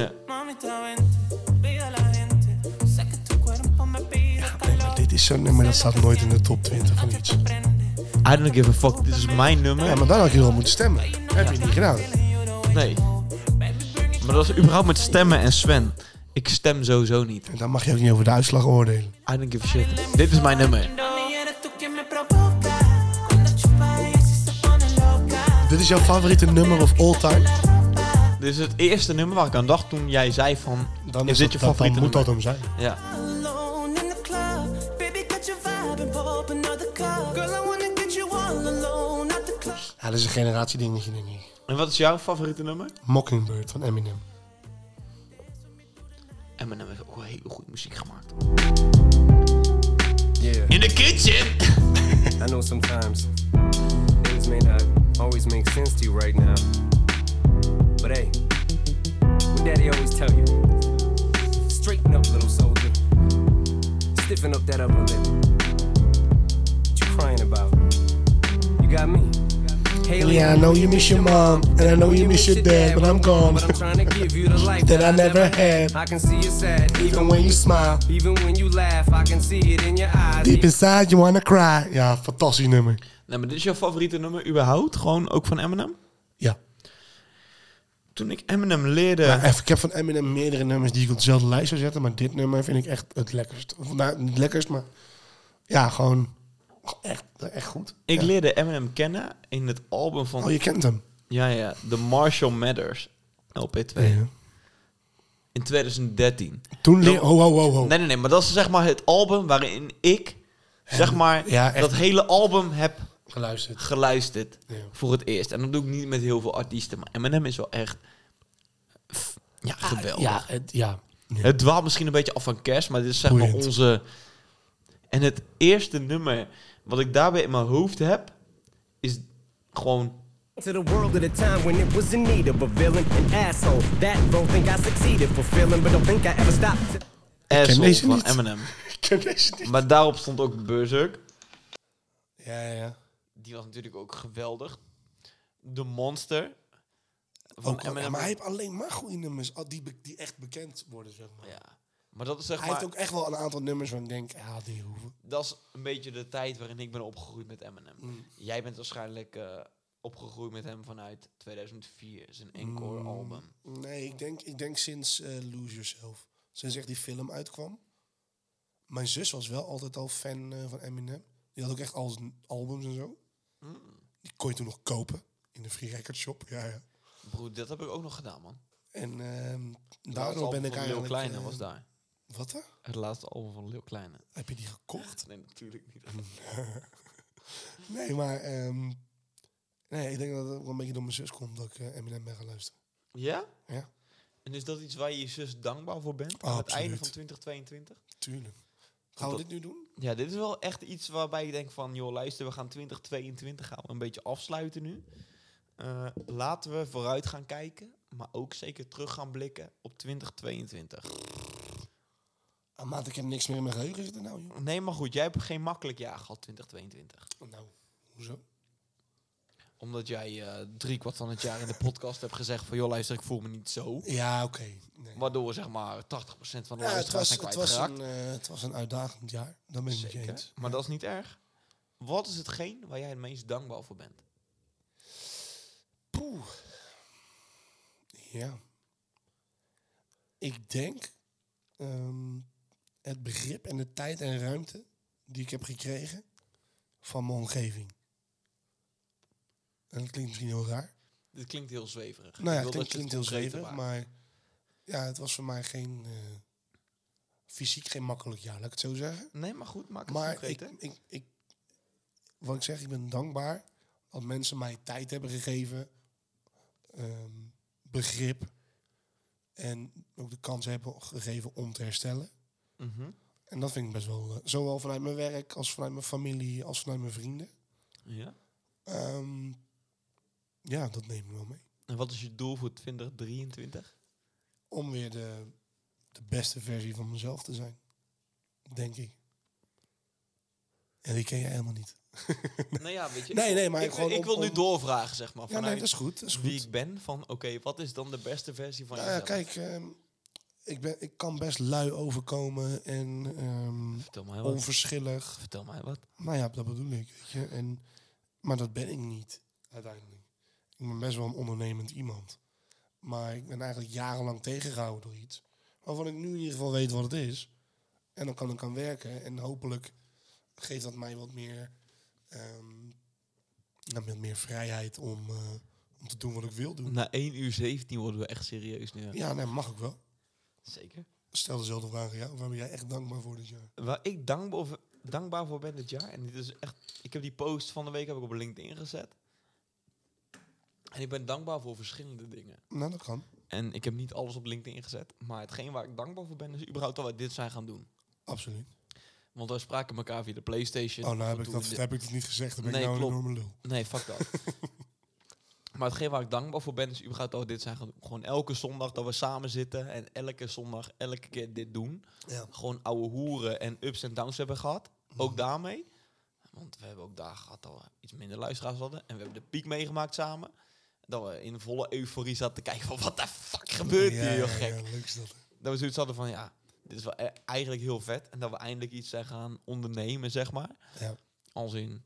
Speaker 2: Ja.
Speaker 7: Mamita, vente, pega la gente. Sé que tu cuerpo me pide
Speaker 3: Nee, maar dit is zo'n nummer dat staat nooit in de top 20 van iets.
Speaker 2: I don't give a fuck, dit is mijn nummer.
Speaker 3: Ja, maar dan had je wel moeten stemmen. heb je niet gedaan.
Speaker 2: Nee. Maar dat is überhaupt met stemmen en Sven. Ik stem sowieso niet.
Speaker 3: En daar mag je ook niet over de uitslag oordelen.
Speaker 2: I don't give a shit. Dit is mijn nummer.
Speaker 7: Y eres tú quien me provoca. Cuando chupa ella sí se pone loca.
Speaker 3: Dit is jouw favoriete nummer of all time?
Speaker 2: Dit is het eerste nummer waar ik aan dacht toen jij zei van...
Speaker 3: Dan
Speaker 2: is
Speaker 3: is
Speaker 2: dit
Speaker 3: het
Speaker 2: je
Speaker 3: je
Speaker 2: favoriete
Speaker 3: Dan moet dat
Speaker 2: nummer?
Speaker 3: hem zijn.
Speaker 2: Ja.
Speaker 7: Alone in the club. Baby, got your vibe and pour up another cup. Girl, I wanna get you all alone at the club.
Speaker 3: Ja, dat is een generatie dingetje, denk ik.
Speaker 2: En wat is jouw favoriete nummer?
Speaker 3: Mockingbird van Eminem.
Speaker 2: Eminem heeft ook wel heel goed muziek gemaakt.
Speaker 10: Yeah,
Speaker 2: In the kitchen!
Speaker 10: I know sometimes things may not always make sense to you right now. But hey, what daddy always tell you. Straighten up, little soldier. Stiffen up that upper lip. What you crying about? You got me. Haley,
Speaker 3: Yeah, I know you miss your mom, and I know you miss your dad, but I'm gone.
Speaker 10: But I'm trying to give you the life
Speaker 3: That I never had.
Speaker 10: I can see you sad,
Speaker 3: Even when you smile,
Speaker 10: even when you laugh. I can see it in your eyes.
Speaker 3: deep inside you wanna cry. Ja, fantastisch nummer.
Speaker 2: Nee, maar dit is jouw favoriete nummer überhaupt? Gewoon ook van Eminem?
Speaker 3: Ja.
Speaker 2: Toen ik Eminem leerde...
Speaker 3: Maar even, ik heb van Eminem meerdere nummers die ik op dezelfde lijst zou zetten, maar dit nummer vind ik echt het lekkerst. Of, nou, niet het lekkerst, maar ja, gewoon echt, echt goed.
Speaker 2: ik
Speaker 3: Ja.
Speaker 2: leerde Eminem kennen in het album van...
Speaker 3: Oh, je kent hem.
Speaker 2: Ja, ja. The Marshall Matters. LP2.
Speaker 3: Ja.
Speaker 2: In 2013.
Speaker 3: Toen leer... Ho, ho, ho, ho.
Speaker 2: Nee, nee, nee. Maar dat is zeg maar het album waarin ik... Zeg maar,
Speaker 3: ja, echt.
Speaker 2: dat hele album heb
Speaker 3: Geluisterd.
Speaker 2: geluisterd
Speaker 3: Ja.
Speaker 2: voor het eerst. En dat doe ik niet met heel veel artiesten. Maar Eminem is wel echt... f- Ja, geweldig.
Speaker 3: Ah, Ja, het, ja.
Speaker 2: Het dwaalt misschien een beetje af van kerst, maar dit is zeg maar
Speaker 3: Boeiend.
Speaker 2: onze... En het eerste nummer wat ik daarbij in mijn hoofd heb, is gewoon...
Speaker 10: To the world at a time when it was in need of a villain, an asshole. That role think I succeeded fulfilling, but don't think I ever stopped.
Speaker 2: Asshole
Speaker 3: deze
Speaker 2: van
Speaker 3: niet.
Speaker 2: Eminem.
Speaker 3: Ik ken deze niet.
Speaker 2: Maar daarop stond ook Berserk.
Speaker 3: Ja, ja.
Speaker 2: Die was natuurlijk ook geweldig. De Monster. Van M&M.
Speaker 3: Ook, wel-
Speaker 2: Eminem.
Speaker 3: maar hij heeft alleen maar goede nummers al die, be- die echt bekend worden, zeg maar.
Speaker 2: Ja. Maar dat is zeg
Speaker 3: Hij
Speaker 2: maar...
Speaker 3: heeft ook echt wel een aantal nummers waarvan ik denk, ja, die hoeven.
Speaker 2: dat is een beetje de tijd waarin ik ben opgegroeid met Eminem.
Speaker 3: Mm.
Speaker 2: Jij bent waarschijnlijk eh, opgegroeid met hem vanuit 2004, zijn encore
Speaker 3: Mm.
Speaker 2: album.
Speaker 3: Nee,
Speaker 2: Oh.
Speaker 3: ik denk, ik denk sinds eh, Lose Yourself. Sinds echt die film uitkwam. Mijn zus was wel altijd al fan eh, van Eminem. Die had ook echt al zijn albums en zo.
Speaker 2: Hmm.
Speaker 3: Die kon je toen nog kopen in de Free Record Shop. Ja, ja.
Speaker 2: Broer, dat heb ik ook nog gedaan, man.
Speaker 3: En ehm
Speaker 2: Laatste
Speaker 3: daardoor
Speaker 2: album
Speaker 3: ben ik
Speaker 2: van
Speaker 3: eigenlijk...
Speaker 2: Lil Kleine
Speaker 3: eh,
Speaker 2: was daar.
Speaker 3: Wat dan?
Speaker 2: Het laatste album van Lil Kleine.
Speaker 3: Heb je die gekocht?
Speaker 2: Nee, natuurlijk niet.
Speaker 3: Nee, maar... ehm, nee, ik denk dat het wel een beetje door mijn zus komt dat ik eh, Eminem ben gaan luisteren.
Speaker 2: Ja?
Speaker 3: Ja,
Speaker 2: En is dat iets waar je je zus dankbaar voor bent? aan het
Speaker 3: Absoluut.
Speaker 2: einde van 2022?
Speaker 3: tuurlijk. Gaan we
Speaker 2: dat-
Speaker 3: dit nu doen?
Speaker 2: Ja, dit is wel echt iets waarbij ik denk van... joh, luister, we gaan 2022 gaan we een beetje afsluiten nu. Eh, laten we vooruit gaan kijken, maar ook zeker terug gaan blikken op 2022.
Speaker 3: Ah, maat, ik heb niks meer in mijn geheugen zitten nou, joh.
Speaker 2: Nee, maar goed, jij hebt geen makkelijk jaar gehad 2022.
Speaker 3: Nou, hoezo?
Speaker 2: Omdat jij eh drie kwart van het jaar in de podcast hebt gezegd van... joh, luister, ik voel me niet zo.
Speaker 3: Ja, oké. Nee.
Speaker 2: Waardoor zeg maar 80% van de
Speaker 3: Ja,
Speaker 2: luisteraars
Speaker 3: het, was,
Speaker 2: zijn
Speaker 3: het, was
Speaker 2: kwijtgeraakt.
Speaker 3: een, eh, het was een uitdagend jaar. Dat ben ik met je
Speaker 2: Zeker,
Speaker 3: eens.
Speaker 2: maar dat is niet erg. Wat is hetgeen waar jij het meest dankbaar voor bent?
Speaker 3: Poeh. Ja. Ik denk ehm, het begrip en de tijd en ruimte die ik heb gekregen van mijn omgeving. En dat klinkt misschien heel raar.
Speaker 2: Dit klinkt heel zweverig.
Speaker 3: Nou ja,
Speaker 2: Ik
Speaker 3: het
Speaker 2: wil dat
Speaker 3: klinkt,
Speaker 2: je het
Speaker 3: klinkt heel
Speaker 2: concreter
Speaker 3: zweverig,
Speaker 2: maakt.
Speaker 3: maar ja, het was voor mij geen eh, fysiek geen makkelijk jaar, laat ik het zo zeggen.
Speaker 2: Nee, maar goed, maak het
Speaker 3: Maar
Speaker 2: concreet,
Speaker 3: ik, ik, ik, wat ik zeg, ik ben dankbaar dat mensen mij tijd hebben gegeven, ehm, begrip en ook de kans hebben gegeven om te herstellen.
Speaker 2: hè? Mhm.
Speaker 3: En dat vind ik best wel, eh, zowel vanuit mijn werk als vanuit mijn familie als vanuit mijn vrienden.
Speaker 2: Ja.
Speaker 3: Ehm, ja, dat neem ik wel mee.
Speaker 2: En wat is je doel voor 2023?
Speaker 3: Om weer de, de beste versie van mezelf te zijn, denk ik. En die ken je helemaal niet.
Speaker 2: nou ja, weet je.
Speaker 3: Nee, nee, maar
Speaker 2: ik,
Speaker 3: gewoon
Speaker 2: ik
Speaker 3: om-
Speaker 2: wil nu
Speaker 3: om-
Speaker 2: doorvragen, zeg maar.
Speaker 3: Ja,
Speaker 2: Vanuit
Speaker 3: nee, dat is goed. Dat is goed.
Speaker 2: wie ik ben, van oké, wat is dan de beste versie van
Speaker 3: Nou ja,
Speaker 2: jezelf?
Speaker 3: kijk, ehm, ik, ben, ik kan best lui overkomen en ehm,
Speaker 2: Vertel mij wat.
Speaker 3: onverschillig.
Speaker 2: Vertel mij wat.
Speaker 3: Nou ja, dat bedoel ik. Weet je? En, maar dat ben ik niet, uiteindelijk. Ik ben best wel een ondernemend iemand. Maar ik ben eigenlijk jarenlang tegengehouden door iets. Waarvan ik nu in ieder geval weet wat het is. En dan kan ik aan werken. En hopelijk geeft dat mij wat meer, ehm, nou, wat meer vrijheid om, eh, om te doen wat ik wil doen.
Speaker 2: Na 1 uur 17 worden we echt serieus nu. hè?
Speaker 3: Ja, nee, mag ik wel.
Speaker 2: Zeker.
Speaker 3: Stel dezelfde vraag aan jou. Waar ben jij echt dankbaar voor dit jaar?
Speaker 2: Waar ik dankbaar voor, dankbaar voor ben dit jaar. En dit is echt. Ik heb die post van de week heb ik op LinkedIn gezet. En ik ben dankbaar voor verschillende dingen.
Speaker 3: Nou, dat kan.
Speaker 2: En ik heb niet alles op LinkedIn gezet. Maar hetgeen waar ik dankbaar voor ben, is überhaupt dat we dit zijn gaan doen.
Speaker 3: Absoluut.
Speaker 2: Want we spraken elkaar via de PlayStation.
Speaker 3: Oh, nou
Speaker 2: Of
Speaker 3: heb
Speaker 2: we
Speaker 3: ik,
Speaker 2: doen
Speaker 3: dat,
Speaker 2: dit-
Speaker 3: heb ik dat niet gezegd. Dan ben
Speaker 2: Nee,
Speaker 3: ik nou
Speaker 2: klopt.
Speaker 3: een enorme lul.
Speaker 2: Nee, fuck dat. maar hetgeen waar ik dankbaar voor ben, is überhaupt dat we dit zijn gaan doen. Gewoon elke zondag dat we samen zitten. En elke zondag, elke keer dit doen.
Speaker 3: Ja. Mhm.
Speaker 2: Gewoon ouwe hoeren en ups en downs hebben gehad. Ook daarmee. Want we hebben ook dagen gehad dat we iets minder luisteraars hadden. En we hebben de piek meegemaakt samen. Dat we in volle euforie zaten te kijken van... wat de fuck gebeurt hier, joh, gek?
Speaker 3: leuk is dat.
Speaker 2: dat we zoiets hadden van ja, dit is wel e- eigenlijk heel vet. En dat we eindelijk iets zijn gaan ondernemen, zeg maar.
Speaker 3: Ja.
Speaker 2: Als in,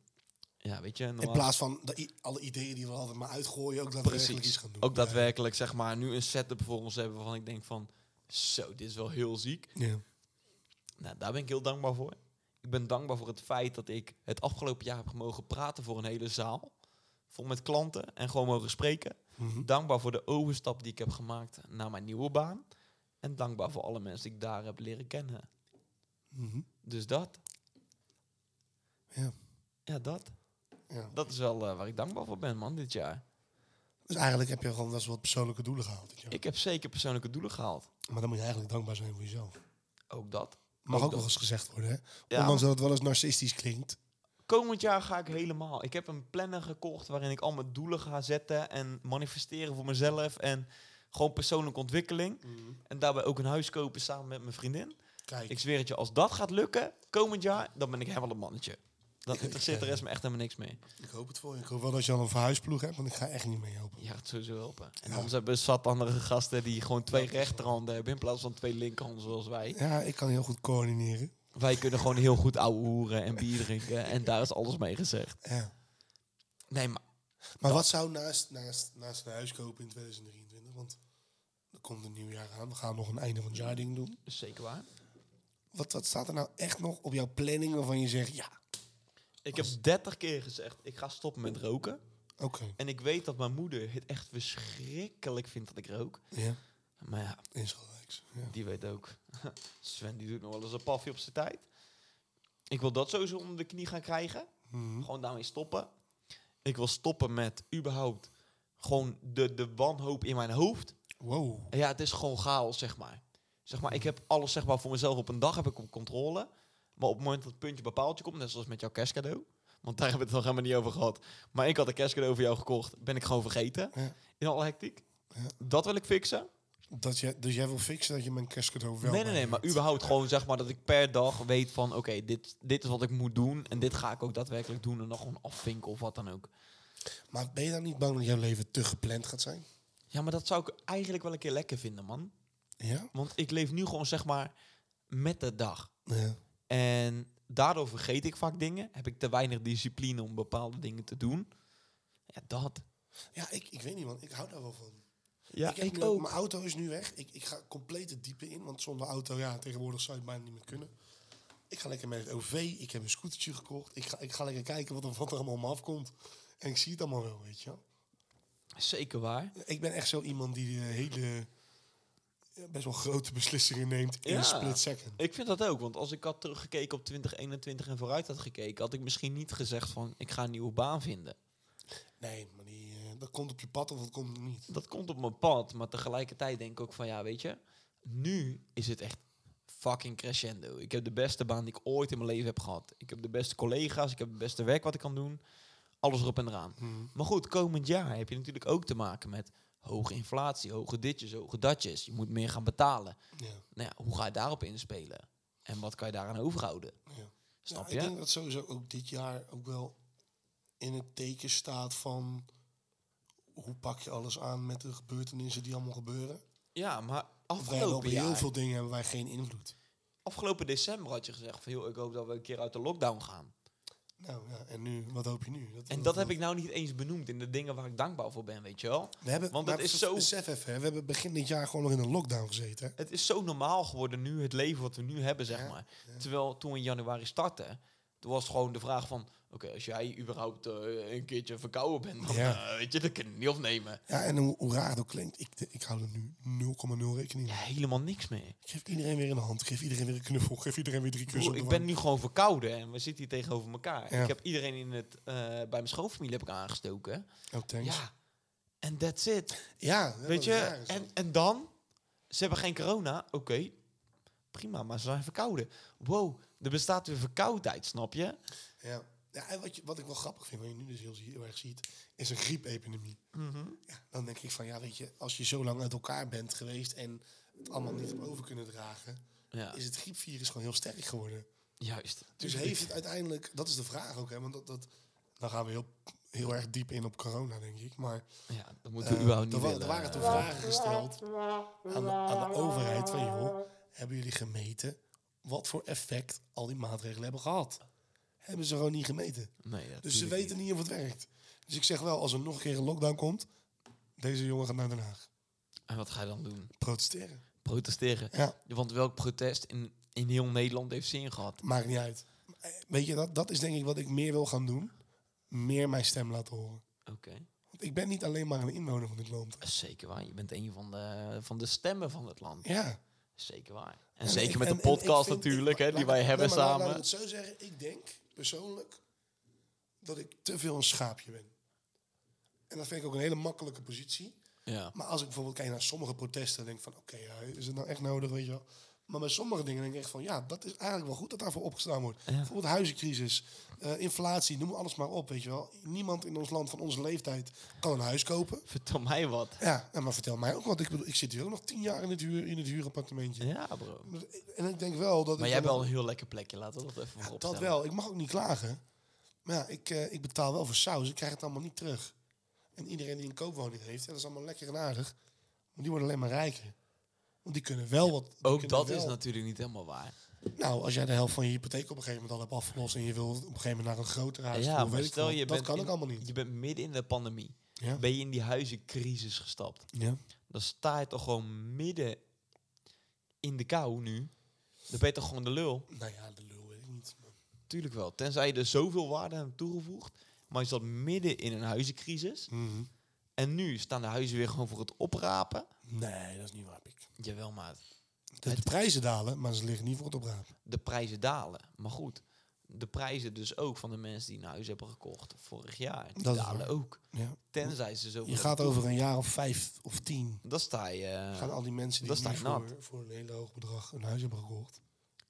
Speaker 2: ja, weet je,
Speaker 3: In
Speaker 2: normaal-
Speaker 3: plaats van de i- alle ideeën die we hadden maar uitgooien, ook daadwerkelijk iets
Speaker 2: precies.
Speaker 3: gaan doen.
Speaker 2: Ook daadwerkelijk, zeg maar, nu een setup voor ons hebben waarvan ik denk van, zo, dit is wel heel ziek.
Speaker 3: Ja. Ja.
Speaker 2: Nou, daar ben ik heel dankbaar voor. Ik ben dankbaar voor het feit dat ik het afgelopen jaar heb mogen praten voor een hele zaal. Vol met klanten en gewoon mogen spreken.
Speaker 3: Mhm.
Speaker 2: Dankbaar voor de overstap die ik heb gemaakt naar mijn nieuwe baan. En dankbaar voor alle mensen die ik daar heb leren kennen.
Speaker 3: Mhm.
Speaker 2: Dus dat,
Speaker 3: ja.
Speaker 2: ja, dat.
Speaker 3: Ja.
Speaker 2: Dat is wel eh, waar ik dankbaar voor ben, man, dit jaar.
Speaker 3: Dus eigenlijk heb je gewoon best wel wat persoonlijke doelen gehaald. dit jaar.
Speaker 2: Ik heb zeker persoonlijke doelen gehaald.
Speaker 3: Maar dan moet je eigenlijk dankbaar zijn voor jezelf.
Speaker 2: Ook dat.
Speaker 3: Mag ook,
Speaker 2: dat.
Speaker 3: nog eens gezegd worden, hè?
Speaker 2: Ja.
Speaker 3: Ondanks dat het wel eens narcistisch klinkt.
Speaker 2: Komend jaar ga ik helemaal. Ik heb een planner gekocht waarin ik al mijn doelen ga zetten en manifesteren voor mezelf en gewoon persoonlijke ontwikkeling. En daarbij ook een huis kopen samen met mijn vriendin.
Speaker 3: Kijk,
Speaker 2: Ik zweer het je, als dat gaat lukken komend jaar, dan ben ik helemaal een mannetje. Dan interesseert de rest me echt helemaal niks meer.
Speaker 3: Ik hoop het voor je. Ik hoop wel dat je al een verhuisploeg hebt, want ik ga echt niet mee helpen.
Speaker 2: Je gaat sowieso helpen. En anders hebben we zat andere gasten die gewoon twee rechterhanden hebben in plaats van twee linkerhanden zoals wij.
Speaker 3: Ja, ik kan heel goed coördineren.
Speaker 2: Wij kunnen gewoon heel goed ouwehoeren en bier drinken en daar is alles mee gezegd.
Speaker 3: Ja.
Speaker 2: Nee, maar
Speaker 3: Maar wat zou naast, naast, naast een huis kopen in 2023? Want er komt een nieuw jaar aan. We gaan nog een einde van het jaar ding doen.
Speaker 2: is zeker waar.
Speaker 3: Wat, wat staat er nou echt nog op jouw planning waarvan je zegt, ja,
Speaker 2: Ik heb 30 keer gezegd, ik ga stoppen met roken.
Speaker 3: oké.
Speaker 2: En ik weet dat mijn moeder het echt verschrikkelijk vindt dat ik rook.
Speaker 3: Ja,
Speaker 2: Maar ja,
Speaker 3: insgelijks. Ja.
Speaker 2: die weet ook. Sven die doet nog wel eens een pafje op zijn tijd. Ik wil dat sowieso onder de knie gaan krijgen. Gewoon daarmee stoppen. Ik wil stoppen met überhaupt gewoon de, de wanhoop in mijn hoofd.
Speaker 3: Wow.
Speaker 2: En Ja, het is gewoon chaos, zeg maar. Zeg maar, ik heb alles zeg maar, voor mezelf op een dag heb ik op controle. Maar op het moment dat het puntje bepaaltje komt, net zoals met jouw kerstcadeau. Want daar hebben we het nog helemaal niet over gehad. Maar ik had een kerstcadeau voor jou gekocht. Ben ik gewoon vergeten.
Speaker 3: Ja.
Speaker 2: In alle hectiek. Dat wil ik fixen.
Speaker 3: Dat je, dus jij wil fixen dat je mijn kerstcadeau
Speaker 2: nee,
Speaker 3: wel
Speaker 2: nee,
Speaker 3: bij
Speaker 2: nee.
Speaker 3: je
Speaker 2: Maar
Speaker 3: hebt.
Speaker 2: überhaupt gewoon zeg maar dat ik per dag weet van... Oké, dit, dit is wat ik moet doen. En dit ga ik ook daadwerkelijk doen. En dan gewoon afvinken of wat dan ook.
Speaker 3: Maar ben je dan niet bang dat jouw leven te gepland gaat zijn?
Speaker 2: Ja, maar dat zou ik eigenlijk wel een keer lekker vinden, man.
Speaker 3: Ja?
Speaker 2: Want ik leef nu gewoon zeg maar met de dag.
Speaker 3: Ja.
Speaker 2: En daardoor vergeet ik vaak dingen. Heb ik te weinig discipline om bepaalde dingen te doen. Ja, dat.
Speaker 3: Ja, ik, ik weet niet, man. Ik hou daar wel van.
Speaker 2: Ja,
Speaker 3: heb
Speaker 2: ik,
Speaker 3: nu
Speaker 2: ook.
Speaker 3: Mijn auto is nu weg. Ik, ik ga compleet het diepe in. Want zonder auto, ja, tegenwoordig zou je het bijna niet meer kunnen. Ik ga lekker met het OV. Ik heb een scootertje gekocht. Ik ga, ik ga lekker kijken wat er, wat er allemaal om me afkomt. En ik zie het allemaal wel, weet je wel.
Speaker 2: Zeker waar.
Speaker 3: Ik ben echt zo iemand die eh, hele... ja, best wel grote beslissingen neemt in
Speaker 2: Ja.
Speaker 3: een split second.
Speaker 2: Ik vind dat ook. Want als ik had teruggekeken op 2021 en vooruit had gekeken... had ik misschien niet gezegd van... ik ga een nieuwe baan vinden.
Speaker 3: Nee, maar die, eh, dat komt op je pad of dat komt er niet.
Speaker 2: Dat komt op mijn pad. Maar tegelijkertijd denk ik ook van... ja, weet je... nu is het echt fucking crescendo. Ik heb de beste baan die ik ooit in mijn leven heb gehad. Ik heb de beste collega's. Ik heb het beste werk wat ik kan doen. Alles erop en eraan.
Speaker 3: Hmm.
Speaker 2: Maar goed, komend jaar heb je natuurlijk ook te maken met... hoge inflatie, hoge ditjes, hoge datjes. Je moet meer gaan betalen.
Speaker 3: Ja.
Speaker 2: Nou ja, hoe ga je daarop inspelen? En wat kan je daaraan overhouden?
Speaker 3: Ja.
Speaker 2: Snap
Speaker 3: Ja,
Speaker 2: je?
Speaker 3: Ik denk dat sowieso ook dit jaar ook wel in het teken staat van hoe pak je alles aan met de gebeurtenissen die allemaal gebeuren.
Speaker 2: Ja, maar
Speaker 3: Wij hebben op
Speaker 2: afgelopen
Speaker 3: heel
Speaker 2: jaar...
Speaker 3: veel dingen hebben wij geen invloed.
Speaker 2: Afgelopen december had je gezegd van... joh, ik hoop dat we een keer uit de lockdown gaan.
Speaker 3: Nou ja, en nu, wat hoop je nu?
Speaker 2: En dat heb ik nou niet eens benoemd in de dingen waar ik dankbaar voor ben, weet je wel?
Speaker 3: We hebben,
Speaker 2: Want
Speaker 3: maar
Speaker 2: het is,
Speaker 3: besef-
Speaker 2: zo,
Speaker 3: Besef even, hè, we hebben begin dit jaar gewoon nog in een lockdown gezeten. hè.
Speaker 2: het is zo normaal geworden nu, het leven wat we nu hebben, zeg maar. Terwijl toen we in januari starten, toen was het gewoon de vraag van... Oké, als jij überhaupt eh, een keertje verkouden bent, dan
Speaker 3: Ja.
Speaker 2: eh, weet je, dat kan je niet opnemen.
Speaker 3: Ja, en hoe, hoe raar dat ook klinkt, ik, ik hou er nu 0,0 rekening
Speaker 2: Ja,
Speaker 3: mee.
Speaker 2: helemaal niks meer.
Speaker 3: Ik geef iedereen weer een hand, ik geef iedereen weer een knuffel, ik geef iedereen weer drie kussen.
Speaker 2: Broer,
Speaker 3: op
Speaker 2: ik
Speaker 3: de
Speaker 2: ben
Speaker 3: wang.
Speaker 2: nu gewoon verkouden en we zitten hier tegenover elkaar.
Speaker 3: Ja.
Speaker 2: Ik heb iedereen in het, eh, bij mijn schoonfamilie heb ik aangestoken.
Speaker 3: Oh, thanks.
Speaker 2: Ja, en that's it.
Speaker 3: Ja, ja,
Speaker 2: Weet
Speaker 3: wat
Speaker 2: je,
Speaker 3: raar is dat.
Speaker 2: en, en dan? Ze hebben geen corona, oké. Prima, maar ze zijn verkouden. Wow, er bestaat weer verkoudheid, snap je?
Speaker 3: Ja. ja en wat, je, wat ik wel grappig vind, wat je nu dus heel, zie- heel erg ziet, is een griepepidemie.
Speaker 2: Mhm.
Speaker 3: Ja, dan denk ik van, ja, weet je, als je zo lang uit elkaar bent geweest en het allemaal niet hebt over kunnen dragen,
Speaker 2: Ja.
Speaker 3: is het griepvirus gewoon heel sterk geworden.
Speaker 2: Juist.
Speaker 3: Dus heeft het uiteindelijk, dat is de vraag ook, hè, want dat, dat, dan gaan we heel, heel erg diep in op corona, denk ik. Maar
Speaker 2: Ja, dat moeten we
Speaker 3: eh,
Speaker 2: überhaupt
Speaker 3: er,
Speaker 2: niet
Speaker 3: wa-
Speaker 2: willen.
Speaker 3: er waren toen vragen gesteld aan de, aan de overheid van, joh, hebben jullie gemeten wat voor effect al die maatregelen hebben gehad? Hebben ze gewoon niet gemeten.
Speaker 2: Nee, ja,
Speaker 3: Dus ze
Speaker 2: tuurlijk
Speaker 3: weten niet of het werkt. Dus ik zeg wel, als er nog een keer een lockdown komt, deze jongen gaat naar Den Haag.
Speaker 2: niet. En wat ga je dan doen?
Speaker 3: Protesteren.
Speaker 2: Protesteren.
Speaker 3: Ja.
Speaker 2: Want welk protest in, in heel Nederland heeft zin gehad?
Speaker 3: Maakt niet uit. Eh, Weet je, dat, dat is denk ik wat ik meer wil gaan doen. Meer mijn stem laten horen.
Speaker 2: Oké.
Speaker 3: Want ik ben niet alleen maar een inwoner van dit land.
Speaker 2: Eh, Zeker waar. Je bent een van de, van de stemmen van het land.
Speaker 3: Ja.
Speaker 2: Zeker waar. En, zeker met
Speaker 3: en-
Speaker 2: de
Speaker 3: en ik
Speaker 2: podcast
Speaker 3: vind-
Speaker 2: natuurlijk,
Speaker 3: ik-
Speaker 2: hè, die
Speaker 3: laat-
Speaker 2: wij hebben
Speaker 3: nee, maar laat-
Speaker 2: samen.
Speaker 3: Laat ik het zo zeggen. Ik denk persoonlijk dat ik te veel een schaapje ben. En dat vind ik ook een hele makkelijke positie.
Speaker 2: Ja.
Speaker 3: Maar als ik bijvoorbeeld kijk naar sommige protesten, denk ik van oké, ja, is het nou echt nodig, weet je wel. Maar bij sommige dingen denk ik echt van ja, dat is eigenlijk wel goed dat daarvoor opgestaan wordt. Bijvoorbeeld huizencrisis, eh, inflatie, noem alles maar op, weet je wel. Niemand in ons land van onze leeftijd kan een huis kopen.
Speaker 2: Vertel mij wat.
Speaker 3: Ja, nou, maar vertel mij ook wat. Ik bedoel, ik zit hier ook nog tien jaar in het, huur, in het huurappartementje.
Speaker 2: Ja, bro.
Speaker 3: En ik denk wel dat...
Speaker 2: Maar
Speaker 3: ik
Speaker 2: jij hebt
Speaker 3: dan-
Speaker 2: wel een heel lekker plekje, laten we dat even
Speaker 3: Ja,
Speaker 2: voorop
Speaker 3: dat
Speaker 2: stellen.
Speaker 3: wel. Ik mag ook niet klagen. Maar ja, ik, eh, ik betaal wel voor saus. Ik krijg het allemaal niet terug. En iedereen die een koopwoning heeft, ja, dat is allemaal lekker en aardig. Maar die worden alleen maar rijker. Want die kunnen wel wat... die
Speaker 2: Ook
Speaker 3: kunnen
Speaker 2: dat is
Speaker 3: wel-
Speaker 2: natuurlijk niet helemaal waar.
Speaker 3: Nou, als jij de helft van je hypotheek op een gegeven moment al hebt afgelost... en je wil op een gegeven moment naar een groter huis...
Speaker 2: ja,
Speaker 3: toe,
Speaker 2: maar
Speaker 3: weet ik
Speaker 2: stel
Speaker 3: veel.
Speaker 2: je
Speaker 3: dat
Speaker 2: bent
Speaker 3: kan
Speaker 2: in-
Speaker 3: ook allemaal niet.
Speaker 2: Je bent midden in de pandemie.
Speaker 3: Ja.
Speaker 2: Ben je in die huizencrisis gestapt.
Speaker 3: Ja.
Speaker 2: Dan sta je toch gewoon midden in de kou nu. Dan ben je toch gewoon de lul.
Speaker 3: Nou ja, de lul weet ik niet. maar-
Speaker 2: Tuurlijk wel. Tenzij je er zoveel waarde aan hebt toegevoegd. Maar je zat midden in een huizencrisis.
Speaker 3: Mhm.
Speaker 2: En nu staan de huizen weer gewoon voor het oprapen.
Speaker 3: Nee, dat is niet waar, Pik.
Speaker 2: Jawel, maar
Speaker 3: De prijzen dalen, maar ze liggen niet voor het oprapen.
Speaker 2: de prijzen dalen. Maar goed, de prijzen dus ook van de mensen die een huis hebben gekocht vorig jaar. Die
Speaker 3: Dat is
Speaker 2: dalen
Speaker 3: waar.
Speaker 2: ook.
Speaker 3: Ja.
Speaker 2: Tenzij ze zo...
Speaker 3: Je gaat over een jaar of vijf of tien...
Speaker 2: Dan sta je... eh,
Speaker 3: gaan al die mensen die
Speaker 2: dat staat
Speaker 3: nu voor,
Speaker 2: nat.
Speaker 3: voor een heel hoog bedrag een huis hebben gekocht...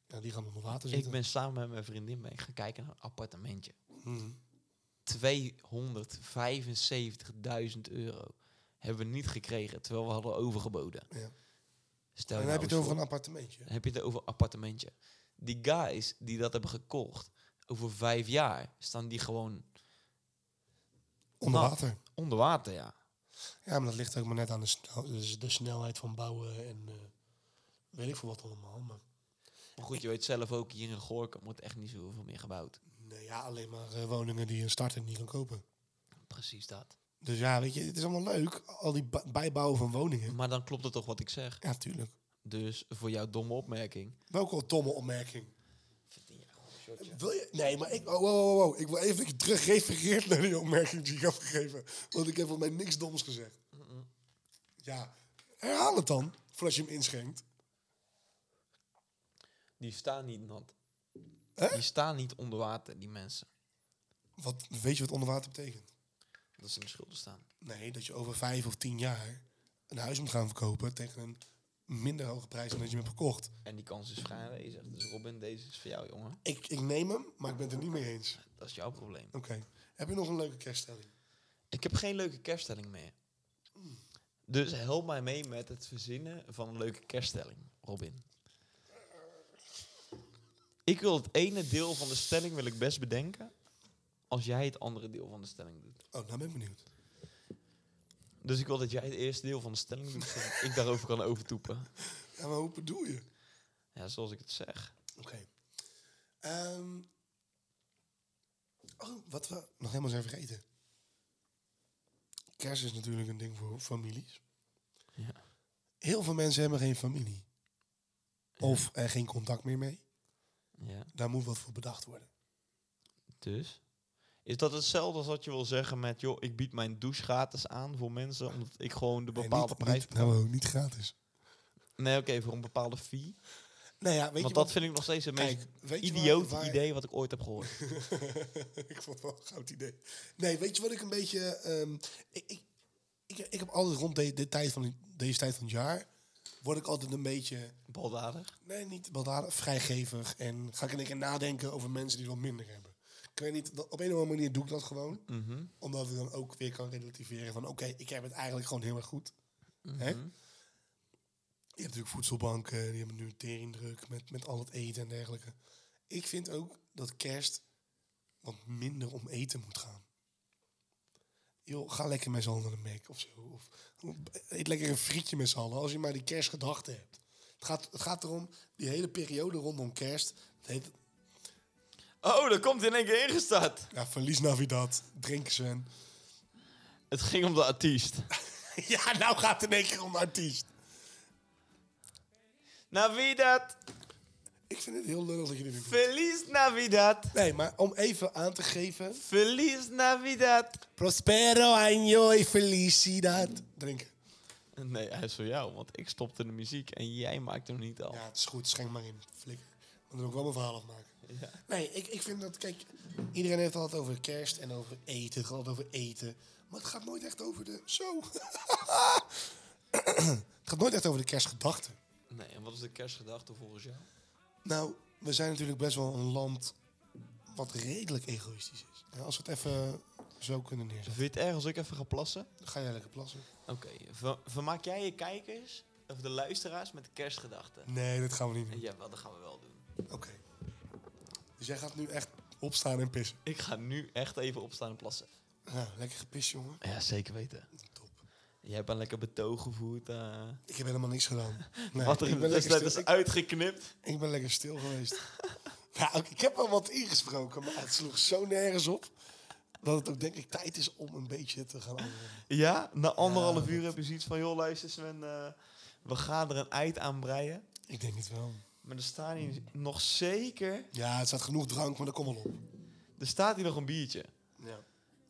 Speaker 3: Ja, die gaan onder water
Speaker 2: Ik
Speaker 3: zitten.
Speaker 2: ben samen met mijn vriendin mee gaan kijken naar een appartementje.
Speaker 3: Hmm.
Speaker 2: 275.000 euro hebben we niet gekregen, terwijl we hadden overgeboden.
Speaker 3: Ja.
Speaker 2: Stel
Speaker 3: En
Speaker 2: nou
Speaker 3: dan heb je
Speaker 2: eens
Speaker 3: het over
Speaker 2: voor-
Speaker 3: een appartementje.
Speaker 2: dan heb je het over een appartementje. Die guys die dat hebben gekocht, over vijf jaar staan die gewoon
Speaker 3: Onder
Speaker 2: nat.
Speaker 3: water.
Speaker 2: Onder water, ja.
Speaker 3: Ja, maar dat ligt ook maar net aan de, snel- dus de snelheid van bouwen en eh, weet ik veel wat allemaal. Maar
Speaker 2: Maar goed, je weet zelf ook, hier in Gorkum wordt echt niet zoveel meer gebouwd.
Speaker 3: nee, ja, alleen maar eh, woningen die een starter niet kan kopen.
Speaker 2: Precies dat.
Speaker 3: Dus ja, weet je, het is allemaal leuk, al die ba- bijbouwen van woningen.
Speaker 2: Maar dan klopt het toch wat ik zeg.
Speaker 3: Ja, tuurlijk.
Speaker 2: Dus voor jouw domme opmerking.
Speaker 3: Welke wel domme opmerking. Eh,
Speaker 2: Verdien je gewoon een shotje.
Speaker 3: Wil je? Nee, maar ik, oh, wow, wow, wow, wow. ik wil even dat je terugrefereert naar die opmerking die ik heb gegeven. Want ik heb volgens mij niks doms gezegd. Ja, herhaal het dan, voordat je hem inschenkt.
Speaker 2: Die staan niet nat.
Speaker 3: Hè?
Speaker 2: Die staan niet onder water, die mensen.
Speaker 3: Wat, weet je wat onder water betekent?
Speaker 2: Dat ze in de schulden staan.
Speaker 3: Nee, dat je over vijf of tien jaar een huis moet gaan verkopen tegen een minder hoge prijs dan dat je hem hebt gekocht.
Speaker 2: En die kans is vrij aanwezig. Dus Robin, deze is voor jou, jongen.
Speaker 3: Ik, ik neem hem, maar ik ben het er niet mee eens.
Speaker 2: Dat is jouw probleem.
Speaker 3: Oké. Heb je nog een leuke kerststelling?
Speaker 2: Ik heb geen leuke kerststelling meer. Dus help mij mee met het verzinnen van een leuke kerststelling, Robin. Ik wil het ene deel van de stelling wil ik best bedenken. Als jij het andere deel van de stelling doet.
Speaker 3: Oh, nou ben ik benieuwd.
Speaker 2: Dus ik wil dat jij het eerste deel van de stelling doet. Zodat ik daarover kan overtoepen.
Speaker 3: Ja, maar hoe bedoel je?
Speaker 2: Ja, zoals ik het zeg.
Speaker 3: Oké. Ehm oh, wat we nog helemaal zijn vergeten. Kerst is natuurlijk een ding voor families.
Speaker 2: Ja.
Speaker 3: Heel veel mensen hebben geen familie. Of er geen contact meer mee.
Speaker 2: ja.
Speaker 3: Daar moet wat voor bedacht worden.
Speaker 2: Dus? Is dat hetzelfde als wat je wil zeggen met... joh, ik bied mijn douche gratis aan voor mensen... omdat ik gewoon de
Speaker 3: Nee,
Speaker 2: bepaalde
Speaker 3: niet-
Speaker 2: prijs...
Speaker 3: Niet, nou, niet gratis.
Speaker 2: Nee, oké, voor een bepaalde fee.
Speaker 3: Nou ja, weet
Speaker 2: Want
Speaker 3: je
Speaker 2: dat vind ik nog steeds het meest
Speaker 3: Kijk, weet je waar-
Speaker 2: idioot
Speaker 3: waar-
Speaker 2: idee wat ik ooit heb gehoord.
Speaker 3: ik vond het wel een goud idee. Nee, weet je wat ik een beetje... ehm, ik, ik, ik, ik heb altijd rond de, de tijd van, die- deze tijd van het jaar... word ik altijd een beetje...
Speaker 2: Baldadig.
Speaker 3: Nee, niet baldadig, vrijgevig. En ga ik in één keer nadenken over mensen die wat minder hebben. Ik weet niet, dat- op een of andere manier doe ik dat gewoon. Omdat ik dan ook weer kan relativeren van... oké, ik heb het eigenlijk gewoon heel erg goed. Hè? Je hebt natuurlijk voedselbanken, die hebben nu teringdruk met, met al het eten en dergelijke. Ik vind ook dat kerst wat minder om eten moet gaan. Joh, ga lekker met z'n allen naar de Mac of zo. Of, eet lekker een frietje met z'n allen, als je maar die kerstgedachten hebt. Het gaat, het gaat erom, die hele periode rondom kerst... Het heet
Speaker 2: Oh, daar komt in één keer ingestart.
Speaker 3: ja, Verlies Navidad, drinken ze.
Speaker 2: Het ging om de artiest.
Speaker 3: ja, nou gaat het in één keer om de artiest.
Speaker 2: Navidad,
Speaker 3: Ik vind het heel lullig dat je dit weer doet.
Speaker 2: Feliz Navidad,
Speaker 3: Nee, maar om even aan te geven...
Speaker 2: Feliz Navidad.
Speaker 3: Prospero año y felicidad. Drinken.
Speaker 2: Nee, hij is voor jou, want ik stopte de muziek en jij maakt hem niet al.
Speaker 3: Ja, het is goed. Schenk maar in. Flikker. Maar dan wil ik wel mijn verhaal afmaken. Nee, ik, ik vind dat... Kijk, iedereen heeft het altijd over kerst en over eten. Het gaat altijd over eten. Maar het gaat nooit echt over de... Zo. het gaat nooit echt over de kerstgedachten.
Speaker 2: Nee, en wat is de kerstgedachte volgens jou?
Speaker 3: Nou, we zijn natuurlijk best wel een land wat redelijk egoïstisch is. Ja, als we het even zo kunnen
Speaker 2: Vind
Speaker 3: neerzetten,
Speaker 2: je het erg als ik even ga plassen?
Speaker 3: dan ga jij lekker plassen.
Speaker 2: Oké, ver- vermaak jij je kijkers of de luisteraars met de kerstgedachten?
Speaker 3: Nee, dat gaan we niet doen.
Speaker 2: Ja, wel, dat gaan we wel doen.
Speaker 3: Oké. Dus jij gaat nu echt Opstaan en pissen.
Speaker 2: Ik ga nu echt even opstaan en plassen.
Speaker 3: Nou, lekker gepist, jongen.
Speaker 2: Ja, zeker weten.
Speaker 3: Top.
Speaker 2: Jij hebt een lekker betoog gevoerd. eh
Speaker 3: Ik heb helemaal niks gedaan. Nee,
Speaker 2: wat er in
Speaker 3: ik,
Speaker 2: de
Speaker 3: ben
Speaker 2: tussentijd
Speaker 3: lekker
Speaker 2: is
Speaker 3: stil, ik,
Speaker 2: uitgeknipt.
Speaker 3: ik ben lekker stil geweest. nou, ik, ik heb wel wat ingesproken, maar het sloeg zo nergens op. Dat het ook denk ik tijd is om een beetje te gaan antwoorden.
Speaker 2: Ja, na anderhalf uur heb je zoiets van... joh, luister Sven, eh, we gaan er een eind aan breien.
Speaker 3: Ik denk het wel.
Speaker 2: Maar er staan hier
Speaker 3: Hmm.
Speaker 2: nog zeker...
Speaker 3: Ja, het staat genoeg drank, maar dat komt wel op.
Speaker 2: Er staat hier nog een biertje.
Speaker 3: Ja.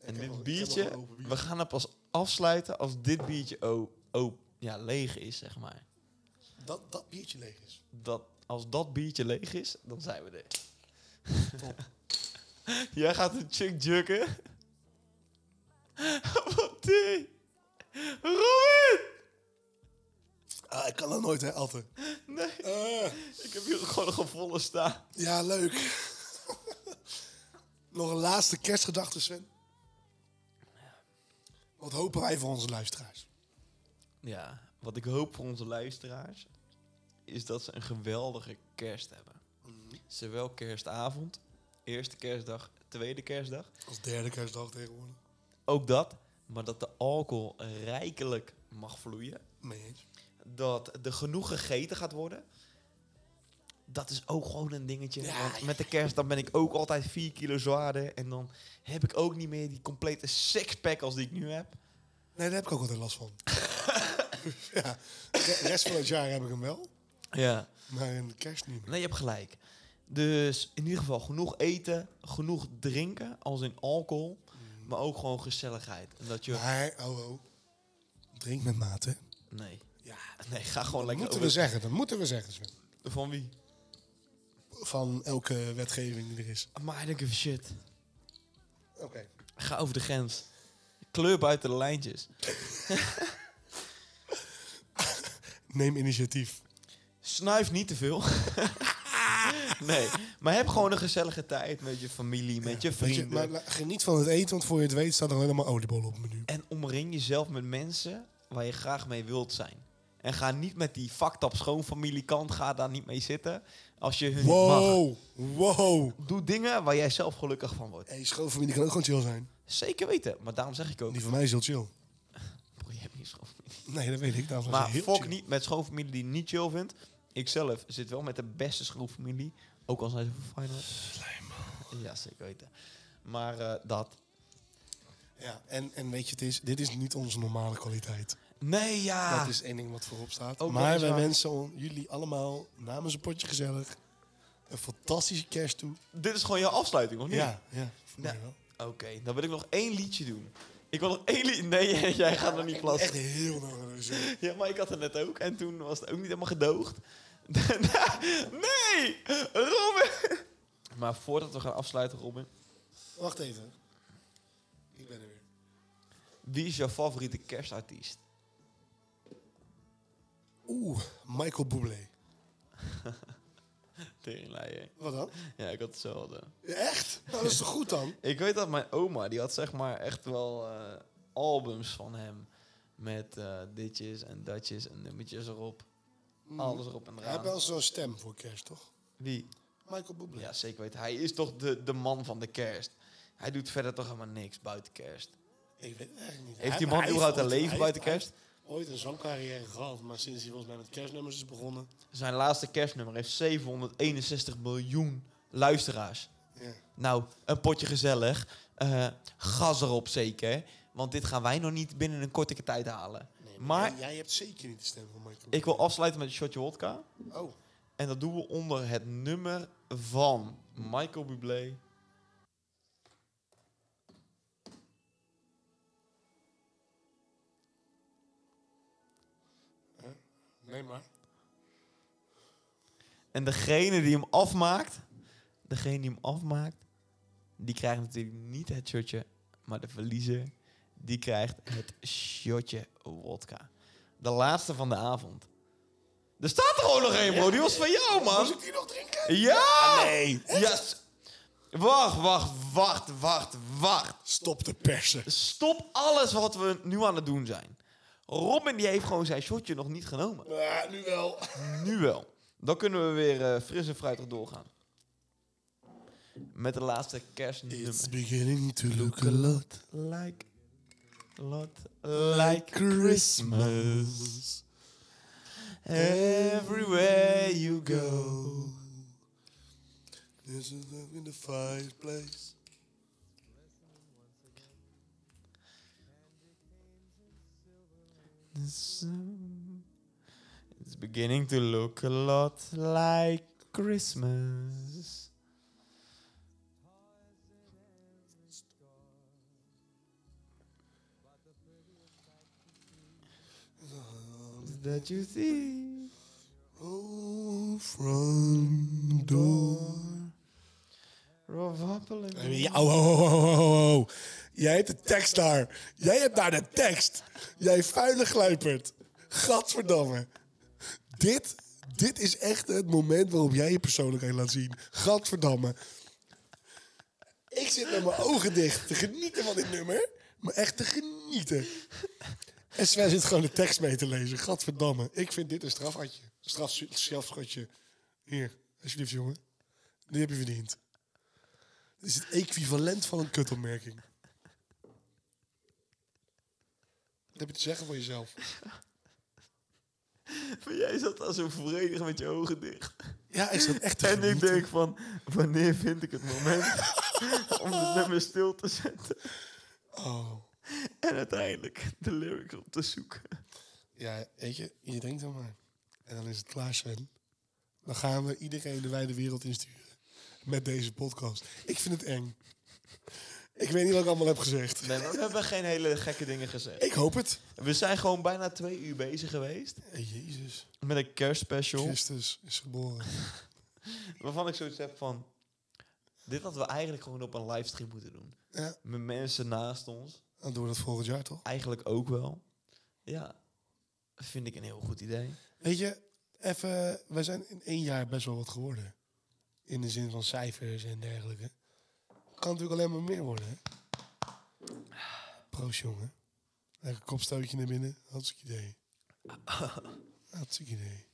Speaker 2: En
Speaker 3: heb nog-
Speaker 2: dit
Speaker 3: ik heb nog een
Speaker 2: biertje,
Speaker 3: open bier.
Speaker 2: we gaan het pas afsluiten als dit biertje o, o, ja, leeg is, zeg maar.
Speaker 3: Dat, dat biertje leeg is.
Speaker 2: Dat, als dat biertje leeg is, dan zijn we er. Jij gaat een chick jukken. Wat die? Robin!
Speaker 3: Ah, ik kan dat nooit, hè, Atten.
Speaker 2: Nee,
Speaker 3: Eh,
Speaker 2: ik heb hier gewoon nog een volle staan.
Speaker 3: ja, leuk. Nog een laatste kerstgedachte, Sven. Wat hopen wij voor onze luisteraars?
Speaker 2: Ja, wat ik hoop voor onze luisteraars is dat ze een geweldige kerst hebben. Zowel kerstavond, eerste kerstdag, tweede kerstdag.
Speaker 3: Als derde kerstdag tegenwoordig.
Speaker 2: Ook dat, maar dat de alcohol rijkelijk mag vloeien.
Speaker 3: Mee eens.
Speaker 2: Dat er genoeg gegeten gaat worden. Dat is ook gewoon een dingetje.
Speaker 3: Ja,
Speaker 2: want
Speaker 3: ja,
Speaker 2: met de kerst dan ben ik ook altijd 4 kilo zwaarder. En dan heb ik ook niet meer die complete sixpack als die ik nu heb.
Speaker 3: Nee, daar heb ik ook altijd last van. ja, de rest van het jaar heb ik hem wel,
Speaker 2: Ja.
Speaker 3: maar in de kerst niet meer.
Speaker 2: Nee, je hebt gelijk. Dus in ieder geval genoeg eten, genoeg drinken, als in alcohol. Maar ook gewoon gezelligheid. En dat je...
Speaker 3: Maar, oh, oh. Drink met mate. hè.
Speaker 2: Nee.
Speaker 3: Ja,
Speaker 2: Nee, ga gewoon
Speaker 3: dat
Speaker 2: lekker
Speaker 3: moeten
Speaker 2: over-
Speaker 3: we zeggen. Dat moeten we zeggen, Sven.
Speaker 2: Van wie?
Speaker 3: Van elke wetgeving die er is.
Speaker 2: Maar I don't give a shit.
Speaker 3: Oké.
Speaker 2: Ga over de grens. Kleur buiten de lijntjes.
Speaker 3: Neem initiatief.
Speaker 2: Snuif niet te veel. nee, maar heb gewoon een gezellige tijd met je familie, met je
Speaker 3: Weet je,
Speaker 2: vrienden.
Speaker 3: maar, maar geniet van het eten, want voor je het weet staat er helemaal oliebollen op het menu.
Speaker 2: En omring jezelf met mensen waar je graag mee wilt zijn. En ga niet met die fucked up schoonfamiliekant, ga daar niet mee zitten. Als je hun niet mag.
Speaker 3: Wow, wow.
Speaker 2: Doe dingen waar jij zelf gelukkig van wordt.
Speaker 3: Hey, schoonfamilie kan ook gewoon chill zijn.
Speaker 2: Zeker weten, maar daarom zeg ik ook...
Speaker 3: Die van mij is heel chill.
Speaker 2: Bro, je hebt niet schoonfamilie.
Speaker 3: Nee, dat weet ik. Daarom was
Speaker 2: Maar
Speaker 3: ik heel
Speaker 2: fok
Speaker 3: chill.
Speaker 2: niet met schoonfamilie die je niet chill vindt. Ik zelf zit wel met de beste schoonfamilie. Ook al zijn ze van Feyenoord. Ja, zeker weten. Maar eh, dat...
Speaker 3: Ja, en, en weet je, het is, dit is niet onze normale kwaliteit.
Speaker 2: Nee, ja.
Speaker 3: Dat is één ding wat voorop staat.
Speaker 2: Ook nog
Speaker 3: maar
Speaker 2: eens
Speaker 3: wij
Speaker 2: Ah. Oh, waar.
Speaker 3: wensen on- jullie allemaal namens een potje gezellig een fantastische kerst toe.
Speaker 2: Dit is gewoon jouw afsluiting, of niet?
Speaker 3: Ja, ja. Voor
Speaker 2: Nou,
Speaker 3: mij wel.
Speaker 2: Oké, dan wil ik nog één liedje doen. Ik wil nog één liedje... Nee, jij gaat nog niet plassen.
Speaker 3: Echt heel nodig.
Speaker 2: Ja, maar ik had het net ook. En toen was het ook niet helemaal gedoogd. nee! Robin! Maar voordat we gaan afsluiten, Robin.
Speaker 3: Wacht even. Ik ben er weer.
Speaker 2: Wie is jouw favoriete kerstartiest?
Speaker 3: Oeh, Michael Bublé.
Speaker 2: Teringleier.
Speaker 3: Wat dan?
Speaker 2: Ja, ik had hetzelfde.
Speaker 3: Echt? Nou, dat is toch goed dan?
Speaker 2: Ik weet dat mijn oma, die had zeg maar echt wel eh, albums van hem. Met eh, ditjes en datjes en nummertjes erop. Alles erop en
Speaker 3: Hij heeft
Speaker 2: eraan.
Speaker 3: Mm. wel zo'n stem voor kerst, toch?
Speaker 2: Wie?
Speaker 3: Michael Bublé.
Speaker 2: Ja, zeker weten. Hij is toch de, de man van de kerst. Hij doet verder toch helemaal niks buiten kerst.
Speaker 3: Ik weet het eigenlijk niet.
Speaker 2: Heeft
Speaker 3: Hij-
Speaker 2: die man
Speaker 3: hij heeft
Speaker 2: überhaupt een
Speaker 3: ooit-
Speaker 2: leven
Speaker 3: hij
Speaker 2: buiten
Speaker 3: heeft-
Speaker 2: kerst?
Speaker 3: hij heeft Ooit een zangcarrière gehad, maar sinds hij volgens mij met kerstnummers is begonnen.
Speaker 2: Zijn laatste kerstnummer heeft 761 miljoen luisteraars.
Speaker 3: Ja.
Speaker 2: Nou, een potje gezellig. Eh, gas erop zeker. Want dit gaan wij nog niet binnen een korte tijd halen.
Speaker 3: Nee,
Speaker 2: maar
Speaker 3: jij, jij hebt zeker niet de stem van Michael.
Speaker 2: ik wil afsluiten met een shotje wodka.
Speaker 3: Oh,
Speaker 2: En dat doen we onder het nummer van Michael Bublé.
Speaker 3: nee maar.
Speaker 2: En degene die hem afmaakt... Degene die hem afmaakt... Die krijgt natuurlijk niet het shotje. Maar de verliezer... Die krijgt het shotje wodka. De laatste van de avond. Er staat er gewoon nog één, bro. Die was van jou, man.
Speaker 3: ik die nog drinken?
Speaker 2: Ja! Nee. Yes. Wacht, wacht, wacht, wacht, wacht.
Speaker 3: Stop de persen.
Speaker 2: Stop alles wat we nu aan het doen zijn. Robin die heeft gewoon zijn shotje nog niet genomen.
Speaker 3: Ah, nu wel.
Speaker 2: Nu wel. Dan kunnen we weer eh, fris en fruitig doorgaan. Met de laatste kerstnummer.
Speaker 3: It's beginning to look a lot
Speaker 2: Like, lot,
Speaker 3: like Christmas.
Speaker 2: everywhere you
Speaker 3: go. There's a look in the fireplace.
Speaker 2: It's beginning to look a lot like Christmas. That you see.
Speaker 3: Oh, front door.
Speaker 2: Rob Wappelen.
Speaker 3: Ja, oh, oh, oh, oh, oh, oh. Jij hebt de tekst daar. Jij hebt daar de tekst. Jij vuile gluipert. Gadverdamme. Dit, dit is echt het moment waarop jij je persoonlijkheid laat zien. Gadverdamme. Ik zit met mijn ogen dicht te genieten van dit nummer. Maar echt te genieten. En Sven zit gewoon de tekst mee te lezen. Gadverdamme. Ik vind dit een strafadje. Straf, strafschotje. Hier, alsjeblieft jongen. Die heb je verdiend. Dit is het equivalent van een kutopmerking. Wat heb je te zeggen voor jezelf?
Speaker 2: Maar jij zat al zo vredig met je ogen dicht.
Speaker 3: Ja, ik zat echt te
Speaker 2: En ik
Speaker 3: genieten.
Speaker 2: denk van, wanneer vind ik het moment om het nummer stil te zetten?
Speaker 3: Oh.
Speaker 2: En uiteindelijk de lyrics op te zoeken.
Speaker 3: Ja, weet je, je drinkt dan maar. En dan is het klaar, Sven. Dan gaan we iedereen de wijde wereld insturen. Met deze podcast. Ik vind het eng. Ik weet niet wat ik allemaal heb gezegd.
Speaker 2: Nee, maar we hebben geen hele gekke dingen gezegd.
Speaker 3: Ik hoop het.
Speaker 2: We zijn gewoon bijna twee uur bezig geweest
Speaker 3: Jezus.
Speaker 2: met een kerstspecial.
Speaker 3: Christus is geboren.
Speaker 2: Waarvan ik zoiets heb van, dit hadden we eigenlijk gewoon op een livestream moeten doen.
Speaker 3: Ja,
Speaker 2: Met mensen naast ons,
Speaker 3: dan doen we dat volgend jaar toch?
Speaker 2: eigenlijk ook wel. Ja, vind ik een heel goed idee.
Speaker 3: Weet je, even, wij zijn in één jaar best wel wat geworden. In de zin van cijfers en dergelijke. Kan natuurlijk alleen maar meer worden. Hè? Proost, jongen. Lekker kopstootje naar binnen. Hartstikke idee. Hartstikke idee.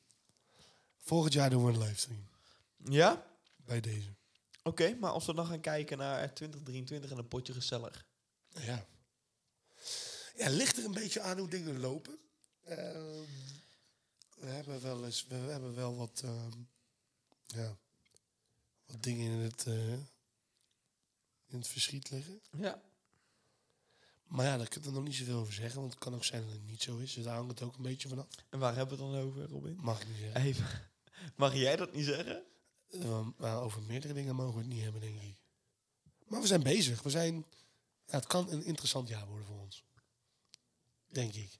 Speaker 3: Volgend jaar doen we een livestream.
Speaker 2: Ja?
Speaker 3: Bij deze.
Speaker 2: Oké, maar als we dan gaan kijken naar 2023 en een potje gezellig.
Speaker 3: Ja. Ja, ligt er een beetje aan hoe dingen lopen. Ehm, we hebben wel eens, we hebben wel wat, ehm, ja, wat dingen in het, eh, in het verschiet liggen.
Speaker 2: Ja.
Speaker 3: Maar ja, daar kun je nog niet zoveel over zeggen, want het kan ook zijn dat het niet zo is. Dus daar hangt het ook een beetje vanaf.
Speaker 2: En waar hebben we het dan over, Robin?
Speaker 3: Mag ik niet zeggen.
Speaker 2: Even, mag jij dat niet zeggen?
Speaker 3: Ehm, maar over meerdere dingen mogen we het niet hebben, denk ik. Maar we zijn bezig. We zijn, ja, het kan een interessant jaar worden voor ons. Denk ik.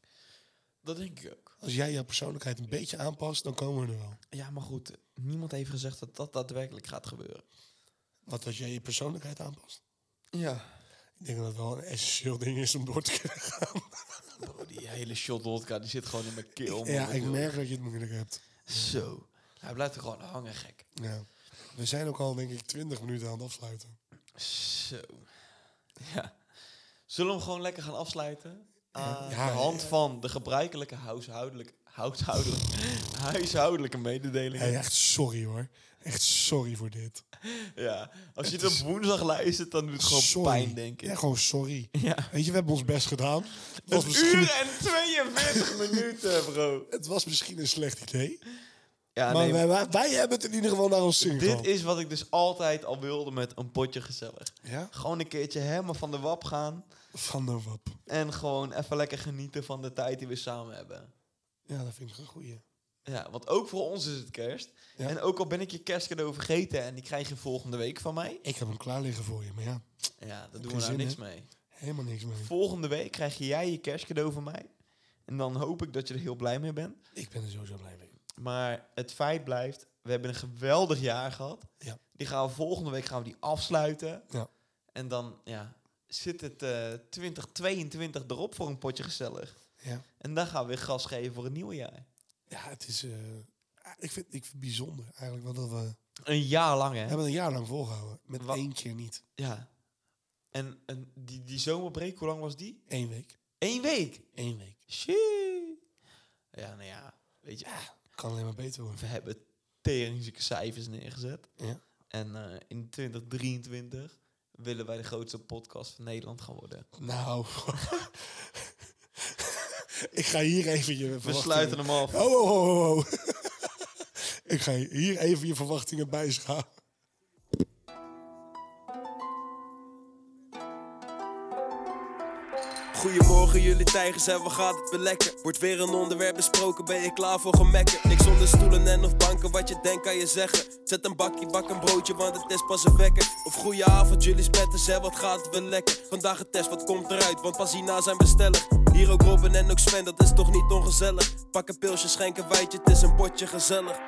Speaker 2: Dat denk ik ook.
Speaker 3: Als jij jouw persoonlijkheid een beetje aanpast, dan komen we er wel.
Speaker 2: Ja, maar goed, niemand heeft gezegd dat dat daadwerkelijk gaat gebeuren.
Speaker 3: Wat als jij je persoonlijkheid aanpast?
Speaker 2: Ja.
Speaker 3: Ik denk dat het wel een essentieel ding is om door te kunnen gaan.
Speaker 2: Bro, Oh, die hele shot vodka, die zit gewoon in mijn keel. man.
Speaker 3: ja, ik merk dat je het moeilijk hebt.
Speaker 2: Zo. Hij blijft er gewoon hangen, gek.
Speaker 3: Ja. We zijn ook al, denk ik, 20 minuten aan het afsluiten.
Speaker 2: Zo. Ja. Zullen we hem gewoon lekker gaan afsluiten? Aan
Speaker 3: Ja,
Speaker 2: de hand van de gebruikelijke huishoudelijke, huishoudelijke, huishoudelijke mededelingen.
Speaker 3: Hey, echt sorry hoor. Echt sorry voor dit.
Speaker 2: Ja, als je het op woensdag luistert, dan doet het gewoon
Speaker 3: sorry.
Speaker 2: pijn, denk ik.
Speaker 3: Ja, gewoon sorry.
Speaker 2: Ja.
Speaker 3: Weet je, we hebben ons best gedaan. Het was,
Speaker 2: Een
Speaker 3: misschien,
Speaker 2: uur en 42 minuten, bro.
Speaker 3: het was misschien een slecht idee.
Speaker 2: Ja,
Speaker 3: maar
Speaker 2: nee,
Speaker 3: wij, wij, wij hebben het in ieder geval naar ons zin
Speaker 2: dit
Speaker 3: gehad.
Speaker 2: is wat ik dus altijd al wilde met een potje gezellig.
Speaker 3: Ja?
Speaker 2: Gewoon een keertje helemaal van de wap gaan.
Speaker 3: Van de wap.
Speaker 2: En gewoon even lekker genieten van de tijd die we samen hebben.
Speaker 3: Ja, dat vind ik een goeie.
Speaker 2: Ja, want ook voor ons is het kerst.
Speaker 3: Ja.
Speaker 2: En ook al ben ik je kerstcadeau vergeten en die krijg je volgende week van mij.
Speaker 3: Ik heb hem klaar liggen voor je, maar ja,
Speaker 2: Ja, daar doen
Speaker 3: je
Speaker 2: we nou
Speaker 3: zin,
Speaker 2: niks
Speaker 3: hè?
Speaker 2: mee.
Speaker 3: helemaal niks mee.
Speaker 2: Volgende week krijg jij je kerstcadeau van mij. En dan hoop ik dat je er heel blij mee bent.
Speaker 3: Ik ben er sowieso blij mee.
Speaker 2: Maar het feit blijft, we hebben een geweldig jaar gehad.
Speaker 3: Ja.
Speaker 2: Die gaan we volgende week gaan we die afsluiten.
Speaker 3: Ja.
Speaker 2: En dan ja, zit het eh 2022 erop voor een potje gezellig.
Speaker 3: Ja.
Speaker 2: En dan gaan we weer gas geven voor het nieuwe jaar.
Speaker 3: Ja, het is. eh, ik, vind, ik vind het bijzonder eigenlijk. Want dat we, we
Speaker 2: Een jaar lang, hè?
Speaker 3: hebben een jaar lang volgehouden. Met
Speaker 2: Wa-
Speaker 3: één keer niet.
Speaker 2: Ja. En, en die, die zomerbreak, hoe lang was die?
Speaker 3: Eén week.
Speaker 2: Eén week.
Speaker 3: Eén week.
Speaker 2: Shit. Ja, nou ja. Weet je,
Speaker 3: Kan alleen maar beter worden.
Speaker 2: we hebben teringzieke cijfers neergezet.
Speaker 3: Ja.
Speaker 2: En eh, in 2023 willen wij de grootste podcast van Nederland gaan worden.
Speaker 3: Nou. ik ga hier even je
Speaker 2: We
Speaker 3: verwachtingen-
Speaker 2: sluiten hem af.
Speaker 3: Oh, oh, oh, oh, oh. ik ga hier even je verwachtingen bijschalen.
Speaker 1: Goedemorgen jullie tijgers en wat gaat het weer lekker? Wordt weer een onderwerp besproken, ben je klaar voor gemekken? Niks onder stoelen en of banken, wat je denkt kan je zeggen Zet een bakje, bak een broodje, want het is pas een wekker Of goeie avond jullie spetters en wat gaat het weer lekker? Vandaag een test, wat komt eruit? Want pas hierna zijn we stellig Hier ook Robin en ook Sven, dat is toch niet ongezellig? Pak een pilsje, schenk een wijtje, het is een potje gezellig